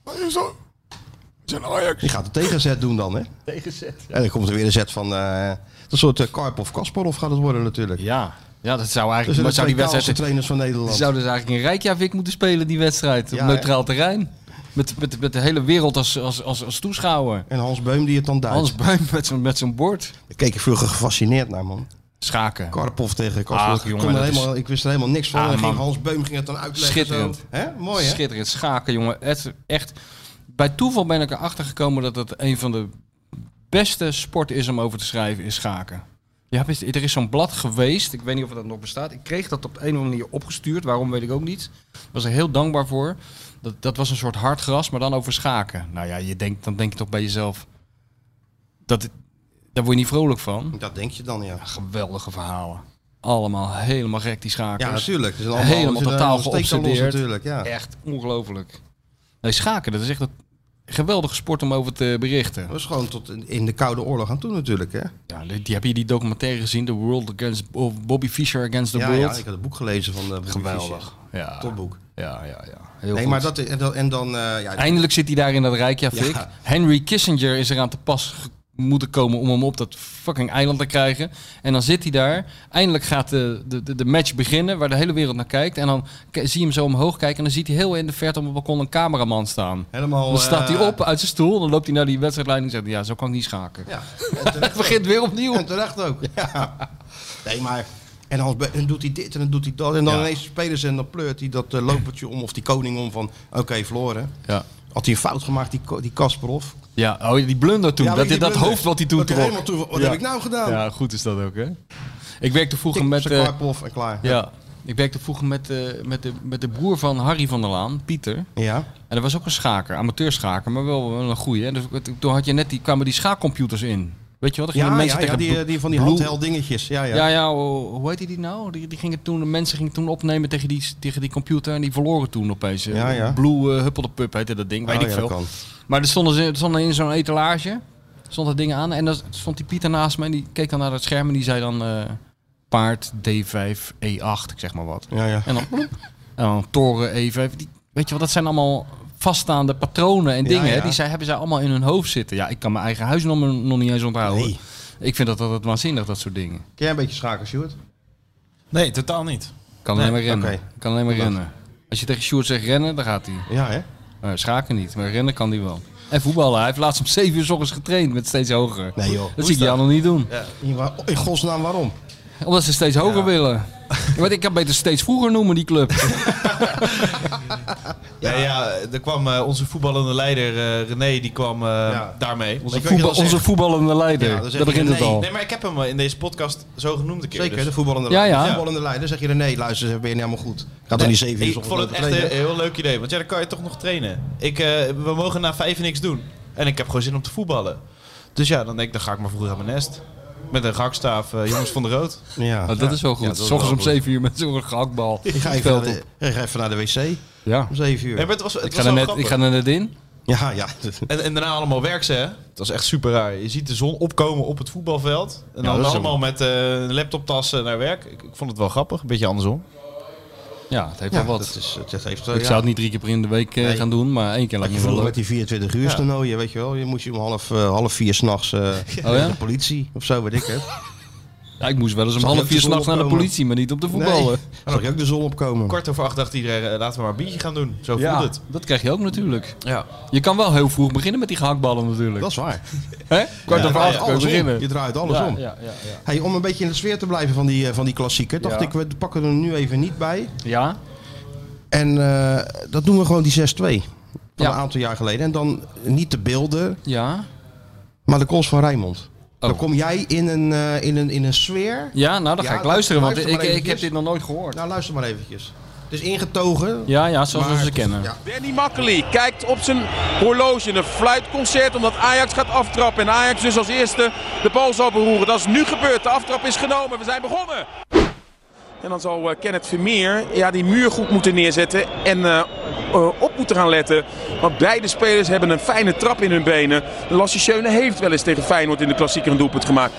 S5: Wat is dat? Het is een Ajax.
S2: Die gaat de tegenzet doen dan, hè? Tegenzet. En dan komt er weer een zet van... eh, een soort eh, Karpov Kasparov gaat het worden natuurlijk.
S3: Ja, ja dat zou
S2: Dus
S3: eigenlijk...
S2: de
S3: maar zou
S2: twee
S3: die
S2: kaalste
S3: wedstrijd,
S2: trainers van
S3: die
S2: Nederland.
S3: zouden dus eigenlijk in Rijkjavik moeten spelen, die wedstrijd.
S2: Ja,
S3: op
S2: hè?
S3: neutraal terrein. Met, met, met de hele wereld als, als, als, als toeschouwer.
S2: En Hans Beum die het dan duidt.
S3: Hans Buim met zo'n met zo'n bord.
S2: Daar keek ik vroeger gefascineerd naar, man.
S3: Schaken.
S2: Karpov tegen
S3: Ach,
S2: Kasparov. ik,
S3: jongen,
S2: kon er
S3: dat is-
S2: helemaal, ik wist er helemaal niks van.
S3: Ah,
S2: en ging
S3: man.
S2: Hans Beum ging het dan uitleggen.
S3: Schitterend.
S2: Zo. Hè? Mooi, hè?
S3: Schitterend. Schaken, jongen. Het, echt. Bij toeval ben ik erachter gekomen dat het een van de beste sporten is om over te schrijven, is schaken. Ja, weet je, er is zo'n blad geweest. Ik weet niet of dat nog bestaat. Ik kreeg dat op de een of andere manier opgestuurd. Waarom weet ik ook niet. Ik was er heel dankbaar voor. Dat, dat was een soort hard gras, maar dan over schaken. Nou ja, je denkt, dan denk je toch bij jezelf... Dat, daar word je niet vrolijk van.
S2: Dat denk je dan, ja.
S3: Geweldige verhalen. Allemaal helemaal gek, die schakers.
S2: Ja, natuurlijk. Het is allemaal-
S3: Helemaal
S2: het is
S3: totaal
S2: een steekbal los
S3: geobsedeerd.
S2: Natuurlijk, ja.
S3: Echt ongelooflijk. Nee, schaken, dat is echt een geweldige sport om over te berichten.
S2: Dat was gewoon tot in- in de Koude Oorlog aan toe natuurlijk, hè?
S3: Ja, die, die- heb je die documentaire gezien? The World Against... Of Bobby Fischer Against the
S2: ja, ja,
S3: World?
S2: ik had het boek gelezen van de
S3: Geweldig. Ja.
S2: Topboek.
S3: Ja, ja, ja. Heel
S2: Nee,
S3: goed.
S2: maar dat en dan, en dan eh, ja,
S3: Eindelijk zit hij daar in dat Rijkjavik.
S2: Ja.
S3: Henry Kissinger is eraan te pas ge- moeten komen om hem op dat fucking eiland te krijgen. En dan zit hij daar. Eindelijk gaat de, de, de- de match beginnen waar de hele wereld naar kijkt. En dan k- zie je hem zo omhoog kijken en dan ziet hij heel in de verte op het balkon een cameraman staan.
S2: helemaal.
S3: Dan staat hij
S2: eh,
S3: op uit zijn stoel, dan loopt hij naar die wedstrijdleiding en zegt: hij, Ja, zo kan ik niet schaken.
S2: Ja, en
S3: Het
S2: terecht,
S3: begint weer opnieuw.
S2: en terecht ook. Ja. Nee, maar en dan, dan doet hij dit en dan doet hij dat en dan
S3: Ja.
S2: ineens spelen ze en dan pleurt hij dat eh, lopertje om of die koning om van oké, verloren.
S3: Ja,
S2: Had hij een fout gemaakt die Ko- die Kasparov?
S3: ja oh, die blunder toen.
S2: Ja,
S3: dat
S2: die
S3: dat
S2: blunder.
S3: hoofd wat hij toen
S2: Dat hij
S3: trok.
S2: helemaal toe- wat
S3: Ja.
S2: heb ik nou gedaan?
S3: Ja, goed is dat ook, hè? Ik werkte vroeger
S2: Tik,
S3: met.
S2: ze
S3: eh,
S2: Karpov en klaar.
S3: ja, ik werkte vroeger met, eh, met, de, met de broer van Harry van der Laan, Pieter.
S2: Ja.
S3: En dat was ook een schaker, amateurschaker, maar wel, wel een goeie. Hè? Dus, toen had je net die, kwamen die schaakcomputers in. Weet je wat? Er gingen
S2: Ja,
S3: mensen
S2: ja, ja,
S3: tegen
S2: die, eh, die van die
S3: Blue-
S2: handheld dingetjes. Ja, ja.
S3: Ja, ja, hoe hoe heette die nou? Die, die gingen toen, de mensen gingen toen opnemen tegen die, tegen die computer en die verloren toen opeens.
S2: Ja, ja.
S3: Blue eh, Huppelde Pup heette dat ding, weet
S2: Oh,
S3: ik
S2: ja,
S3: veel.
S2: dat kan.
S3: Maar er stonden, ze, er stonden in zo'n etalage, stond dat ding aan en dan stond die Pieter naast me en die keek dan naar het scherm en die zei dan eh, paard D5, E8, ik zeg maar wat.
S2: Ja, ja.
S3: En dan, bloep. en dan toren E5, die, weet je wat, dat zijn allemaal vaststaande patronen en
S2: Ja,
S3: dingen. hè,
S2: ja.
S3: Die zij, hebben zij allemaal in hun hoofd zitten. Ja, ik kan mijn eigen huisnummer nog niet eens onthouden.
S2: Nee.
S3: Ik vind dat altijd waanzinnig, dat soort dingen.
S2: Ken jij een beetje schaken, Sjoerd?
S4: Nee, totaal niet.
S3: Kan alleen maar rennen.
S2: oké.
S3: Kan alleen maar rennen. Als je tegen Sjoerd zegt rennen, dan gaat hij.
S2: Ja, hè?
S3: Eh, schaken niet, maar rennen kan hij wel. En voetballen. Hij heeft laatst om 7 uur s ochtends getraind met steeds hoger.
S2: Nee, joh.
S3: Dat zie ik jou nog niet doen.
S2: In wa- in godsnaam waarom?
S3: Omdat ze steeds hoger willen. Want ik kan beter steeds vroeger noemen, die club.
S4: Ja, ja, er kwam eh, onze voetballende leider eh, René, die kwam eh, daarmee.
S2: Onze
S4: Ik
S2: voetbal-
S4: weet niet wat hij
S3: Onze
S4: zegt.
S3: voetballende leider.
S2: Ja, dan zeg
S3: Daar
S2: je
S3: begint het
S2: nee.
S3: al.
S4: Nee, maar ik heb hem eh, in deze podcast zo genoemd een keer.
S2: Zeker,
S4: dus-
S2: de voetballende
S3: Ja,
S2: leider.
S3: ja.
S2: De voetballende leider. Zeg je dan nee, luister, ben je niet helemaal goed. Gaat toch niet zeven uur
S4: Ik vond het echt een
S2: eh,
S4: heel leuk idee, want ja, dan kan je toch nog trainen. Ik, eh, we mogen na vijf niks doen. En ik heb gewoon zin om te voetballen. Dus ja, dan denk ik, dan ga ik maar vroeg aan mijn nest. Met een gakstaaf, eh, jongens van de rood.
S2: Ja.
S3: Nou, dat is wel
S2: Ja,
S3: goed.
S2: dat is
S3: S
S2: wel
S3: Ochtends om
S2: goed.
S3: 7 uur met zo'n gehaktbal.
S2: Ik ga,
S3: het
S2: even naar
S3: veld
S2: de, ik ga even naar de wc
S3: Ja.
S2: om zeven uur.
S4: Nee, maar het was, het
S3: Ik
S4: was
S3: ga, er
S4: wel
S3: net, ik
S4: grappig.
S3: ga er net in.
S2: Ja, ja.
S4: En, en daarna allemaal werk ze, hè? Dat is echt super raar. Je ziet de zon opkomen op het voetbalveld. En
S2: dat
S4: dan
S2: is
S4: allemaal met eh, laptoptassen naar werk. Ik, ik vond het wel grappig, een beetje andersom.
S3: Ja, het heeft
S2: Ja,
S3: wel
S2: wat.
S3: wat.
S2: Dat is, dat heeft,
S3: ik
S2: ja.
S3: zou het niet drie keer per in de week eh,
S2: Nee.
S3: gaan doen, maar één keer lijkt me wel
S2: Vroeger met
S3: leuk.
S2: die 24 uur toernooien, weet je wel. Je moest je om half, eh, half vier s'nachts eh
S3: Oh ja?
S2: de politie of zo, weet ik het.
S3: Ja, ik moest wel eens om
S2: Zag je
S3: half
S2: op
S3: vier
S2: de
S3: s'nachts naar de
S2: opkomen?
S3: politie, maar niet op de voetballen.
S2: Nee, dan zag je ook de zon opkomen.
S4: Kwart over acht dacht iedereen, eh, laten we maar een biertje gaan doen. Zo
S3: Ja,
S4: voelt het.
S3: dat krijg je ook natuurlijk.
S4: Ja.
S3: Je kan wel heel vroeg beginnen met die gehaktballen
S2: Dat
S3: natuurlijk.
S2: is waar.
S3: Hè? Kwart
S2: Je
S3: over
S2: draait
S3: acht kan je
S2: alles om.
S3: beginnen.
S2: Je draait alles om.
S3: Ja, ja, ja.
S2: Hey, om een beetje in de sfeer te blijven van die, eh, van die klassieker, dacht
S3: Ja.
S2: ik, we pakken er nu even niet bij.
S3: ja?
S2: En eh, dat doen we gewoon die 6-2 van
S3: Ja.
S2: een aantal jaar geleden. En dan niet de beelden,
S3: Ja?
S2: maar de calls van Rijmond. Dan
S3: Oh.
S2: kom jij in een, eh, in een, in een sfeer.
S3: Ja, nou dan ga
S2: Ja,
S3: ik luisteren, want
S2: luister
S3: ik,
S2: maar
S3: ik heb
S2: eventjes.
S3: dit nog nooit gehoord.
S2: Nou, luister maar eventjes. Het is ingetogen.
S3: Ja, ja, zoals we
S2: maar-
S3: ze kennen.
S2: Ja.
S8: Danny Makkely kijkt op zijn horloge. Een fluitconcert omdat Ajax gaat aftrappen. En Ajax dus als eerste de bal zal beroeren. Dat is nu gebeurd. De aftrap is genomen. We zijn begonnen. En dan zal eh, Kenneth Vermeer ja, die muur goed moeten neerzetten. En eh, eh, op moeten gaan letten. Want beide spelers hebben een fijne trap in hun benen. Lasse Schöne heeft wel eens tegen Feyenoord in de klassieker een doelpunt gemaakt.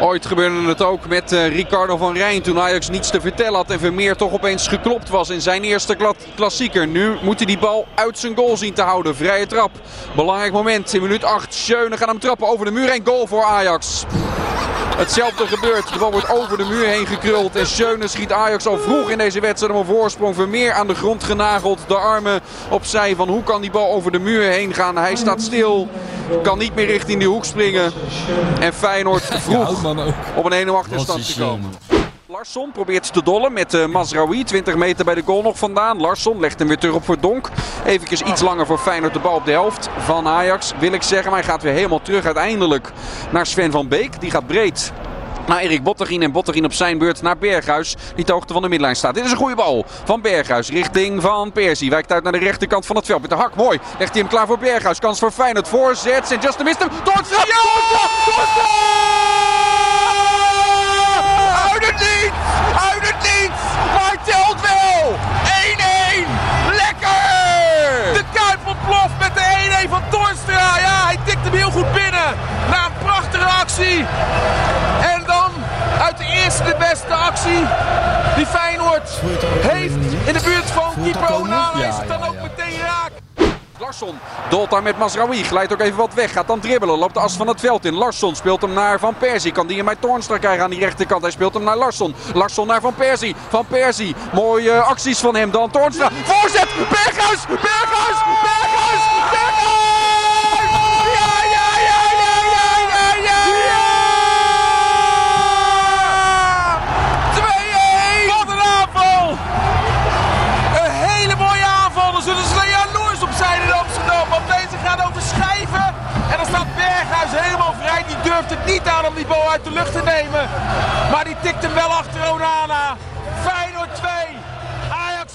S9: Ooit gebeurde het ook met eh, Ricardo van Rijn toen Ajax niets te vertellen had en Vermeer toch opeens geklopt was in zijn eerste kla- klassieker. Nu moet hij die bal uit zijn goal zien te houden. Vrije trap. Belangrijk moment in minuut 8. Schöne gaat hem trappen over de muur en goal voor Ajax. Hetzelfde gebeurt. De bal wordt over de muur heen gekruld. En Schöne schiet Ajax al vroeg in deze wedstrijd om een voorsprong. Vermeer aan de grond genageld. De armen opzij van hoe kan die bal over de muur heen gaan. Hij staat stil. Kan niet meer richting die hoek springen. En Feyenoord vroeg
S3: Houtman ook.
S9: op een 1-0
S3: Wat
S9: achterstand
S3: is,
S9: te
S3: eh,
S9: komen. Larsson probeert te dollen met eh Mazraoui. 20 meter bij de goal nog vandaan. Larsson legt hem weer terug op voor Donk. Eventjes iets langer voor Feyenoord de bal op de helft van Ajax. Wil ik zeggen, maar hij gaat weer helemaal terug uiteindelijk naar Sven van Beek. Die gaat breed. Naar Erik Bottergien en Bottergien op zijn beurt naar Berghuis. Die ter hoogte van de midlijn staat. Dit is een goede bal van Berghuis richting Van Persie. Wijkt uit naar de rechterkant van het veld met de hak. Mooi. Legt hij hem klaar voor Berghuis. Kans voor Feyenoord. Voorzet. En Justin mist hem. Doortrap. Ja! Uit het niet! Uit het niet! Maar telt wel! 1-1! Lekker!
S8: De Kuip ontploft met de 1-1 van Torstra. Ja, hij tikt hem heel goed binnen. Na een prachtige actie. En dan uit de eerste de beste actie die Feyenoord heeft in de buurt van keeper Onana is het dan ook meteen raak.
S9: Larsson dolt daar met Masraoui. Glijdt ook even wat weg. Gaat dan dribbelen. Loopt de as van het veld in. Larsson speelt hem naar Van Persie. Kan die hem bij Toornstra krijgen aan die rechterkant. Hij speelt hem naar Larsson. Larsson naar Van Persie. Van Persie. Mooie eh, acties van hem. Dan Toornstra. Voorzet. Berghuis. Berghuis. Berghuis. Berghuis. Ja, ja, ja, ja, ja, ja, ja, ja. 2-1.
S8: Wat een aanval! Een hele mooie aanval. Er zullen ze jaloers op zijn in Amsterdam. Want deze gaat over schijven. En dan staat Berghuis helemaal vrij. Die durft het niet aan om die bal uit de lucht te nemen. Maar die tikt hem wel achter Onana. Feyenoord 2, Ajax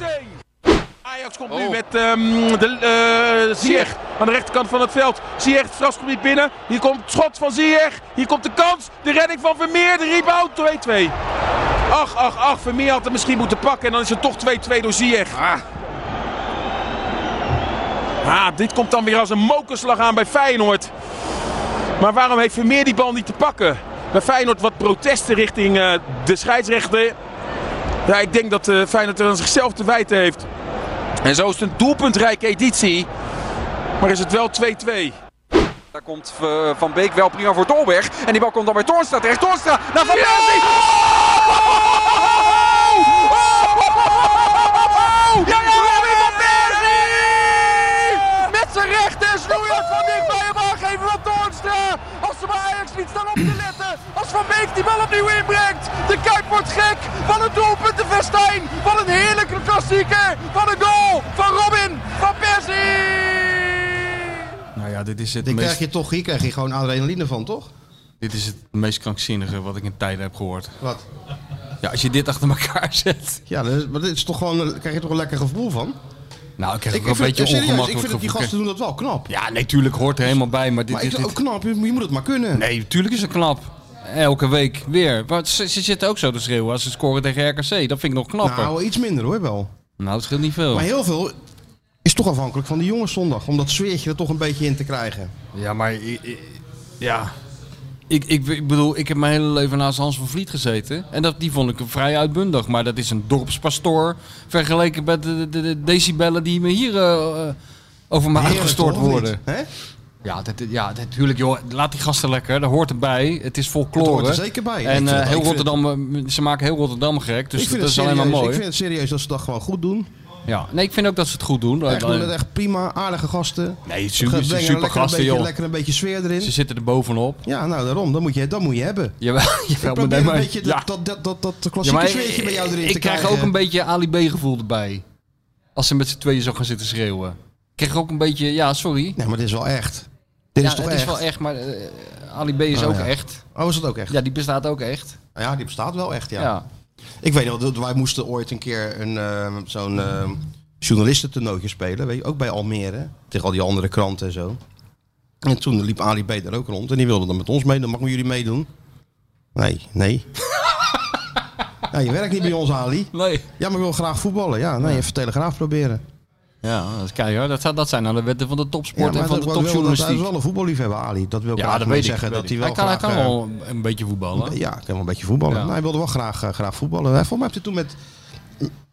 S8: 1. Ajax komt nu met ehm de, eh, Ziyech aan de rechterkant van het veld. Ziyech het strafgebied binnen. Hier komt het schot van Ziyech. Hier komt de kans. De redding van Vermeer. De rebound 2-2. Ach, ach, ach, Vermeer had hem misschien moeten pakken. En dan is het toch 2-2 door Ziyech. Ah. Ah, dit komt dan weer als een mokerslag aan bij Feyenoord. Maar waarom heeft Vermeer die bal niet te pakken? Bij Feyenoord wat protesten richting eh, de scheidsrechter. Ja, ik denk dat eh, Feyenoord er aan zichzelf te wijten heeft. En zo is het een doelpuntrijke editie. Maar is het wel 2-2.
S9: Daar komt eh, Van Beek wel prima voor Dolberg. En die bal komt dan bij Toornstra terecht. Toornstra nou. naar Van Persie. Ja, ja, Robin van Persie! Met zijn rechter snoeien van dichtbij hem aangeven van Toornstra. Als ze bij Ajax niet staan op te letten. Als
S8: Jos van Beek die bal opnieuw inbrengt. De Kuip wordt gek. Wat een doelpunt te festijn. Wat een heerlijke klassieker. Wat een goal van Robin van Persie.
S3: Nou ja, dit is het,
S2: Dit krijg
S3: meest,
S2: je toch, hier krijg je gewoon adrenaline van, toch?
S3: dit is het meest krankzinnige wat ik in tijden heb gehoord.
S2: Wat?
S3: Ja, als je dit achter elkaar zet.
S2: Ja, dat is- maar dit is toch gewoon, daar krijg je toch een lekker gevoel van?
S3: Nou, ik krijg
S2: Ik,
S3: ook een beetje
S2: serieus,
S3: ongemakkelijk
S2: ik vind dat die
S3: gevoel.
S2: gasten doen dat wel knap.
S3: Ja, natuurlijk hoort er helemaal bij, maar dit,
S2: Maar
S3: dit-
S2: ik
S3: dit-
S2: ook knap, je, je moet het maar kunnen.
S3: Nee, natuurlijk is het knap. Elke week weer. Maar ze, ze zitten ook zo te schreeuwen als ze scoren tegen RKC. Dat vind ik nog knapper. Nou,
S2: nou, iets minder hoor, wel.
S3: het scheelt niet veel.
S2: Maar heel veel is toch afhankelijk van die jongens zondag. Om dat sfeertje er toch een beetje in te krijgen.
S3: Ja, maar... i- i- Ja... Ik, ik, ik bedoel, ik heb mijn hele leven naast Hans van Vliet gezeten. En dat, die vond ik vrij uitbundig. Maar dat is een dorpspastoor vergeleken met de, de, de decibellen die me hier eh, eh, over me
S2: Heerlijk,
S3: uitgestort
S2: toch, of niet?
S3: worden. Dus
S2: Hè?
S3: Ja, dat, ja, natuurlijk joh. Laat die gasten lekker. Dat hoort erbij. Het is folklore.
S2: Dat hoort er zeker bij. Ik
S3: En
S2: vind
S3: eh,
S2: het- ik
S3: heel
S2: vind het-
S3: Rotterdam, eh, ze maken heel Rotterdam gek. Dus
S2: ik vind
S3: dat is
S2: het
S3: alleen
S2: serieus,
S3: maar mooi.
S2: Ik vind het serieus dat ze dat gewoon goed doen.
S3: Ja, nee, ik vind ook dat ze het goed doen.
S2: Echt, doen
S3: Alleen-
S2: het echt prima, aardige gasten.
S3: nee,
S2: Brengen
S3: super,
S2: er
S3: super
S2: lekker, een
S3: gasten,
S2: beetje,
S3: joh.
S2: lekker een beetje sfeer
S3: Ze
S2: erin.
S3: zitten er bovenop.
S2: Ja, nou daarom, dat moet je, dat moet je hebben.
S3: Jawel, jawel,
S2: Ik
S3: maar
S2: probeer
S3: nee,
S2: een
S3: maar-
S2: beetje dat,
S3: ja.
S2: dat, dat, dat, dat
S3: Ja,
S2: klassieke
S3: maar
S2: sfeertje bij jou erin
S3: ik
S2: te
S3: krijg
S2: krijgen.
S3: ook een beetje Ali B gevoel erbij. Als ze met z'n tweeën zo gaan zitten schreeuwen. Ik krijg ook een beetje, ja, sorry.
S2: Nee, maar dit is wel echt. Dit
S3: ja,
S2: is toch
S3: het
S2: echt?
S3: is wel echt, maar eh, Ali B is
S2: Oh,
S3: ook
S2: ja.
S3: echt.
S2: Oh, is dat ook echt? Ja.
S3: Ja, die bestaat ook echt.
S2: die bestaat wel echt, ja.
S3: Ja.
S2: Ik weet nog, dat wij moesten ooit een keer een, eh, zo'n eh journalistentoernootje spelen. Weet je, ook bij Almere. Tegen al die andere kranten en zo. En toen liep Ali B er ook rond. En die wilde dan met ons meedoen. Mag ik met jullie meedoen? Nee, nee. ja, je werkt niet bij ons, Ali.
S3: Nee.
S2: Ja, maar ik wil graag voetballen. Ja, nee, even Telegraaf proberen.
S3: Ja, dat is keihard. Dat, zijn- dat zijn dan de wetten van de
S2: Ja,
S3: topsport en
S2: maar
S3: van
S2: dat-
S3: de
S2: wel- Hij is
S3: topjournalistiek.
S2: wel een voetballiefhebber, Ali. Dat wil ik
S3: Ja,
S2: graag
S3: dat
S2: mee
S3: weet ik.
S2: zeggen.
S3: weet
S2: dat hij
S3: ik.
S2: wel
S3: kan,
S2: graag,
S3: hij kan
S2: eh,
S3: wel een beetje voetballen.
S2: Ja, ik kan wel een beetje voetballen.
S3: Ja.
S2: Nou, hij wilde wel graag, eh, graag voetballen. Hij- Volgens mij heeft hij toen met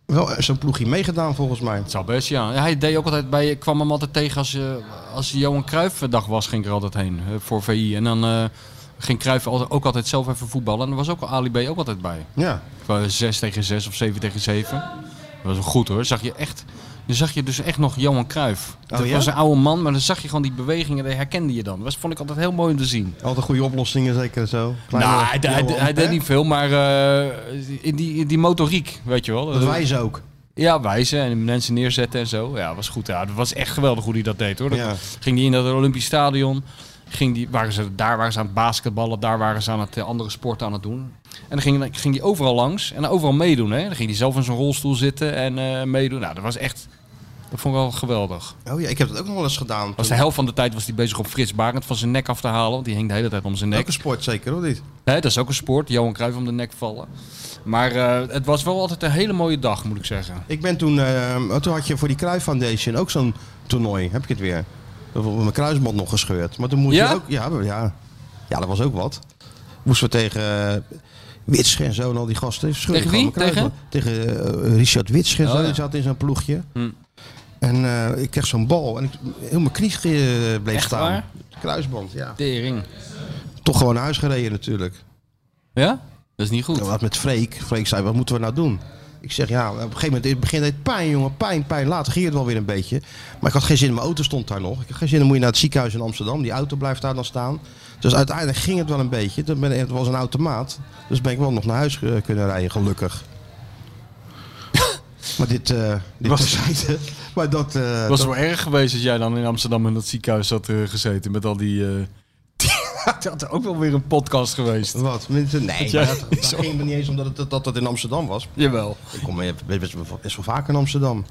S2: mm, wel eh, zo'n ploegje meegedaan, volgens mij.
S3: Het zou best, ja. Hij deed ook altijd bij, ik kwam hem altijd tegen als, eh, als Johan Cruijff dag was, ging ik er altijd heen eh, voor VI. En dan eh, ging Cruijff altijd, ook altijd zelf even voetballen. En er was ook Ali B ook altijd bij.
S2: Ja.
S3: Ik wou 6 tegen 6 of 7 tegen 7. Dat was wel goed hoor. Zag je echt, dan zag je dus echt nog Johan Cruijff.
S2: Oh,
S3: Dat
S2: ja?
S3: was een oude man, maar dan zag je gewoon die bewegingen, die herkende je dan. Dat vond ik altijd heel mooi om te zien.
S2: Altijd goede oplossingen, zeker zo. Kleine-
S3: Nou, hij, hij-
S2: Johan,
S3: hij deed
S2: hè?
S3: niet veel, maar eh, in, die, in die motoriek, weet je wel.
S2: Dat wijzen ook.
S3: Ja, wijzen en mensen neerzetten en zo. Ja, was goed. Ja, dat was echt geweldig hoe hij dat deed hoor. Dat-
S2: Ja.
S3: Ging die in dat Olympisch Stadion. Ging die, waren ze, daar waren ze aan het basketballen, daar waren ze aan het eh, andere sporten aan het doen. En dan ging, dan ging hij overal langs en overal meedoen. Hè? Dan ging hij zelf in zijn rolstoel zitten en eh, meedoen. Nou, dat was echt. Dat vond ik wel geweldig.
S2: Oh ja, ik heb dat ook nog wel eens gedaan.
S3: Was de helft van de tijd was hij bezig om Frits Barend van zijn nek af te halen. Want die hing de hele tijd om zijn nek.
S2: Elke sport zeker, of niet?
S3: Hè, dat is ook een sport. Johan Cruijff om de nek vallen. Maar eh, het was wel altijd een hele mooie dag, moet ik zeggen.
S2: Ik ben toen, eh, toen had je voor die Cruijff Foundation ook zo'n toernooi. Heb ik het weer. Bijvoorbeeld mijn kruisband nog gescheurd. Maar toen moest
S3: Ja?
S2: je ook, ja, maar ja. Ja, dat was ook wat. Moesten we tegen eh, Witsch en zo en al die gasten. Scheur ik
S3: Tegen
S2: gewoon
S3: wie?
S2: mijn kruisband. Tegen eh, Richard Witsch en
S3: Oh,
S2: zo.
S3: ja. Hm.
S2: Die zat in zijn ploegje. En eh, ik kreeg zo'n bal en ik, heel mijn knie eh, bleef
S3: Echt
S2: staan.
S3: waar?
S2: Kruisband, ja.
S3: Tering.
S2: Toch gewoon naar huis gereden natuurlijk.
S3: Ja? Dat is niet goed.
S2: Ik had met Freek. Freek zei, wat moeten we nou doen? Ik zeg, ja, op een gegeven moment in het begin deed het pijn, jongen. Pijn, pijn. Later ging het wel weer een beetje. Maar ik had geen zin. Mijn auto stond daar nog. Ik had geen zin. Dan moet je naar het ziekenhuis in Amsterdam. Die auto blijft daar dan staan. Dus uiteindelijk ging het wel een beetje. Toen ben, het was een automaat. Dus ben ik wel nog naar huis eh, kunnen rijden, gelukkig. maar dit, eh dit
S3: Was-
S2: was... Terzijde. Maar dat... eh,
S3: Het was wel erg geweest als jij dan in Amsterdam in dat ziekenhuis had eh, gezeten met al die... eh dat had ook wel weer een podcast geweest.
S2: Wat? Mensen- Nee,
S3: jij-
S2: maar dat, dat ging me niet eens omdat het, dat het in Amsterdam was.
S3: Jawel. Hm.
S2: Ik kom best, best, best wel vaak in Amsterdam.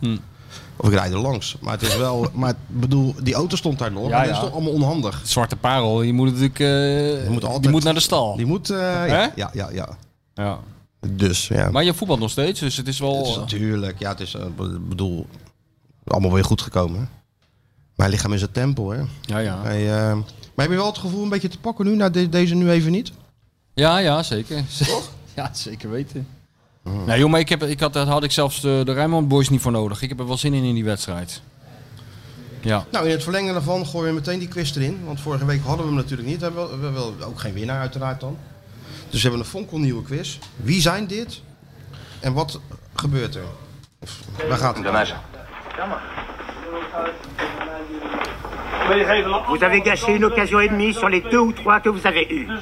S2: Of ik rijd er langs. Maar het is wel. Maar ik bedoel, die auto stond daar nog.
S3: Ja,
S2: maar dat
S3: ja.
S2: is toch allemaal onhandig.
S3: Zwarte parel, je moet natuurlijk... eh,
S2: Je moet altijd-
S3: die moet naar de stal.
S2: Die moet. eh,
S3: Hè?
S2: ja, ja, ja, ja.
S3: Ja.
S2: Dus ja.
S3: Maar je voetbalt nog steeds, dus het is
S2: het is
S3: wel...
S2: natuurlijk. Ja, het is. eh, be- bedoel, allemaal weer goed gekomen. hè. Mijn lichaam is een tempel, hè?
S3: Ja, ja.
S2: Hij, eh, maar heb je wel het gevoel een beetje te pakken nu? Nou, de- deze nu even niet.
S3: Ja, ja, zeker. ja, zeker weten. Nee joh, maar ik, heb, ik had, daar had ik zelfs de, de Rijnmond Boys niet voor nodig. Ik heb er wel zin in in die wedstrijd. Ja.
S2: Nou, in het verlengen daarvan gooien we meteen die quiz erin. Want vorige week hadden we hem natuurlijk niet. We hebben wel- we hebben wel ook geen winnaar uiteraard dan. Dus we hebben een fonkelnieuwe quiz. Wie zijn dit? En wat gebeurt er? Of, waar gaat het?
S10: Vous avez gâché une occasion et demie sur les deux ou trois que vous avez eues.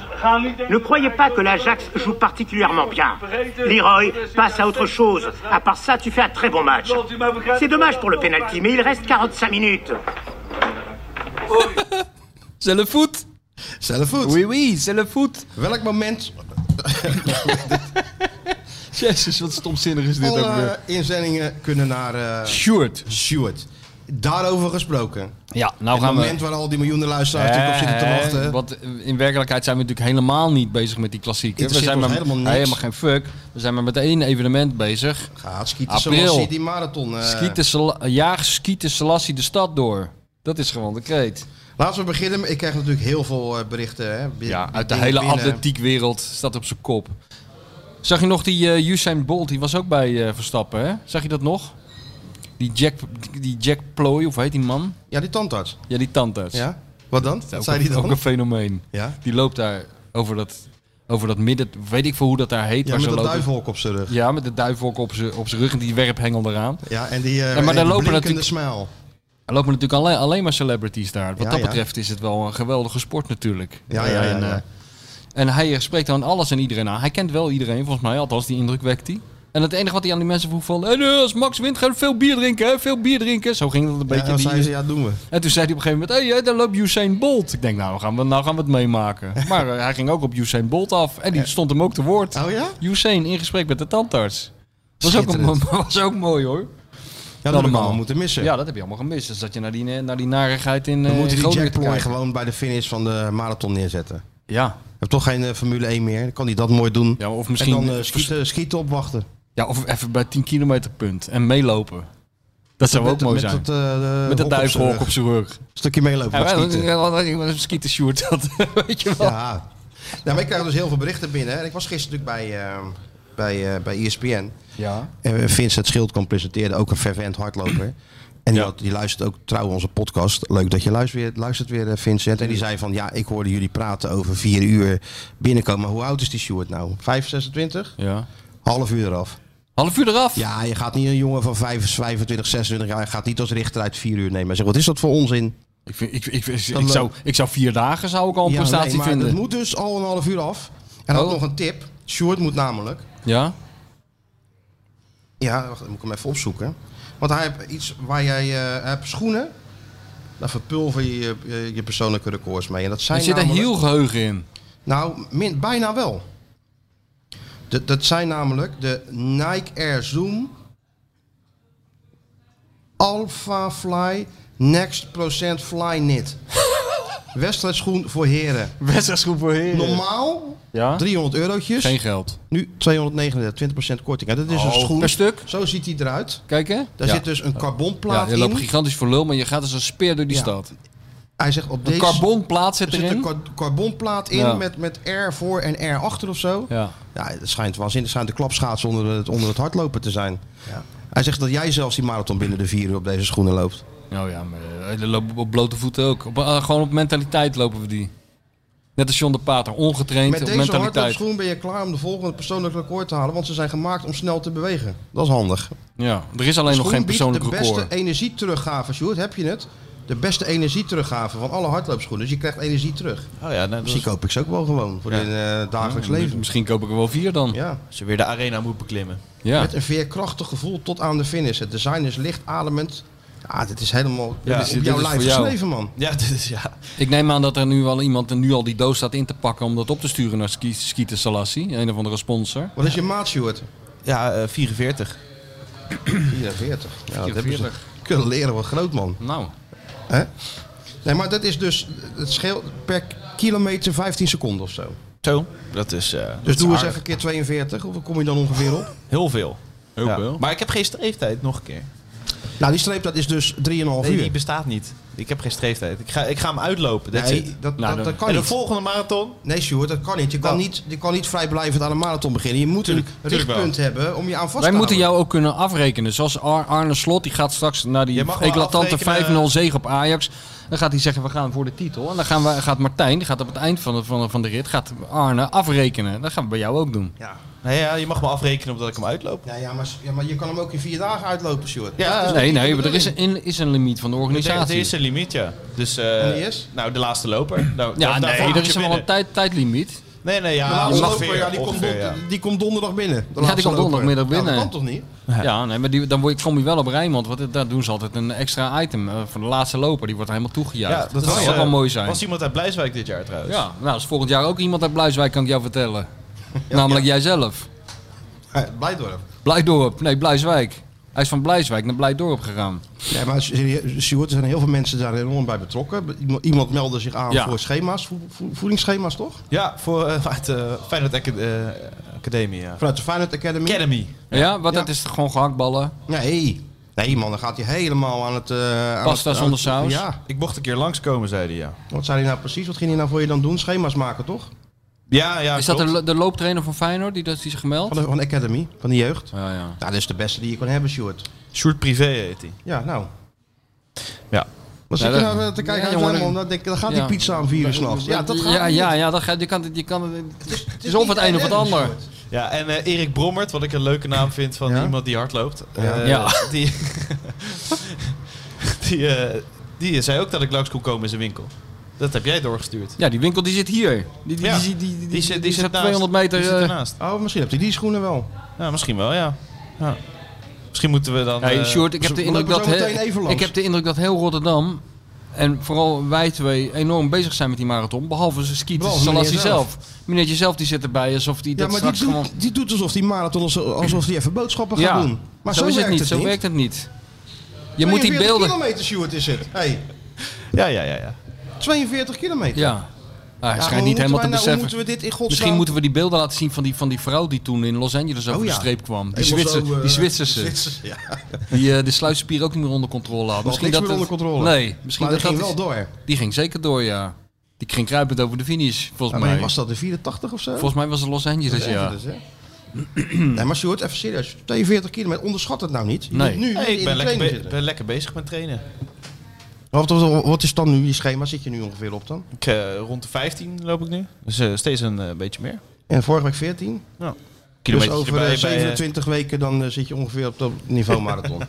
S10: Ne croyez pas que l'Ajax joue particulièrement bien. Leroy passe à autre chose. À part ça, tu fais un très bon match. C'est dommage pour le penalty, mais il reste 45 minutes.
S3: C'est le foot.
S2: Zelf goed.
S3: Oui, oui, c'est le foot.
S2: Welk moment
S3: Jezus, wat stomzinnig is dit ook weer.
S2: alle inzendingen kunnen naar eh
S3: Stuart.
S2: Stuart. Daarover gesproken.
S3: Ja, nou
S2: het
S3: gaan we...
S2: moment waar al die miljoenen luisteraars natuurlijk op zitten te
S3: Eh,
S2: wachten.
S3: Want in werkelijkheid zijn we natuurlijk helemaal niet bezig met die klassieker. We
S2: Interesseert
S3: zijn
S2: ons
S3: maar,
S2: helemaal niks.
S3: helemaal geen fuck. We zijn maar met één evenement bezig.
S2: Gaat skieten
S3: April.
S2: zoals City Marathon. eh.
S3: Schieten Sela- jaag Skieten Selassie de stad door. Dat is gewoon de kreet.
S2: Laten we beginnen. Ik krijg natuurlijk heel veel eh, berichten. Hè, bi-
S3: Ja,
S2: bi-
S3: uit de
S2: dingen
S3: hele
S2: binnen.
S3: atletiekwereld staat op zijn kop. Zag je nog die eh Usain Bolt? Die was ook bij eh, Verstappen, hè? Zag je dat nog? Die Jack, die Jack Ploy, of hoe heet die man?
S2: Ja, die tandarts.
S3: Ja, die tandarts.
S2: Ja? Wat dan?
S3: Dat
S2: Wat
S3: is
S2: zei
S3: ook,
S2: die
S3: ook een
S2: dan?
S3: fenomeen.
S2: Ja,
S3: Die loopt daar over dat, over dat midden, weet ik veel hoe dat daar
S2: ja
S3: heet. maar
S2: met
S3: ze
S2: een
S3: lopen-
S2: duivelhok op zijn rug.
S3: Ja, met de duivelhok op zijn op zijn rug en die werphengel eraan.
S2: Ja, en die, eh die
S3: maar daar lopen
S2: blinkende
S3: natuurlijk-
S2: smile.
S3: Er lopen natuurlijk alleen, alleen maar celebrities daar. Wat
S2: Ja,
S3: dat
S2: ja.
S3: betreft is het wel een geweldige sport natuurlijk.
S2: Ja, ja, ja,
S3: En, eh,
S2: ja.
S3: en hij spreekt dan alles en iedereen aan. Hij kent wel iedereen, volgens mij. Althans, die indruk wekt hij. En het enige wat hij aan die mensen vroeg van... "Hey, eh, als Max wint, gaan we veel bier drinken, hè? Veel bier drinken. Zo ging dat een
S2: Ja,
S3: beetje.
S2: dan
S3: die-
S2: zei ze, ja, doen we.
S3: En toen zei hij op een gegeven moment... Hé, hey, daar loopt Usain Bolt. Ik denk, nou gaan we, nou gaan we het meemaken. Maar eh, hij ging ook op Usain Bolt af. En die stond hem ook te woord.
S2: Oh ja?
S3: Usain in gesprek met de tandarts. Was ook, een-
S2: Schitterend.
S3: was ook mooi, hoor.
S2: Ja, dat heb ik
S3: Allemaal.
S2: allemaal moeten missen.
S3: Ja, dat heb je allemaal gemist. Dus dat je naar die, naar die narigheid in
S2: We
S3: eh,
S2: moeten die
S3: Groningen
S2: Jack
S3: te
S2: Ploy
S3: kijken.
S2: gewoon bij de finish van de marathon neerzetten. We
S3: Ja.
S2: hebben toch geen eh, Formule 1 meer. Dan kan hij dat mooi doen.
S3: ja, of
S2: en
S3: misschien
S2: dan eh, schieten, schieten opwachten.
S3: ja, of even bij 10 kilometer punt en meelopen. Dat zou ook
S2: met,
S3: mooi
S2: met
S3: zijn.
S2: Dat, eh,
S3: met de
S2: hok op zijn
S3: duivelhok
S2: rug.
S3: op zijn rug.
S2: Stukje meelopen.
S3: Ja,
S2: maar
S3: wij-
S2: schieten.
S3: wij- wij- Skieten Sjoerd, dat weet je wel.
S2: Ja. Nou, maar ik krijg dus heel veel berichten binnen. En ik was gisteren natuurlijk bij, eh, bij, eh, bij ESPN.
S3: Ja.
S2: En Vincent Schildkamp presenteerde ook een fervent hardloper. En die,
S3: Ja.
S2: had- die luistert ook trouw onze podcast. Leuk dat je luistert weer, luistert weer eh, Vincent. En die zei van, ja, ik hoorde jullie praten over vier uur binnenkomen. Maar hoe oud is die Stuart nou? 5, 26?
S3: ja.
S2: Half uur eraf.
S3: Half uur eraf.
S2: Ja, je gaat niet een jongen van 5, 25, 26 jaar... je gaat niet als richter uit vier uur nemen. Zeg, wat is dat voor onzin?
S3: Ik, vind, ik, ik, ik,
S2: Dan, eh,
S3: ik zou, ik zou vier dagen zou ik al een
S2: Ja,
S3: prestatie
S2: nee, maar
S3: vinden.
S2: Het moet dus al een half uur af. En dan
S3: Oh.
S2: had nog een tip. Stuart moet namelijk...
S3: Ja?
S2: Ja, wacht, dan moet ik hem even opzoeken. Want hij heeft iets waar jij eh, hij hebt schoenen. Daar verpulver je, je je- je persoonlijke records mee. En dat zijn
S3: Er zit een
S2: namelijk-
S3: heel geheugen in.
S2: Nou, min, bijna wel. Dat, dat zijn namelijk de Nike Air Zoom Alpha Fly Next Procent Fly Knit. Wedstrijdschoen voor heren.
S3: Wedstrijdsgroep voor heren.
S2: Normaal
S3: Ja?
S2: 300 eurotjes.
S3: Dus- Geen geld.
S2: Nu 239, 20% korting. En dat is een schoen.
S3: Per stuk.
S2: Zo ziet hij eruit.
S3: Kijk hè.
S2: Daar
S3: ja.
S2: zit dus een
S3: ja,
S2: carbonplaat
S3: je loopt
S2: in.
S3: gigantisch voor lul, maar je gaat als een speer door die
S2: Ja.
S3: stad.
S2: Hij zegt op
S3: Een
S2: deze
S3: carbonplaat zit
S2: er zit
S3: erin.
S2: een car- carbonplaat in
S3: Ja.
S2: met, met R voor en R achter of zo. Ja,
S3: Ja.
S2: het schijnt waanzinnig schijnt de klapschaats onder het, onder het hardlopen te zijn. Hij zegt dat jij zelfs die marathon binnen de vier uur op deze schoenen loopt.
S3: Nou ja, maar eh, dan lopen we op blote voeten ook. Op, eh, gewoon op mentaliteit lopen we die. Net als John de Pater, ongetraind
S2: Met
S3: op
S2: deze
S3: mentaliteit.
S2: hardloopschoen ben je klaar om de volgende persoonlijk record te halen, want ze zijn gemaakt om snel te bewegen. Dat is handig.
S3: Ja, er is alleen nog
S2: Schoen
S3: geen
S2: biedt
S3: persoonlijk
S2: de
S3: record.
S2: beste energie teruggave, Sjoerd, heb je het? De beste energie teruggave van alle hardloopschoenen. Dus je krijgt energie terug.
S4: Oh ja,
S3: Dus-
S4: nou, dat
S2: Misschien
S4: is
S2: koop ik ze ook wel gewoon voor in eh, dagelijks leven.
S3: Misschien koop ik er wel vier dan. Ja.
S2: Ja.
S4: als je weer de arena moet beklimmen.
S2: Met een veerkrachtig gevoel tot aan de finish. Het design is licht ademend. Ja, dit is helemaal
S4: Ja,
S2: dit is,
S3: dit
S2: op
S3: is
S2: jouw
S3: voor
S2: lijf
S3: jou.
S2: geschreven, man.
S4: Ja, dit is ja.
S3: Ik neem aan dat er nu al iemand nu al die doos staat in te pakken om dat op te sturen naar Ski- Skieten Salassi, een of andere sponsor.
S2: Wat is je maat, Stuart?
S4: Ja, eh, 44.
S2: 44. Ja, dat hebben ze kunnen leren wat groot, man.
S3: Nou,
S2: Nee, maar dat is dus... Het scheelt per kilometer 15 seconden of zo.
S4: Zo. Dat is. eh, dat
S2: Dus
S4: is
S2: doe eens
S4: aardig.
S2: even een keer 42. Hoeveel kom je dan ongeveer op?
S4: Heel veel.
S3: heel
S4: Ja.
S3: wel.
S4: Maar ik heb geen streeftijd, nog een keer.
S2: Nou, die streep, dat is dus 3,5
S4: Nee, die
S2: uur.
S4: bestaat niet. Ik heb geen streeftijd. Ik ga, ik ga hem uitlopen. That's it.
S2: Nee, dat,
S3: Nou,
S2: dat,
S3: dan-
S2: dat kan
S4: En de
S2: niet.
S4: volgende marathon?
S2: Nee, Stuart, dat kan niet. Je kan
S4: Nou.
S2: niet, je kan niet vrijblijvend aan een marathon beginnen. Je moet
S4: Tuurlijk,
S2: een
S4: tuurlijk wel.
S2: richtpunt hebben om je aan vast te
S3: wij
S2: houden.
S3: moeten jou ook kunnen afrekenen. Zoals Ar- Arne Slot, die gaat straks naar die
S4: Je mag wel
S3: eclatante
S4: afrekenen.
S3: 5-0 zege op Ajax. Dan gaat hij zeggen, we gaan voor de titel. En dan gaan we, gaat Martijn, die gaat op het eind van de, van de, van de rit, gaat Arne afrekenen. Dat gaan we bij jou ook doen.
S2: Ja.
S4: Nee, ja, je mag me afrekenen omdat ik hem uitloop.
S2: Ja, ja, maar, ja, maar je kan hem ook in vier dagen uitlopen, Sjoerd.
S4: Ja,
S2: Dat is niet
S3: Nee,
S2: de
S3: dus nee, maar er
S2: bedoeling.
S3: is een, is een limiet van de
S4: Er
S3: organisatie.
S4: is een limiet, ja. Dus, eh,
S2: En die is?
S4: Nou, de laatste loper. Nou,
S3: ja,
S4: daar- daar
S3: nee,
S4: val
S3: er
S4: je
S3: is wel
S4: binnen.
S3: een tijd, tijdlimiet.
S4: Nee, nee,
S2: De
S4: ja.
S2: laatste
S4: ongeveer,
S2: loper, ja, die, komt
S4: ongeveer,
S2: don-
S4: ja.
S2: die komt donderdag binnen. De
S3: die
S2: laatste
S3: komt donderdagmiddag
S2: loper. Ja,
S3: binnen.
S2: dat kan toch niet?
S3: Ja, nee, maar die, dan word je, kom je wel op Rijnmond. Want daar doen ze altijd een extra item eh, voor de laatste loper. Die wordt helemaal toegejuicht.
S4: Ja,
S3: dat zou
S4: was,
S3: toch
S4: eh,
S3: wel mooi zijn.
S4: was iemand uit Blijswijk dit jaar trouwens.
S3: Ja, nou, is volgend jaar ook iemand uit Bluiswijk, kan ik jou vertellen. Namelijk jijzelf.
S2: Ja, Blijdorp.
S3: Blijdorp, nee, Bluiswijk. Hij is van Bluiswijk naar Blijdorp gegaan.
S2: Nee, maar serieus, Sjoerd, er zijn heel veel mensen daar enorm bij betrokken. Iemand- Iemand meldde zich aan
S3: Ja.
S2: voor schema's, voe- voe- voedingsschema's toch?
S4: Ja, voor, eh, uit de Feyenoord Acad- eh, Academie. ja.
S2: Vanuit de Feyenoord Academy.
S4: Academy.
S3: Ja, want
S2: Ja.
S3: dat is gewoon gehaktballen.
S2: Nee. Nee man, dan gaat hij helemaal aan het... eh, aan
S3: Pasta
S2: het- aan
S3: zonder
S2: het-
S3: saus.
S2: Ja.
S4: Ah. Ik mocht een keer langskomen, zei hij, ja.
S2: Wat zei hij nou precies? Wat ging hij nou voor je dan doen? Schema's maken toch?
S4: Ja, ja,
S3: Is dat de,
S4: klopt.
S3: lo- de looptrainer van Feyenoord die, dat- die zich gemeld?
S2: Van de, van de Academy, van de jeugd.
S3: Ja, ja.
S2: Nou, dat is de beste die je kan hebben, Sjoerd.
S4: Sjoerd Privé heet hij.
S2: Ja, nou.
S4: Ja.
S2: Wat
S3: Ja,
S2: zit je
S3: dat-
S2: nou eh, te kijken
S3: Ja,
S2: uit
S3: jongen,
S2: helemaal? Dan denk ik, dan gaat
S3: ja.
S2: die pizza aan vier uur s'nachts. Ja, dat gaat
S3: ja,
S2: niet.
S3: ja, ja, dat gaat, je kan, het- je kan, het- het is of het
S2: niet
S3: een of het
S2: redden,
S3: ander.
S2: Sjoerd.
S4: Ja, en eh, Erik Brommert, wat ik een leuke naam vind van
S2: Ja?
S4: iemand die hardloopt. Eh,
S3: Ja.
S4: Die, die, eh, die zei ook dat ik langs kon komen in zijn winkel. Dat heb jij doorgestuurd.
S3: Ja, die winkel die zit hier. Die, die,
S4: Ja.
S3: die, die, die, die,
S4: zit-
S3: die
S4: zit
S3: zit
S4: naast.
S3: 200 meter.
S4: Die zit
S3: eh,
S4: ernaast.
S2: Oh, misschien hebt hij die schoenen wel.
S4: Ja, misschien wel, ja. ja. Misschien moeten we dan...
S3: Hey,
S4: eh,
S3: Sjoerd, ik heb,
S2: we
S3: de indruk
S2: lopen
S3: dat,
S2: zo meteen even
S3: he-
S2: langs.
S3: ik heb de indruk dat heel Rotterdam en vooral wij twee enorm bezig zijn met die marathon. Behalve ze skieten
S2: Behalve
S3: zoals hij
S2: meneer
S3: zelf. Meneertje zelf die zit erbij alsof die
S2: Ja,
S3: dat
S2: maar die
S3: straks
S2: doet,
S3: gewoon...
S2: die doet alsof die marathon alsof- alsof die even boodschappen gaat doen. Maar zo,
S3: is het
S2: werkt
S3: niet.
S2: het
S3: zo
S2: niet.
S3: werkt het niet. Je moet die
S2: 42
S3: beelden...
S2: kilometer, Sjoerd, is het. Hey,
S4: Ja, ja, ja, ja.
S2: 42 kilometer.
S3: Ja. Ah, hij
S2: Ja,
S3: schijnt
S2: hoe
S3: niet helemaal te
S2: moeten wij nou-
S3: beseffen.
S2: Hoe moeten we dit in godsnaam...
S3: Misschien moeten we die beelden laten zien van die, van die vrouw die toen in Los Angeles
S2: Oh,
S3: over de
S2: ja.
S3: streep kwam. Die,
S2: Helemaal
S3: Zwitser,
S2: zo, eh,
S3: die Zwitserse.
S2: Zwitsers, ja.
S3: Die eh, de sluitspier ook niet meer onder controle had. Misschien
S2: niks
S3: dat
S2: meer
S3: het-
S2: onder controle.
S3: Nee, misschien
S2: Maar die
S3: dat Oh,
S2: ging
S3: dat
S2: wel
S3: is-
S2: door.
S3: Die ging zeker door, ja. Die ging kruipend over de finish, volgens
S2: Nou,
S3: mij.
S2: was dat de 84 of zo?
S3: Volgens mij was het Los Angeles,
S2: Los
S3: ja.
S2: Angeles, hè? nee, maar Sjoerd, even serieus. 42 kilometer, onderschat het nou niet. Je
S3: Nee.
S2: moet nu
S4: Hey, ik
S2: in
S4: ben
S2: de
S4: lekker,
S2: training
S4: be-
S2: zitten.
S4: ben lekker bezig met trainen.
S2: Wat, wat, wat is dan nu je schema? Zit je nu ongeveer op dan?
S4: Ik, eh, rond de 15 loop ik nu. Dus eh, steeds een eh, beetje meer.
S2: En vorige week 14. Dus
S4: Kilometers
S2: over
S4: erbij,
S2: eh,
S4: bij, eh,
S2: 27 weken dan eh, zit je ongeveer op dat niveau marathon.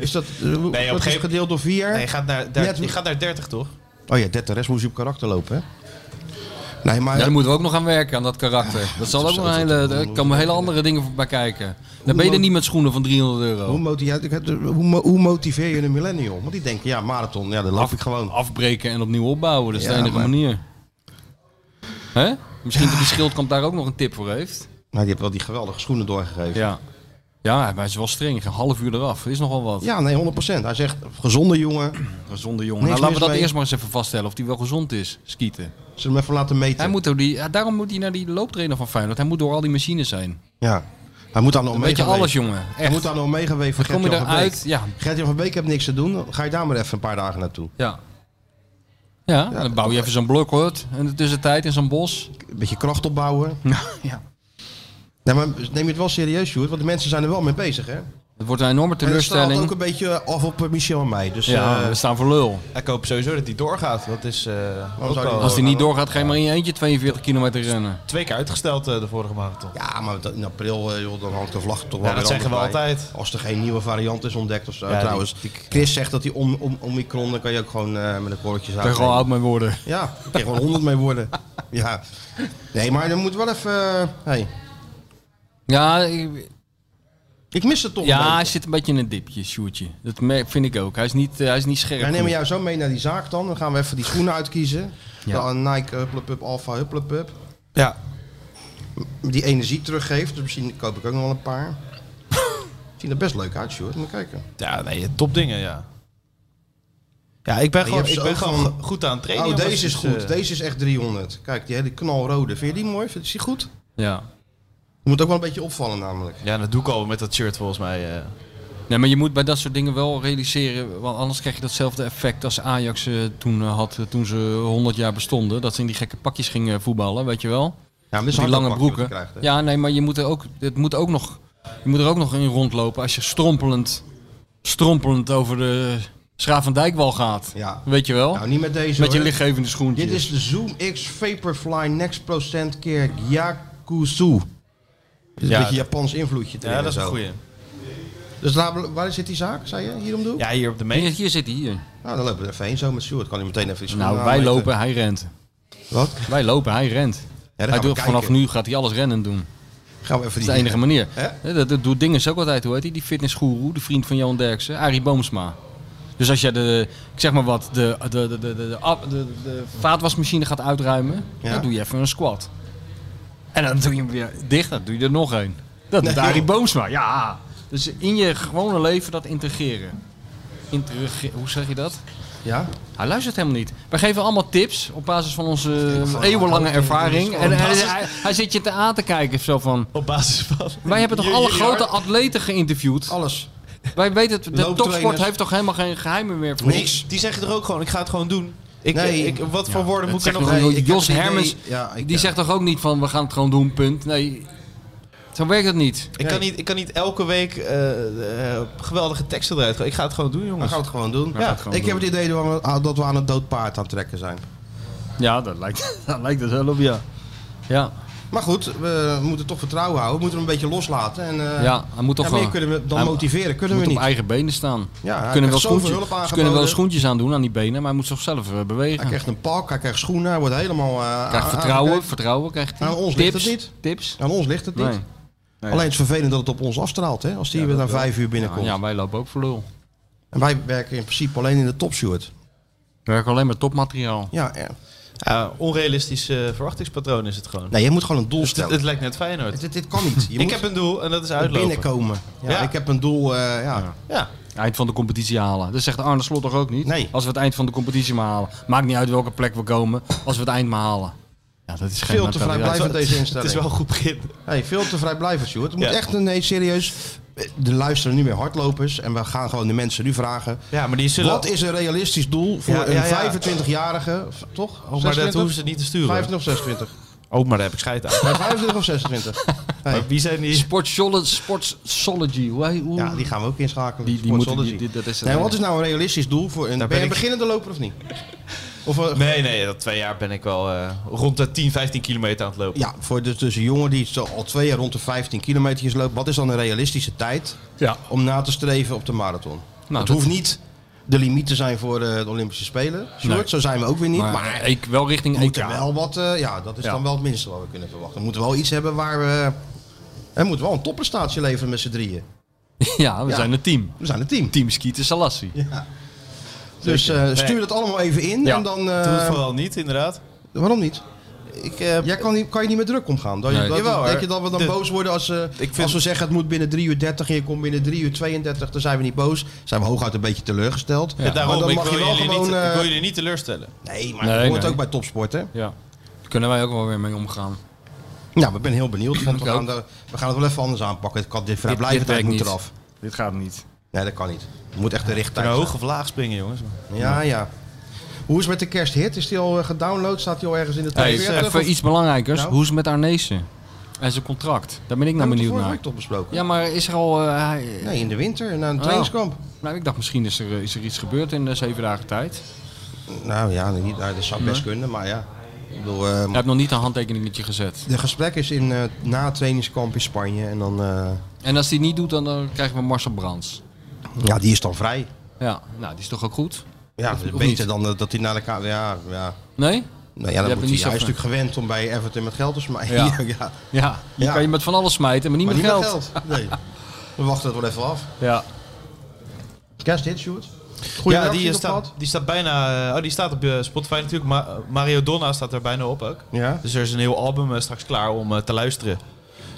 S2: is dat, eh, hoe-
S4: een
S2: dat is
S4: gegeven-
S2: gedeeld door 4?
S4: Nee, je gaat naar,
S2: Ja,
S4: daar,
S2: het-
S4: je gaat naar 30 toch?
S2: Oh ja, dat de rest moest je op karakter lopen, hè? Nee, maar...
S3: Ja, daar moeten we ook nog aan werken, aan dat karakter. Dat zal ook nog een hele... Daar komen hele andere dingen voorbij kijken. Dan ben je er niet met schoenen van 300
S2: Hoe,
S3: euro.
S2: moti- ja, ik heb de- hoe, mo- hoe motiveer je een millennial? Want die denken, ja, marathon, ja, dat loop ik gewoon. Nou,
S3: Afbreken en opnieuw opbouwen, dat is de
S2: Ja,
S3: enige
S2: maar-
S3: manier. Hè? Misschien dat die schildkamp daar ook nog een tip voor heeft.
S2: Nou, die hebt wel die geweldige schoenen doorgegeven.
S3: Ja. Ja, maar hij is wel streng. Een half uur eraf. Is nogal wat.
S2: Ja, nee, 100%. Hij zegt, gezonde jongen.
S3: Gezonde jongen.
S2: Niks
S3: Nou, laten we
S2: mis
S3: dat
S2: mee.
S3: eerst maar eens even vaststellen. Of die wel gezond is, skieten.
S2: Zullen we hem even laten meten?
S3: Hij moet door die, ja, daarom moet hij naar die looptrainer van Feyenoord. Hij moet door al die machines zijn.
S2: Ja. Hij moet aan de
S3: Een
S2: Omega
S3: beetje
S2: weven.
S3: alles, jongen.
S2: Hij moet
S3: Echt.
S2: aan de Omega weven van
S3: Kom je
S2: Gert-Jan van Beek.
S3: eruit? Ja.
S2: Gert-Jan van Beek heeft niks te doen. Ga je daar maar even een paar dagen naartoe.
S3: Ja. Ja,
S2: Ja,
S3: dan bouw je even zo'n blokhut in de tussentijd in zo'n bos.
S2: Een beetje kracht opbouwen.
S3: ja.
S2: Nee, Nou, maar neem je het wel serieus, Sjoerd? Want de mensen zijn er wel mee bezig, hè?
S3: Het wordt een enorme
S2: En dat straalt ook
S3: teleurstelling.
S2: een beetje af op eh, Michel en mij. Dus,
S3: Ja,
S2: eh,
S3: we staan voor lul.
S4: Ik hoop sowieso dat die doorgaat. Dat is eh, ook
S2: Oh, zou die
S4: al
S3: Als hij niet doorgaat, ga je maar in je eentje 42 kilometer rennen.
S4: twee keer uitgesteld eh, de vorige marathon.
S2: ja, maar dat- in april eh, joh, dan hangt de vlag toch wel
S4: Ja,
S2: weer
S4: dat zeggen we
S2: anders bij.
S4: altijd.
S2: Als er geen nieuwe variant is ontdekt of zo.
S4: die-
S2: Trouwens, Chris zegt dat die om, om, omikron, dan kan je ook gewoon eh, met een korreltje
S3: Ik ben
S2: zaten.
S3: gewoon oud mee worden.
S2: Ja, ik kan er gewoon 100 mee worden. Ja. Nee, maar dan moet wel even... eh, hey.
S3: Ja, ik-
S2: Ik mis het toch een
S3: ja
S2: beetje.
S3: hij zit een beetje in een dipje, Sjoerdje. Dat merk- vind ik ook. Hij is niet, eh, hij is niet scherp.
S2: Wij nemen
S3: genoeg.
S2: jou zo mee naar die zaak dan. Dan gaan we even die schoenen uitkiezen.
S3: Ja.
S2: Dan Nike Hupplepup, Alpha Hupplepup.
S4: Ja.
S2: Die energie teruggeeft. Dus misschien koop ik ook nog wel een paar. Zien er best leuk uit, Sjoerd. Moet je kijken.
S4: Ja, nee, topdingen, ja. Ja, ik ben
S2: je
S4: gewoon,
S2: hebt
S4: ik
S2: ze
S4: ben
S2: ook
S4: gewoon
S2: van-
S4: goed aan het trainen.
S2: oh,
S4: jongens.
S2: deze is
S4: Dus,
S2: goed.
S4: eh,
S2: Deze is echt 300. Kijk, die hele knalrode. Vind je die mooi? Vind je die goed? Die
S3: Ja.
S2: moet ook wel een beetje opvallen namelijk.
S4: Ja, dat doe ik al met dat shirt volgens mij. eh.
S3: Nee, maar je moet bij dat soort dingen wel realiseren, want anders krijg je datzelfde effect als Ajax eh, toen eh, had, eh, toen ze 100 jaar bestonden. Dat ze in die gekke pakjes gingen voetballen, weet je wel?
S2: Ja, maar dit is
S3: die
S2: een
S3: lange
S2: handbakje wat je
S3: broeken.
S2: krijgt, hè?
S3: ja, nee, maar je moet er ook, het moet ook nog, je moet er ook nog in rondlopen als je strompelend, strompelend over de Schravendijkwal gaat.
S2: Ja.
S3: Weet je wel?
S2: Nou, niet met deze
S3: Oh. Met je
S2: hoor.
S3: lichtgevende schoentjes.
S2: Dit is de Zoom X Vaporfly Next Percent keer Yakuzu. Dus
S4: Ja,
S2: een beetje Japans invloedje erin.
S4: Ja, dat is
S2: en
S4: een
S2: zo.
S4: goeie.
S2: Dus daar, waar zit die zaak, zei je? Hier om de hoek?
S4: Ja, hier op de
S3: Hier,
S4: meest.
S3: hier zit hij, hier.
S2: Nou, dan lopen we er even heen zo met Stuart. Kan hij meteen even iets
S3: Nou, wij lopen, hij rent.
S2: Wat?
S3: Wij lopen, hij rent.
S2: dan
S3: hij
S2: gaan we
S3: doet, vanaf
S2: kijken.
S3: nu gaat hij alles rennen doen.
S2: Gaan we even
S3: Dat is
S2: die...
S3: de enige manier.
S2: Hè?
S3: Dat, dat doet Dinges ook altijd, hoe heet hij? Die fitnessgoeroe, de vriend van Johan Derksen, Arie Boomsma. Dus als jij de, ik zeg maar wat, de, de, de, de, de, de, de- de- de vaatwasmachine gaat uitruimen,
S2: Ja.
S3: dan doe je even een squat. En dan doe je hem weer dicht, dan doe je er nog een. Dat doet
S2: Nee,
S3: Arie
S2: joh.
S3: Boomsma, ja. Dus in je gewone leven dat integreren. Integreren, hoe zeg je dat?
S2: Ja?
S3: Hij luistert helemaal niet. Wij geven allemaal tips op basis van onze eh,
S2: van-
S3: eeuwenlange
S2: oh,
S3: ervaring.
S2: oh,
S3: En
S2: oh,
S3: hij,
S2: basis-
S3: hij, hij zit je te aan te kijken zo van...
S4: Op basis van...
S3: Wij hebben toch
S4: Je-
S3: alle
S4: je-
S3: grote atleten geïnterviewd?
S2: Alles.
S3: Wij weten het, de
S2: Looptrainers.
S3: topsport heeft toch helemaal geen geheimen meer voor
S2: Niks.
S4: Die zeggen er ook gewoon, ik ga het gewoon doen. Ik,
S2: Nee.
S4: ik, wat voor woorden moet ik
S2: zegt
S4: er nog...
S2: nog-
S4: aan?
S2: Nee, ik heb
S3: Jos
S2: geen idee.
S3: Hermens,
S2: Ja, ik-
S3: die
S2: ja.
S3: zegt toch ook niet van we gaan het gewoon doen, punt. Nee, zo werkt het niet.
S4: Ik kan, niet, ik kan niet elke week eh, eh, geweldige teksten eruit gooien. Ik ga het gewoon doen,
S2: Dan
S4: jongens.
S2: gaan we het gewoon doen.
S3: gaan
S2: Ja,
S3: het gewoon
S2: ik heb het idee dat we, dat we aan het dood paard aan het trekken zijn.
S3: Ja, dat lijkt, dat lijkt het wel op, ja. Ja,
S2: Maar goed, we moeten toch vertrouwen houden. We moeten hem een beetje loslaten. En, eh,
S3: ja hij moet toch
S2: ja,
S3: gewoon...
S2: meer kunnen we dan
S3: hij-
S2: motiveren kunnen we
S3: moet
S2: niet.
S3: op eigen benen staan.
S2: Ja, hij
S3: Ze kunnen wel
S2: krijgt zoveel
S3: schoentjes,
S2: hulp
S3: ze kunnen wel
S2: aangeboden.
S3: schoentjes aan doen aan die benen, maar hij moet zich zelf eh, bewegen.
S2: Hij krijgt een pak, hij krijgt schoenen, hij wordt helemaal... eh,
S3: Hij krijgt
S2: aan-
S3: vertrouwen,
S2: aangekeken.
S3: vertrouwen krijgt hij.
S2: Aan ons ligt
S3: tips,
S2: het niet.
S3: Tips.
S2: Aan ons ligt het niet.
S3: Nee. Nee.
S2: Alleen het is vervelend dat het op ons afstraalt, hè, als die weer na vijf uur
S3: Ja,
S2: binnenkomt.
S3: ja, wij lopen ook voor lul.
S2: En wij werken in principe alleen in de topshirt.
S3: We werken alleen maar topmateriaal.
S2: Ja, eh,
S4: Ja, onrealistisch eh, verwachtingspatroon is het gewoon. Dus
S2: nee, je moet gewoon een doel
S4: het,
S2: stellen.
S4: het lijkt net Feyenoord.
S2: Dit, dit kan niet. Nou, Je
S4: ik
S2: moet
S4: heb een doel en dat is
S2: er
S4: uitlopen.
S2: binnenkomen. Ja,
S4: Ja.
S2: Ik heb een doel, eh, ja.
S4: Ja.
S3: Eind van de competitie halen. Dat zegt Arne Slot toch ook niet?
S2: Nee.
S3: Als we het eind van de competitie maar halen. Maakt niet uit welke plek we komen. Als we het eind maar halen. Ja, dat is geen
S2: Veel te
S3: mentaliteit.
S2: vrijblijvend deze
S4: Het
S2: instelling.
S4: is wel een goed begin.
S2: Hey, veel te vrijblijvend, Sjoerd. Het moet
S4: Ja.
S2: echt een nee, serieus. De luisteren nu meer hardlopers en we gaan gewoon de mensen nu vragen.
S4: Ja, maar die zullen...
S2: Wat is een realistisch doel voor
S4: Ja, ja, ja.
S2: een 25-jarige, v- toch?
S4: Oh, maar dat hoeven ze niet te sturen.
S2: 25 of 26?
S4: Oh, maar daar heb ik scheid aan.
S2: Nee, 25 of 26? Hey.
S4: Maar wie zijn die?
S3: Sportsolo- Sportsology. Hoe hij- hoe-
S2: Ja, die gaan we ook inschakelen.
S3: Die- die
S2: Sports
S3: moeten-
S2: Odyssey.
S3: die- die- dat is het
S2: nee,
S3: hele.
S2: wat is nou een realistisch doel voor een... Ben,
S4: Daar ben
S2: je een
S4: ik-
S2: beginnende loper of niet? Of, eh,
S4: Nee, nee, dat twee jaar ben ik wel eh, rond de 10, 15 kilometer aan het lopen.
S2: Ja, voor dus, dus een jongen die zo al twee jaar rond de 15 kilometer loopt. Wat is dan een realistische tijd
S3: Ja. Nou,
S2: om na te streven op de marathon? het
S3: dat-
S2: hoeft niet de limiet te zijn voor eh, de Olympische Spelen. Sjoerd.
S3: Nee.
S2: Zo zijn we ook weer niet.
S3: maar,
S2: Maar,
S3: ik, wel richting
S2: we
S3: EK.
S2: moeten wel wat... eh, ja, dat is
S3: Ja.
S2: dan wel het minste wat we kunnen verwachten. We moeten wel iets hebben waar we... We moeten wel een topprestatie leveren met z'n drieën.
S3: Ja, we
S2: Ja.
S3: zijn een team.
S2: We zijn een team.
S3: Team Skeeter Salassi.
S2: Dus eh, stuur
S4: Nee.
S2: dat allemaal even in.
S3: Ja.
S2: En dan,
S4: Doe het
S2: eh,
S4: vooral niet, inderdaad.
S2: waarom niet?
S4: Ik, eh,
S2: Jij kan, niet- kan je niet met druk omgaan. Dat, je-
S3: Nee.
S2: dat-
S4: Jawel, hoor.
S2: denk je dat we dan
S4: De-
S2: boos worden als, eh,
S4: vind-
S2: als we zeggen het moet binnen 3 uur 30 en je komt binnen 3 uur 32, dan zijn we niet boos. Zijn we hooguit een beetje teleurgesteld.
S4: ja, daarom,
S2: maar
S4: ik
S2: dan mag je
S4: wil,
S2: wel
S4: jullie
S2: gewoon.
S4: niet, ik
S2: eh,
S4: wil jullie niet teleurstellen.
S2: nee, maar
S3: Nee,
S2: dat hoort
S3: nee.
S2: ook bij topsport, hè?
S3: Ja. Daar kunnen wij ook wel weer mee omgaan.
S2: Nou, ik ben heel benieuwd. Want we,
S3: Ik ook.
S2: gaan de- we gaan het wel even anders aanpakken. Het kan, dit
S3: dit
S2: vrijblijvendheid
S3: werkt
S2: moet
S3: niet.
S2: eraf.
S3: Dit gaat niet.
S2: Nee, dat kan niet. Het moet echt de richting.
S4: Een hoge vlaag springen, jongens.
S2: Ja, ja. Hoe is het met de kersthit? Is die al eh, gedownload? Staat die al ergens in de
S3: Hey,
S2: 42?
S3: even
S2: Of-
S3: iets belangrijkers.
S2: Nou?
S3: Hoe is het met Arnezen? En zijn contract. Daar ben ik nou
S2: Hebben we het
S3: benieuwd
S2: vorige
S3: naar.
S2: week toch besproken?
S3: Ja, maar is er al... eh, hij-
S2: Nee, in de winter, na een
S3: Oh.
S2: trainingskamp.
S3: Nou, ik dacht misschien is er, eh, is er iets gebeurd in eh, zeven dagen tijd.
S2: Nou ja, niet, nou, dat zou best kunnen, maar ja. Ik bedoel, eh,
S3: Hij heeft nog niet een handtekeningetje gezet.
S2: De gesprek is in, eh, na het trainingskamp in Spanje. En dan, eh,
S3: En als hij niet doet, dan, eh, krijgen we Marcel Brands.
S2: ja, die is dan vrij.
S3: Ja, nou, die is toch ook goed?
S2: Ja,
S3: Of- of
S2: beter
S3: niet?
S2: dan eh, dat hij naar de kamer... Ja, ja.
S3: Nee?
S2: Nou ja,
S3: hebt
S2: dan
S3: hem
S2: moet hij,
S3: niet zo
S2: hij is
S3: van-
S2: natuurlijk gewend om bij Everton met geld te smijten.
S3: Ja.
S2: Ja, ja.
S3: Ja, je
S2: Ja.
S3: kan je met van alles smijten, maar niet
S2: Maar
S3: met
S2: niet
S3: geld.
S2: met geld. Nee. We wachten het wel even af.
S3: Ja.
S2: Kerst dit, Sjoerd? Goeie
S4: Ja, die,
S2: reacties
S4: eh,
S2: op
S4: staat,
S2: gehad?
S4: die staat bijna... eh, Oh, die staat op eh, Spotify natuurlijk. Ma- eh, Mario Donna staat er bijna op ook.
S2: Ja,
S4: Dus er is een heel album eh, straks klaar om eh, te luisteren.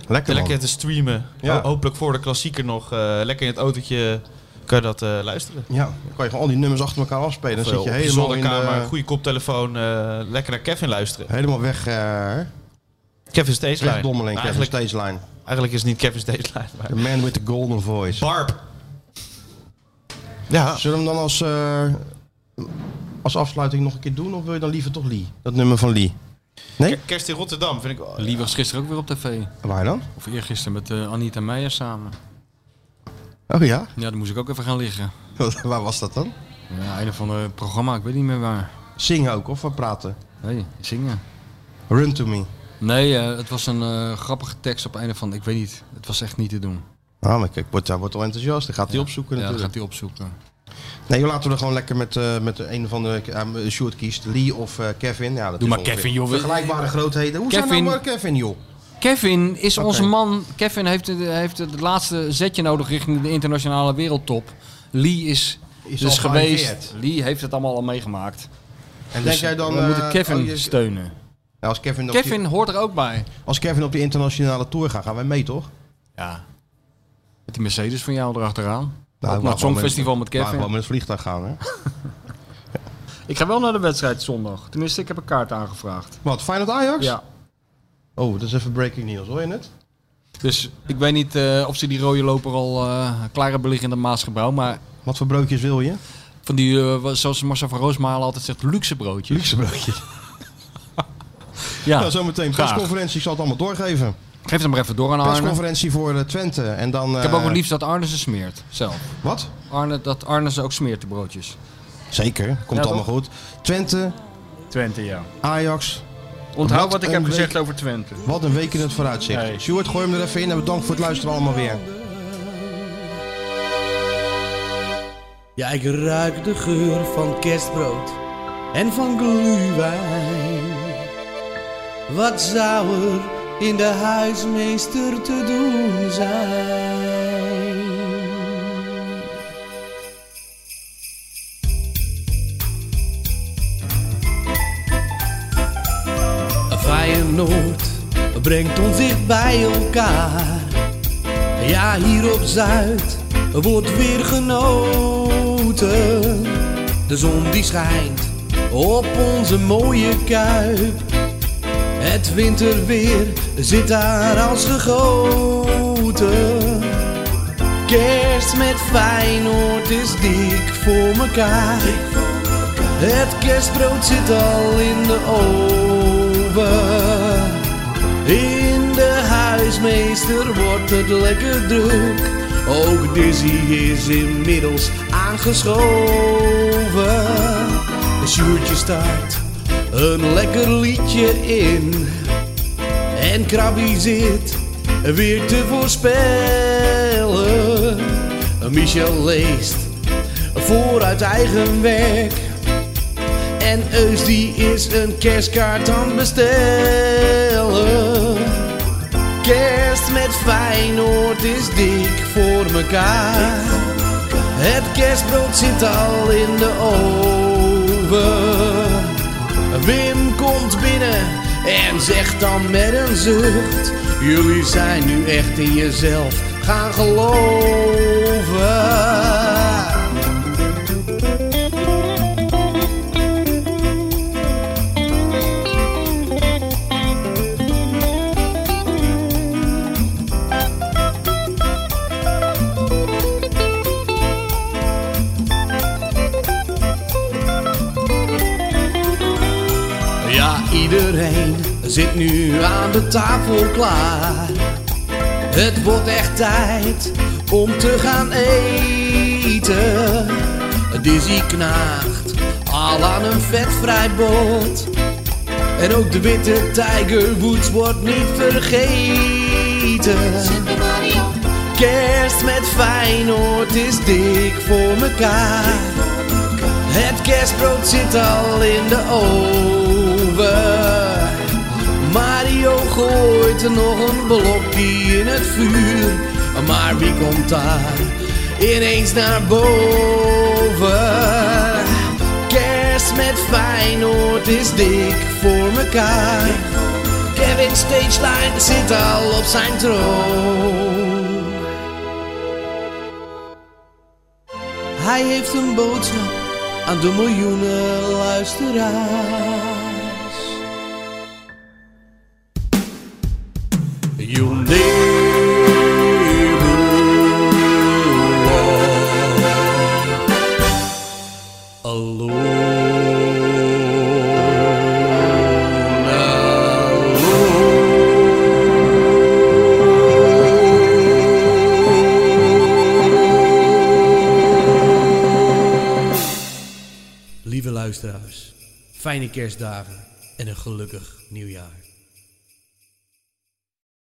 S2: lekker man.
S4: Lekker te streamen.
S2: Ja.
S4: Ho- hopelijk voor de klassieker nog. eh, lekker in het autootje kan je dat eh, luisteren.
S2: Ja, dan kan je gewoon al die nummers achter elkaar afspelen. Dan
S4: Of, eh,
S2: zit je
S4: op
S2: helemaal in
S4: zolderkamer, een
S2: de,
S4: goede koptelefoon. eh, lekker naar Kevin luisteren.
S2: Helemaal weg. eh
S4: Kevin Steeslijn.
S2: Rechtdommeling,
S4: Nou,
S2: Kevin
S4: eigenlijk,
S2: Steeslijn.
S4: eigenlijk is het niet Kevin Steeslijn. Maar...
S2: The man with the golden voice.
S4: Barb. Ja.
S2: Zullen we hem dan als, eh, als afsluiting nog een keer doen? Of wil je dan liever toch Lee? Dat nummer van Lee. Nee?
S4: Kerst in Rotterdam vind ik wel...
S3: Lee was gisteren ook weer op tv.
S2: Waar dan?
S3: Of eergisteren met eh, Anita Meijer samen.
S2: Oh ja?
S3: Ja, daar moest ik ook even gaan liggen.
S2: waar was dat dan?
S3: Ja, een of ander programma, ik weet niet meer waar.
S2: Zingen ook, of we praten.
S3: Nee, zingen.
S2: Run to me.
S3: Nee, eh, het was een eh, grappige tekst op een of andere. Ik weet niet. Het was echt niet te doen.
S2: Ah, maar kijk, wordt, hij wordt al enthousiast. Dan gaat hij opzoeken
S3: Ja, dat
S2: natuurlijk.
S3: gaat hij opzoeken.
S2: Nee, joh, laten we er gewoon lekker met, eh, met een of andere... Uh, Sjoerd kiest, Lee of eh, Kevin. Ja, dat
S3: Doe
S2: is
S3: maar Kevin,
S2: ongeveer
S3: joh.
S2: Vergelijkbare grootheden. Hoe zijn
S3: Kevin.
S2: nou maar Kevin, joh?
S3: Kevin is
S2: Oké.
S3: onze man. Kevin heeft, het- heeft het laatste zetje nodig richting de internationale wereldtop. Lee is,
S2: Is
S3: dus
S2: al
S3: geweest.
S2: gearriveerd.
S3: Lee heeft het allemaal al meegemaakt.
S2: En
S3: Dus
S2: denk jij dan...
S3: We moeten
S2: eh,
S3: Kevin
S2: oh, je-
S3: steunen.
S2: Nou, als, Kevin op die-
S3: Kevin hoort er ook bij.
S2: als Kevin op die internationale tour gaat, gaan wij mee, toch? Nou,
S3: Ja. Met die Mercedes van jou erachteraan.
S2: Nou,
S3: op
S2: maar
S3: naar het
S2: gewoon
S3: Songfestival met
S2: maar gewoon
S3: Kevin.
S2: met het vliegtuig gaan, hè?
S3: Ik ga wel naar de wedstrijd zondag. Tenminste, ik heb een kaart aangevraagd.
S2: Wat, Feyenoord Ajax?
S3: Ja.
S2: Oh, dat is even breaking news, hoor je het?
S3: Dus ik weet niet eh, of ze die rode loper al eh klaar hebben liggen in de Maasgebouw. Maar
S2: Wat voor broodjes wil je?
S3: van die, eh, zoals Marcel van Roosmalen altijd zegt, luxe broodjes.
S2: Luxe broodjes.
S3: Ja,
S2: nou, zometeen
S3: Ah, graag.
S2: persconferentie. Ik zal het allemaal doorgeven.
S3: Geef hem maar even door aan Arne.
S2: Persconferentie voor eh, Twente. En dan... eh,
S3: Ik heb ook het liefst dat Arne ze smeert, zelf.
S2: Wat?
S3: Arne, dat Arne ze ook smeert, de broodjes.
S2: Zeker, komt
S3: Ja,
S2: allemaal
S3: toch?
S2: goed. Twente,
S3: Twente, ja.
S2: Ajax.
S3: Onthoud
S2: Wat
S3: wat, ik
S2: een
S3: heb
S2: week.
S3: gezegd over Twente.
S2: Wat een week in het vooruitzicht.
S3: Nee.
S2: Stuart, gooi hem er even in en bedankt voor het luisteren allemaal weer.
S1: Ja, ik ruik de geur van kerstbrood en van glühwein. Wat zou er in de huismeester te doen zijn? Feyenoord brengt ons dicht bij elkaar. Ja, hier op Zuid wordt weer genoten. De zon die schijnt op onze mooie kuip. Het winterweer zit daar als gegoten. Kerst met Feyenoord is dik voor mekaar. Het kerstbrood zit al in de oven. In de huismeester wordt het lekker druk. Ook Dizzy is inmiddels aangeschoven. Sjoertje staat een lekker liedje in. En Krabby zit weer te voorspellen. Michel leest vooruit eigen werk. En Eus die is een kerstkaart aan het bestellen. Kerst met Feyenoord is dik voor mekaar. Het kerstbrood zit al in de oven. Wim komt binnen en zegt dan met een zucht: Jullie zijn nu echt in jezelf gaan geloven. Ja, iedereen zit nu aan de tafel klaar. Het wordt echt tijd om te gaan eten. Dizzy knaagt al aan een vetvrij bot. En ook de witte Tiger Woods wordt niet vergeten. Kerst met Feyenoord is dik voor mekaar. Het kerstbrood zit al in de oven. Mario gooit er nog een blokje in het vuur. Maar wie komt daar ineens naar boven? Kerst met Feyenoord is dik voor mekaar. Kevin Stageline zit al op zijn troon. Hij heeft een boodschap aan de miljoenen luisteraars. You'll never walk alone, alone. Lieve luisteraars, fijne kerstdagen en een gelukkig nieuwjaar.